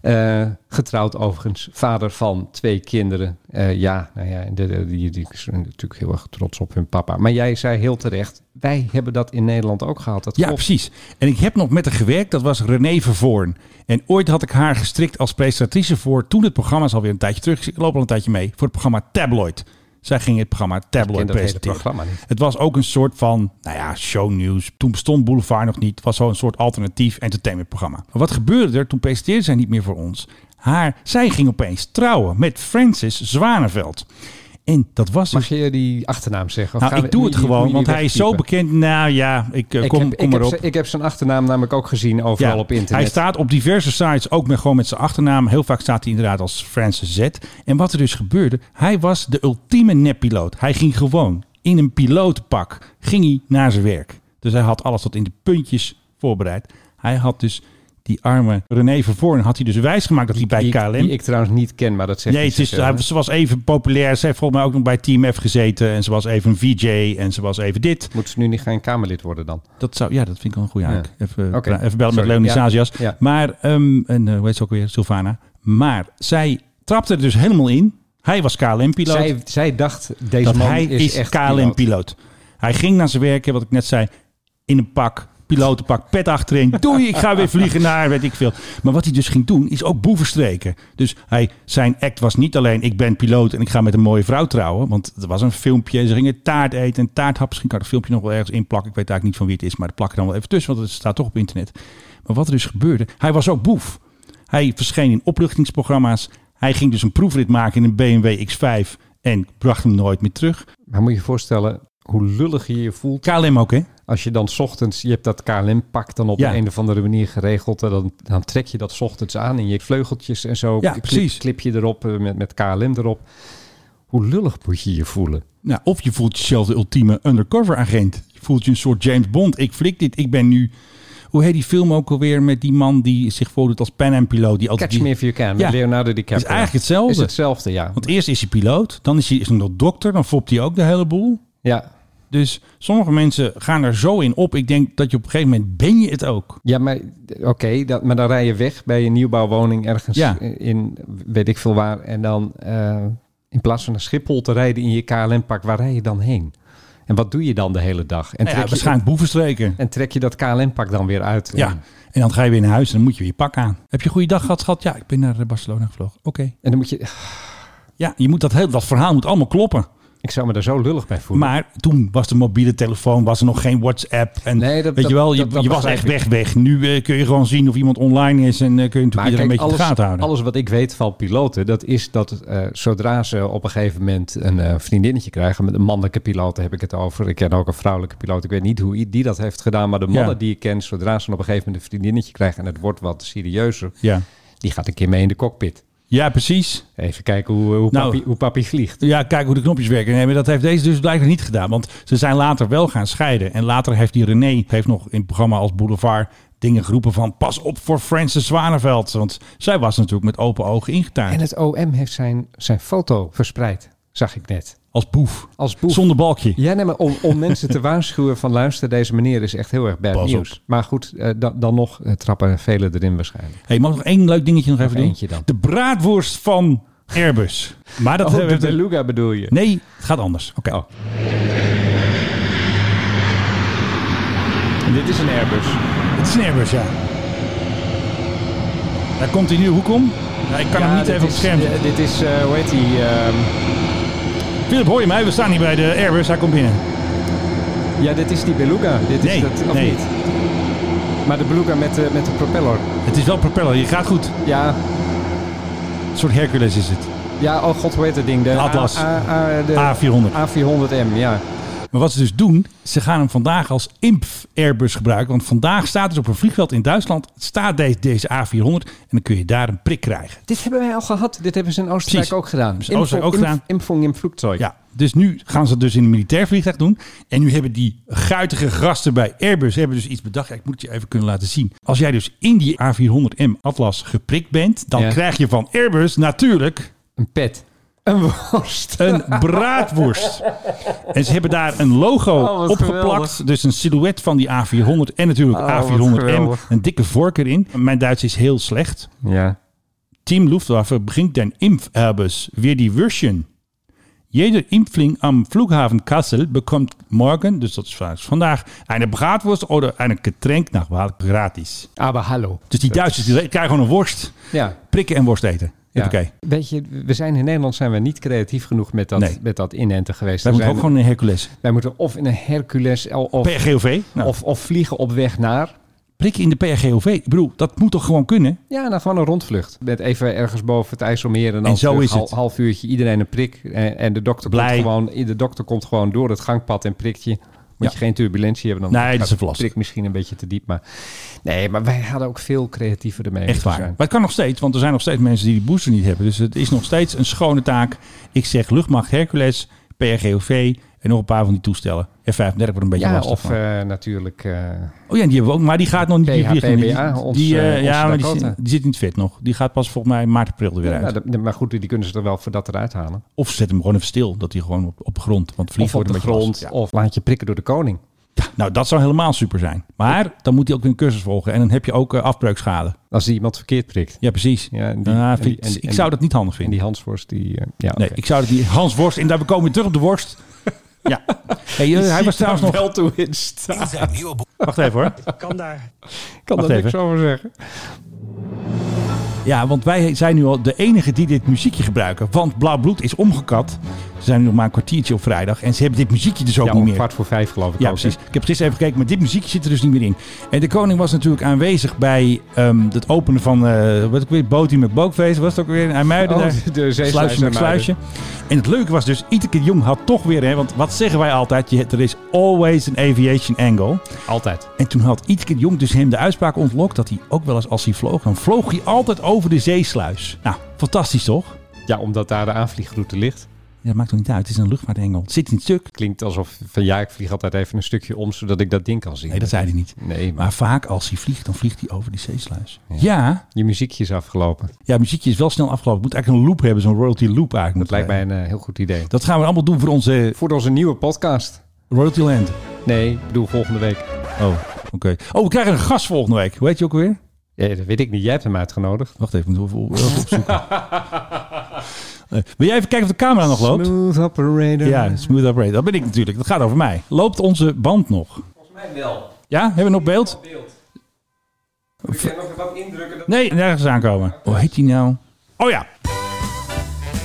[SPEAKER 1] Eh, getrouwd overigens, vader van twee kinderen. Eh, ja, nou ja, de, de- die, die zijn natuurlijk heel erg trots op hun papa. Maar jij zei heel terecht, wij hebben dat in Nederland ook gehad. Dat
[SPEAKER 2] Ja,
[SPEAKER 1] klopt.
[SPEAKER 2] precies. En ik heb nog met haar gewerkt. Dat was René Vervoorn. En ooit had ik haar gestrikt als presentatrice voor... toen het programma is alweer een tijdje terug. Ik loop al een tijdje mee. Voor het programma Tabloid. Zij ging het programma Tabloid
[SPEAKER 1] dat hele
[SPEAKER 2] presenteren.
[SPEAKER 1] programma niet.
[SPEAKER 2] Het was ook een soort van, nou ja, shownieuws. Toen bestond Boulevard nog niet. Het was zo'n soort alternatief entertainmentprogramma. Maar wat gebeurde er? Toen presenteerde zij niet meer voor ons. Haar, zij ging opeens trouwen met Francis Zwaneveld. En dat was dus...
[SPEAKER 1] Mag je die achternaam zeggen? Of
[SPEAKER 2] Nou,
[SPEAKER 1] gaan
[SPEAKER 2] ik
[SPEAKER 1] we-
[SPEAKER 2] doe
[SPEAKER 1] moet
[SPEAKER 2] het
[SPEAKER 1] je- moet
[SPEAKER 2] gewoon,
[SPEAKER 1] je
[SPEAKER 2] want
[SPEAKER 1] die
[SPEAKER 2] hij is zo
[SPEAKER 1] wegpiepen?
[SPEAKER 2] bekend. Nou ja, ik eh,
[SPEAKER 1] Ik
[SPEAKER 2] kom,
[SPEAKER 1] heb,
[SPEAKER 2] kom
[SPEAKER 1] ik, heb
[SPEAKER 2] erop.
[SPEAKER 1] zijn, ik heb zijn achternaam namelijk ook gezien overal op internet.
[SPEAKER 2] Hij staat op diverse sites, ook met, gewoon met zijn achternaam. Heel vaak staat hij inderdaad als Francis Z. En wat er dus gebeurde, hij was de ultieme neppiloot. Hij ging gewoon in een pilotenpak ging hij naar zijn werk. Dus hij had alles tot in de puntjes voorbereid. Hij had dus die arme René Vervoorn had hij dus wijsgemaakt dat hij bij
[SPEAKER 1] die,
[SPEAKER 2] KLM...
[SPEAKER 1] ik- die ik trouwens niet ken, maar dat zegt eh,
[SPEAKER 2] Nee,
[SPEAKER 1] niet
[SPEAKER 2] het is,
[SPEAKER 1] zoveel,
[SPEAKER 2] hij-
[SPEAKER 1] hè?
[SPEAKER 2] ze was even populair. Ze heeft volgens mij ook nog bij Team F gezeten. En ze was even een VJ. En ze was even dit.
[SPEAKER 1] Moet ze nu niet geen Kamerlid worden dan?
[SPEAKER 2] Dat zou, ja, dat vind ik wel een goede
[SPEAKER 1] Ja.
[SPEAKER 2] haak. Even,
[SPEAKER 1] Oké.
[SPEAKER 2] even bellen
[SPEAKER 1] Sorry.
[SPEAKER 2] met Leonie
[SPEAKER 1] Ja.
[SPEAKER 2] Sazias.
[SPEAKER 1] Ja.
[SPEAKER 2] Maar, ehm, en eh, hoe heet ze ook weer? Sylvana. Maar zij trapte er dus helemaal in. Hij was KLM-piloot.
[SPEAKER 1] Zij, zij dacht, deze
[SPEAKER 2] dat
[SPEAKER 1] man
[SPEAKER 2] hij
[SPEAKER 1] is,
[SPEAKER 2] is,
[SPEAKER 1] echt
[SPEAKER 2] KLM-piloot. Hij ging naar zijn werk, hè, wat ik net zei, in een pak. Pilotenpak, pet achterin. Doei, ik ga weer vliegen naar, weet ik veel. Maar wat hij dus ging doen, is ook boevenstreken. Dus hij, zijn act was niet alleen... ik ben piloot en ik ga met een mooie vrouw trouwen. Want er was een filmpje. Ze gingen taart eten en taarthap. Misschien kan ik het filmpje nog wel ergens inplakken. Ik weet eigenlijk niet van wie het is. Maar dat plak ik dan wel even tussen. Want het staat toch op internet. Maar wat er dus gebeurde... Hij was ook boef. Hij verscheen in opluchtingsprogramma's. Hij ging dus een proefrit maken in een BMW X5 en bracht hem nooit meer terug.
[SPEAKER 1] Maar moet je je voorstellen hoe lullig je je voelt.
[SPEAKER 2] KLM ook, hè?
[SPEAKER 1] Als je dan 's ochtends, je hebt dat KLM-pak dan op
[SPEAKER 2] Ja.
[SPEAKER 1] de een of andere manier geregeld. En dan, dan trek je dat 's ochtends aan in je vleugeltjes en zo.
[SPEAKER 2] Ja,
[SPEAKER 1] Klip-
[SPEAKER 2] precies.
[SPEAKER 1] Clip je erop eh, met, met KLM erop. Hoe lullig moet je je voelen?
[SPEAKER 2] Nou, of je voelt jezelf de ultieme undercover agent. Je voelt je een soort James Bond. Ik flik dit. Ik ben nu... Hoe heet die film ook alweer met die man die zich voordoet als Pan Am piloot? Die altijd
[SPEAKER 1] Catch me
[SPEAKER 2] die-
[SPEAKER 1] if you can, met
[SPEAKER 2] Ja.
[SPEAKER 1] Leonardo DiCaprio.
[SPEAKER 2] Is eigenlijk hetzelfde.
[SPEAKER 1] Is hetzelfde, ja.
[SPEAKER 2] Want eerst is hij piloot, dan is hij is hij nog dokter, dan fopt hij ook de hele boel.
[SPEAKER 1] Ja.
[SPEAKER 2] Dus sommige mensen gaan er zo in op. Ik denk dat je op een gegeven moment ben je het ook.
[SPEAKER 1] Ja, maar oké, dat- maar dan rij je weg bij een nieuwbouwwoning ergens
[SPEAKER 2] Ja.
[SPEAKER 1] in weet ik veel waar. En dan eh, in plaats van naar Schiphol te rijden in je KLM-pak, waar rij je dan heen? En wat doe je dan de hele dag? En
[SPEAKER 2] Nou ja,
[SPEAKER 1] je-
[SPEAKER 2] waarschijnlijk boevenstreken.
[SPEAKER 1] En trek je dat KLM-pak dan weer uit?
[SPEAKER 2] Ja, en dan ga je weer naar huis en dan moet je weer je pak aan. Heb je een goede dag gehad, schat? Ja, ik ben naar eh, Barcelona gevlogen. Oké.
[SPEAKER 1] En dan moet je...
[SPEAKER 2] Ja, je moet dat, heel, dat verhaal moet allemaal kloppen.
[SPEAKER 1] Ik zou me daar zo lullig bij voelen.
[SPEAKER 2] Maar toen was de mobiele telefoon, was er nog geen WhatsApp. En
[SPEAKER 1] Nee, dat-
[SPEAKER 2] weet je wel, je,
[SPEAKER 1] dat- dat
[SPEAKER 2] je was
[SPEAKER 1] begrijp
[SPEAKER 2] echt
[SPEAKER 1] ik.
[SPEAKER 2] weg, weg. Nu eh, kun je gewoon zien of iemand online is en eh, kun je natuurlijk iedereen een beetje op de gaten houden.
[SPEAKER 1] alles wat ik weet van piloten, dat is dat eh, zodra ze op een gegeven moment een eh, vriendinnetje krijgen, met een mannelijke piloot heb ik het over. Ik ken ook een vrouwelijke piloot. Ik weet niet hoe i- die dat heeft gedaan, maar de mannen
[SPEAKER 2] Ja.
[SPEAKER 1] die ik ken, zodra ze op een gegeven moment een vriendinnetje krijgen en het wordt wat serieuzer,
[SPEAKER 2] Ja.
[SPEAKER 1] die gaat een keer mee in de cockpit.
[SPEAKER 2] Ja, precies.
[SPEAKER 1] Even kijken hoe, eh, hoe,
[SPEAKER 2] Nou.
[SPEAKER 1] papi, hoe papi vliegt.
[SPEAKER 2] Ja, kijk hoe de knopjes werken. Nee, maar dat heeft deze dus blijkbaar niet gedaan. Want ze zijn later wel gaan scheiden. En later heeft die René heeft nog in het programma als Boulevard dingen geroepen van... pas op voor Francis Zwaneveld. Want zij was natuurlijk met open ogen ingetaard.
[SPEAKER 1] En het OM heeft zijn, zijn foto verspreid, zag ik net.
[SPEAKER 2] Als boef.
[SPEAKER 1] Als boef.
[SPEAKER 2] Zonder balkje.
[SPEAKER 1] Ja, nee, maar om, om mensen te waarschuwen van luister, deze meneer is echt heel erg bad
[SPEAKER 2] Pas op.
[SPEAKER 1] nieuws. Maar goed, eh, dan, dan nog eh, trappen velen erin waarschijnlijk.
[SPEAKER 2] hey, mag ik nog één leuk dingetje nog even doen?
[SPEAKER 1] eentje dan.
[SPEAKER 2] De braadworst van Airbus. Maar dat
[SPEAKER 1] Oh,
[SPEAKER 2] hebben
[SPEAKER 1] de Oh.
[SPEAKER 2] we-
[SPEAKER 1] Beluga bedoel je?
[SPEAKER 2] Nee, het gaat anders. Oké.
[SPEAKER 1] Dit is een Airbus.
[SPEAKER 2] Het is een Airbus, ja. Daar komt hij nu. Hoe kom? Nou, ik kan
[SPEAKER 1] Ja,
[SPEAKER 2] hem niet
[SPEAKER 1] dit
[SPEAKER 2] even op het
[SPEAKER 1] is-
[SPEAKER 2] scherm zetten.
[SPEAKER 1] eh, Dit is, eh, hoe heet die? ehm,
[SPEAKER 2] Philip, hoor je mij? We staan hier bij de Airbus. Hij komt binnen.
[SPEAKER 1] ja, dit is die Beluga. Dit
[SPEAKER 2] Nee,
[SPEAKER 1] is dat, of
[SPEAKER 2] nee.
[SPEAKER 1] niet? Maar de Beluga met, de- met de propeller.
[SPEAKER 2] Het is wel propeller. Je gaat goed.
[SPEAKER 1] Ja,
[SPEAKER 2] Een soort Hercules is het.
[SPEAKER 1] ja, oh god, hoe heet dat ding? De
[SPEAKER 2] Atlas.
[SPEAKER 1] A, A- A- de
[SPEAKER 2] A400.
[SPEAKER 1] A400M, ja.
[SPEAKER 2] Maar wat ze dus doen, ze gaan hem vandaag als imp Airbus gebruiken. Want vandaag staat dus op een vliegveld in Duitsland staat deze, deze A400 en dan kun je daar een prik krijgen.
[SPEAKER 1] Dit hebben wij al gehad. Dit hebben ze in Oostenrijk
[SPEAKER 2] Precies.
[SPEAKER 1] ook gedaan.
[SPEAKER 2] ze in Oostenrijk ook gedaan.
[SPEAKER 1] Impfung im Flugzeug.
[SPEAKER 2] Ja, dus nu gaan ze het dus in een militair vliegtuig doen. En nu hebben die guitige gasten bij Airbus hebben dus iets bedacht. Ja, ik moet het je even kunnen laten zien. Als jij dus in die A400M Atlas geprikt bent, dan
[SPEAKER 1] Ja.
[SPEAKER 2] krijg je van Airbus natuurlijk
[SPEAKER 1] Een pet. Een worst.
[SPEAKER 2] een braadworst. En ze hebben daar een logo
[SPEAKER 1] Oh, wat
[SPEAKER 2] opgeplakt.
[SPEAKER 1] geweldig.
[SPEAKER 2] Dus een silhouet van die A400 en natuurlijk
[SPEAKER 1] Oh, wat
[SPEAKER 2] A400M.
[SPEAKER 1] geweldig.
[SPEAKER 2] Een dikke vork erin. Mijn Duits is heel slecht.
[SPEAKER 1] Ja.
[SPEAKER 2] Team Luftwaffe bringt den Impfairbus weer die Würstchen. Jeder Impfling am Flughafen Kassel bekommt morgen, dus dat is vaak vandaag, een braadworst of een getränk naar Waal gratis.
[SPEAKER 1] Aber Ah, hallo.
[SPEAKER 2] Dus die Duitsers die krijgen gewoon een worst,
[SPEAKER 1] Ja.
[SPEAKER 2] prikken en worst eten.
[SPEAKER 1] Ja.
[SPEAKER 2] Oké.
[SPEAKER 1] Weet je, we zijn in Nederland zijn we niet creatief genoeg met dat,
[SPEAKER 2] Nee.
[SPEAKER 1] met dat inenten geweest.
[SPEAKER 2] Wij
[SPEAKER 1] We
[SPEAKER 2] moeten
[SPEAKER 1] zijn-
[SPEAKER 2] ook gewoon een Hercules.
[SPEAKER 1] wij moeten of in een Hercules el- of,
[SPEAKER 2] PRGOV. Nou,
[SPEAKER 1] of, of vliegen op weg naar.
[SPEAKER 2] prikken in de PRGOV. Ik bedoel, dat moet toch gewoon kunnen?
[SPEAKER 1] Ja, nou gewoon een rondvlucht. Met even ergens boven het IJsselmeer en dan
[SPEAKER 2] En zo
[SPEAKER 1] terug,
[SPEAKER 2] is het.
[SPEAKER 1] hal- half uurtje iedereen een prik. En, en de, dokter komt
[SPEAKER 2] Blij.
[SPEAKER 1] gewoon, de dokter komt gewoon door het gangpad en prikt je. Moet
[SPEAKER 2] Ja.
[SPEAKER 1] je geen turbulentie hebben. Dan
[SPEAKER 2] Nee, dat is
[SPEAKER 1] gaat de
[SPEAKER 2] lastig.
[SPEAKER 1] prik misschien een beetje te diep. Maar nee, maar wij hadden ook veel creatiever ermee
[SPEAKER 2] Echt
[SPEAKER 1] moeten
[SPEAKER 2] waar.
[SPEAKER 1] zijn.
[SPEAKER 2] Maar het kan nog steeds, want er zijn nog steeds mensen die die booster niet hebben. Dus het is nog steeds een schone taak. Ik zeg luchtmacht Hercules, PRGOV en nog een paar van die toestellen. F-35 wordt een beetje
[SPEAKER 1] Ja,
[SPEAKER 2] lastig.
[SPEAKER 1] of
[SPEAKER 2] maar-
[SPEAKER 1] eh, natuurlijk... eh,
[SPEAKER 2] oh ja, die hebben we ook, maar die gaat nog niet. Die,
[SPEAKER 1] PHPBA,
[SPEAKER 2] vliegt nog niet. die,
[SPEAKER 1] ons,
[SPEAKER 2] die, eh,
[SPEAKER 1] eh,
[SPEAKER 2] ja,
[SPEAKER 1] onze
[SPEAKER 2] maar die,
[SPEAKER 1] Dakota.
[SPEAKER 2] zit- die zit in het vet nog. Die gaat pas volgens mij maart, april er weer
[SPEAKER 1] ja, nou,
[SPEAKER 2] uit.
[SPEAKER 1] dat- maar goed, die kunnen ze er wel voor dat eruit halen.
[SPEAKER 2] Of ze zetten hem gewoon even stil, dat hij gewoon op, op grond. Want vliegen
[SPEAKER 1] of op
[SPEAKER 2] wordt
[SPEAKER 1] de
[SPEAKER 2] een beetje
[SPEAKER 1] grond,
[SPEAKER 2] lastig.
[SPEAKER 1] of laat je prikken door de koning.
[SPEAKER 2] Ja. Nou, dat zou helemaal super zijn. Maar dan moet hij ook weer een cursus volgen. En dan heb je ook eh, afbreukschade.
[SPEAKER 1] Als die iemand verkeerd prikt.
[SPEAKER 2] Ja, precies.
[SPEAKER 1] Ja, en die-
[SPEAKER 2] Ah,
[SPEAKER 1] en
[SPEAKER 2] vind-
[SPEAKER 1] die- en die-
[SPEAKER 2] ik zou dat niet handig vinden.
[SPEAKER 1] En die Hansworst, die... eh, ja,
[SPEAKER 2] Nee,
[SPEAKER 1] oké.
[SPEAKER 2] ik zou het niet. Hans Worst. En daar komen we terug op de worst. Ja. Hey, eh, hij was trouwens nog...
[SPEAKER 1] wel toe in staat.
[SPEAKER 2] Wacht even hoor.
[SPEAKER 1] Ik kan
[SPEAKER 2] Wacht
[SPEAKER 1] daar niks
[SPEAKER 2] even.
[SPEAKER 1] over zeggen.
[SPEAKER 2] Ja, want wij zijn nu al de enige die dit muziekje gebruiken. Want Blauw Bloed is omgekat. Ze zijn nu nog maar een kwartiertje op vrijdag. En ze hebben dit muziekje dus ook
[SPEAKER 1] Ja,
[SPEAKER 2] niet
[SPEAKER 1] om
[SPEAKER 2] meer.
[SPEAKER 1] kwart voor vijf geloof ik
[SPEAKER 2] Ja,
[SPEAKER 1] ook,
[SPEAKER 2] precies.
[SPEAKER 1] hè.
[SPEAKER 2] Ik heb gisteren even gekeken, maar dit muziekje zit er dus niet meer in. En de koning was natuurlijk aanwezig bij ehm, het openen van, eh, wat ik weet, Botie met Bookface. Was het ook weer in IJmuiden?
[SPEAKER 1] Oh,
[SPEAKER 2] daar?
[SPEAKER 1] de- de zeesluis
[SPEAKER 2] Sluisje met
[SPEAKER 1] IJmuiden.
[SPEAKER 2] sluisje. En het leuke was dus, Ieteke de Jong had toch weer, hè, want wat zeggen wij altijd? Je, er is always an aviation angle.
[SPEAKER 1] Altijd.
[SPEAKER 2] En toen had Ieteke de Jong dus hem de uitspraak ontlokt dat hij ook wel eens als hij vloog, dan vloog hij altijd over de zeesluis. Nou, fantastisch toch?
[SPEAKER 1] Ja, omdat daar de aanvliegroute ligt.
[SPEAKER 2] Ja, dat maakt toch niet uit, het is een luchtvaartengel. Het zit in het stuk.
[SPEAKER 1] Klinkt alsof van ja, ik vlieg altijd even een stukje om, zodat ik dat ding kan zien.
[SPEAKER 2] Nee, dat zei hij niet.
[SPEAKER 1] Nee, maar
[SPEAKER 2] Maar vaak als hij vliegt, dan vliegt hij over die zeesluis. Ja,
[SPEAKER 1] je muziekje is afgelopen.
[SPEAKER 2] Ja, muziekje is wel snel afgelopen. Moet eigenlijk een loop hebben, zo'n royalty loop eigenlijk.
[SPEAKER 1] Dat lijkt mij
[SPEAKER 2] mij.
[SPEAKER 1] een eh, heel goed idee.
[SPEAKER 2] Dat gaan we allemaal doen voor onze eh,
[SPEAKER 1] Voor onze nieuwe podcast.
[SPEAKER 2] royalty land.
[SPEAKER 1] Nee, ik bedoel volgende week.
[SPEAKER 2] Oh, oké. Oh, we krijgen een gast volgende week. Hoe heet je ook alweer?
[SPEAKER 1] Ja, Eh, dat weet ik niet. Jij hebt hem uitgenodigd.
[SPEAKER 2] Wacht even, moet ik even op- even opzoeken. Eh, wil jij even kijken of de camera nog loopt?
[SPEAKER 1] Smooth operator.
[SPEAKER 2] Ja, smooth operator. Dat ben ik natuurlijk. Dat gaat over mij. Loopt onze band nog? Volgens mij wel. Ja, hebben we nog beeld? Nee, nergens aankomen. Hoe heet die nou? Oh ja.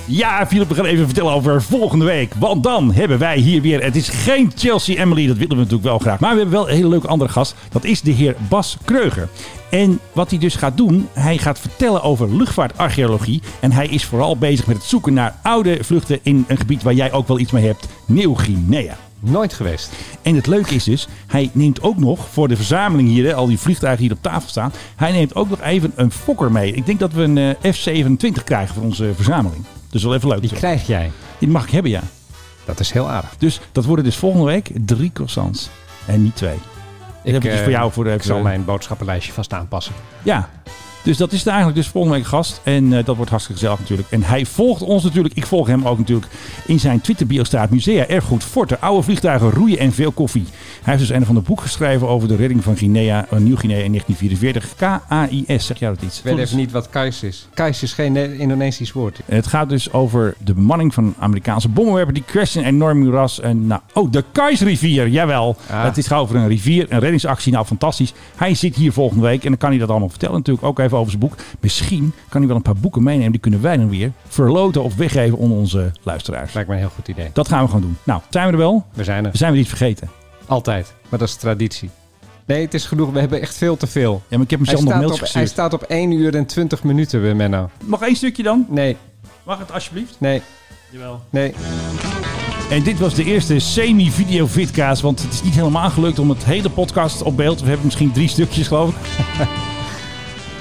[SPEAKER 2] Ja, Philip, we gaan even vertellen over volgende week. Want dan hebben wij hier weer... Het is geen Chelsea Emily, dat willen we natuurlijk wel graag. Maar we hebben wel een hele leuke andere gast. Dat is de heer Bas Kreuger. En wat hij dus gaat doen, hij gaat vertellen over luchtvaartarcheologie. En hij is vooral bezig met het zoeken naar oude vluchten in een gebied waar jij ook wel iets mee hebt. Nieuw-Guinea.
[SPEAKER 1] Nooit geweest.
[SPEAKER 2] En het leuke is dus, hij neemt ook nog voor de verzameling hier, hè, al die vliegtuigen hier op tafel staan, hij neemt ook nog even een fokker mee. Ik denk dat we een eh, F-27 krijgen voor onze verzameling. Dus wel even leuk.
[SPEAKER 1] Die krijg jij.
[SPEAKER 2] Die mag ik hebben, ja.
[SPEAKER 1] Dat is heel aardig.
[SPEAKER 2] Dus dat worden dus volgende week drie croissants. En niet twee. Ik heb het dus
[SPEAKER 1] eh,
[SPEAKER 2] voor jou voor de
[SPEAKER 1] ik zal
[SPEAKER 2] even-
[SPEAKER 1] mijn boodschappenlijstje vast aanpassen.
[SPEAKER 2] Ja. Dus dat is het eigenlijk. Dus volgende week gast. En eh, dat wordt hartstikke gezellig natuurlijk. En hij volgt ons natuurlijk. Ik volg hem ook natuurlijk. In zijn Twitter-bio staat musea, erfgoed, forten, oude vliegtuigen, roeien en veel koffie. Hij heeft dus een van de boek geschreven over de redding van Guinea, eh, Nieuw-Guinea in 1944. KAIS, zeg jij dat iets?
[SPEAKER 1] Ik weet even niet wat kais is. Kais is geen eh, Indonesisch woord.
[SPEAKER 2] Het gaat dus over de bemanning van een Amerikaanse bommenwerper. Die crasht in een enorm moeras. En, nou, oh, de Kaisrivier, jawel.
[SPEAKER 1] Ah.
[SPEAKER 2] Het is gauw over een rivier, een reddingsactie. Nou, fantastisch. Hij zit hier volgende week en dan kan hij dat allemaal vertellen. Natuurlijk ook even over zijn boek. Misschien kan hij wel een paar boeken meenemen. Die kunnen wij dan weer verloten of weggeven onder onze luisteraars.
[SPEAKER 1] Lijkt me een heel goed idee.
[SPEAKER 2] Dat gaan we gewoon doen. Nou, zijn we er wel?
[SPEAKER 1] We zijn er.
[SPEAKER 2] We zijn weer niet vergeten.
[SPEAKER 1] Altijd. Maar dat is traditie. Nee, het is genoeg. We hebben echt veel te veel.
[SPEAKER 2] Ja, maar ik heb hem
[SPEAKER 1] Hij
[SPEAKER 2] zelf nog
[SPEAKER 1] staat,
[SPEAKER 2] mails
[SPEAKER 1] op, hij
[SPEAKER 2] gestuurd.
[SPEAKER 1] staat op 1 uur en 20 minuten bij Menno.
[SPEAKER 2] Nog één stukje dan?
[SPEAKER 1] Nee.
[SPEAKER 2] Mag het alsjeblieft?
[SPEAKER 1] Nee.
[SPEAKER 2] Jawel.
[SPEAKER 1] Nee.
[SPEAKER 2] En dit was de eerste semi-video fitcast. Want het is niet helemaal gelukt om het hele podcast op beeld. We hebben misschien drie stukjes, geloof ik.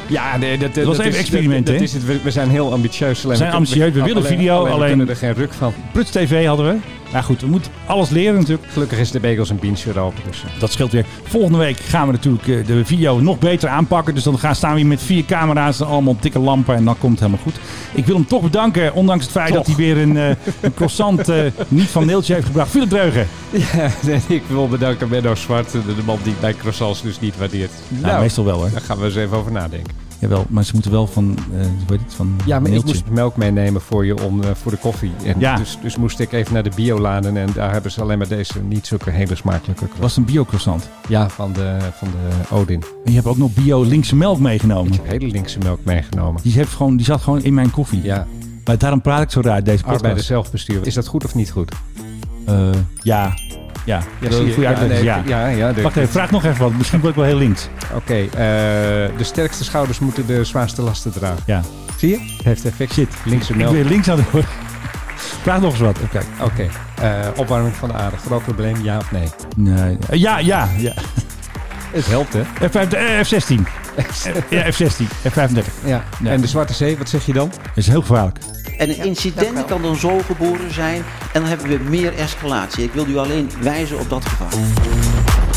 [SPEAKER 1] Ja, nee, dat,
[SPEAKER 2] was even
[SPEAKER 1] is-
[SPEAKER 2] experiment,
[SPEAKER 1] dat-
[SPEAKER 2] hè?
[SPEAKER 1] dat is het. We, we zijn heel ambitieus. Alleen
[SPEAKER 2] We zijn
[SPEAKER 1] kunnen-
[SPEAKER 2] ambitieus, we willen video,
[SPEAKER 1] We
[SPEAKER 2] alleen-
[SPEAKER 1] kunnen er geen ruk van.
[SPEAKER 2] Pruts TV hadden we. Nou goed, we moeten alles leren natuurlijk.
[SPEAKER 1] Gelukkig is de Bagels en Beans weer open. Dus. eh.
[SPEAKER 2] Dat scheelt weer. Volgende week gaan we natuurlijk eh, de video nog beter aanpakken. Dus dan gaan, staan we hier met vier camera's en allemaal dikke lampen. En dan komt het helemaal goed. Ik wil hem toch bedanken, ondanks het feit dat hij weer een, eh, een croissant eh, niet van Neeltje heeft gebracht. Philip Dreugen.
[SPEAKER 1] Ja, nee, ik wil bedanken Menno Zwart, de, de man die mijn croissants dus niet waardeert.
[SPEAKER 2] Nou, meestal wel, hoor.
[SPEAKER 1] Daar gaan we eens even over nadenken.
[SPEAKER 2] Jawel, maar ze moeten wel van, eh weet het, van
[SPEAKER 1] Ja, maar ik
[SPEAKER 2] Neeltje.
[SPEAKER 1] moest melk meenemen voor je om, eh, voor de koffie. En
[SPEAKER 2] Ja.
[SPEAKER 1] dus, dus moest ik even naar de bioladen en daar hebben ze alleen maar deze niet zulke hele smakelijke croissants.
[SPEAKER 2] was het een biocroissant.
[SPEAKER 1] Ja, van de, van de Odin.
[SPEAKER 2] En je hebt ook nog bio linkse melk meegenomen.
[SPEAKER 1] Hele linkse melk meegenomen.
[SPEAKER 2] Die, heeft gewoon, die zat gewoon in mijn koffie.
[SPEAKER 1] Ja,
[SPEAKER 2] Maar daarom praat ik zo raar deze podcast.
[SPEAKER 1] arbeider zelfbestuur. Is dat goed of niet goed?
[SPEAKER 2] Eh, ja. Ja,
[SPEAKER 1] Ja,
[SPEAKER 2] dat is
[SPEAKER 1] zie
[SPEAKER 2] een
[SPEAKER 1] je.
[SPEAKER 2] goede
[SPEAKER 1] Ja,
[SPEAKER 2] uitleg.
[SPEAKER 1] nee,
[SPEAKER 2] Ja,
[SPEAKER 1] ja, ja, de-
[SPEAKER 2] Wacht even, vraag nog even wat. Misschien word ik wel heel links.
[SPEAKER 1] Oké, eh, de sterkste schouders moeten de zwaarste lasten dragen.
[SPEAKER 2] Ja.
[SPEAKER 1] Zie je? Het heeft effect. Shit, linkse
[SPEAKER 2] Ik
[SPEAKER 1] melk.
[SPEAKER 2] ben links aan de hoor. Vraag nog eens wat. Oké.
[SPEAKER 1] Oké, eh, opwarming van de aarde. Groot probleem, ja of nee?
[SPEAKER 2] Nee. Eh, Ja, ja, ja.
[SPEAKER 1] Het helpt, hè?
[SPEAKER 2] F, eh, F16. ja, F16. F35.
[SPEAKER 1] Ja.
[SPEAKER 2] Nee.
[SPEAKER 1] En de Zwarte Zee, wat zeg je dan?
[SPEAKER 2] Dat is heel gevaarlijk.
[SPEAKER 10] En een incident kan dan zo geboren zijn en dan hebben we meer escalatie. Ik wil u alleen wijzen op dat gevaar.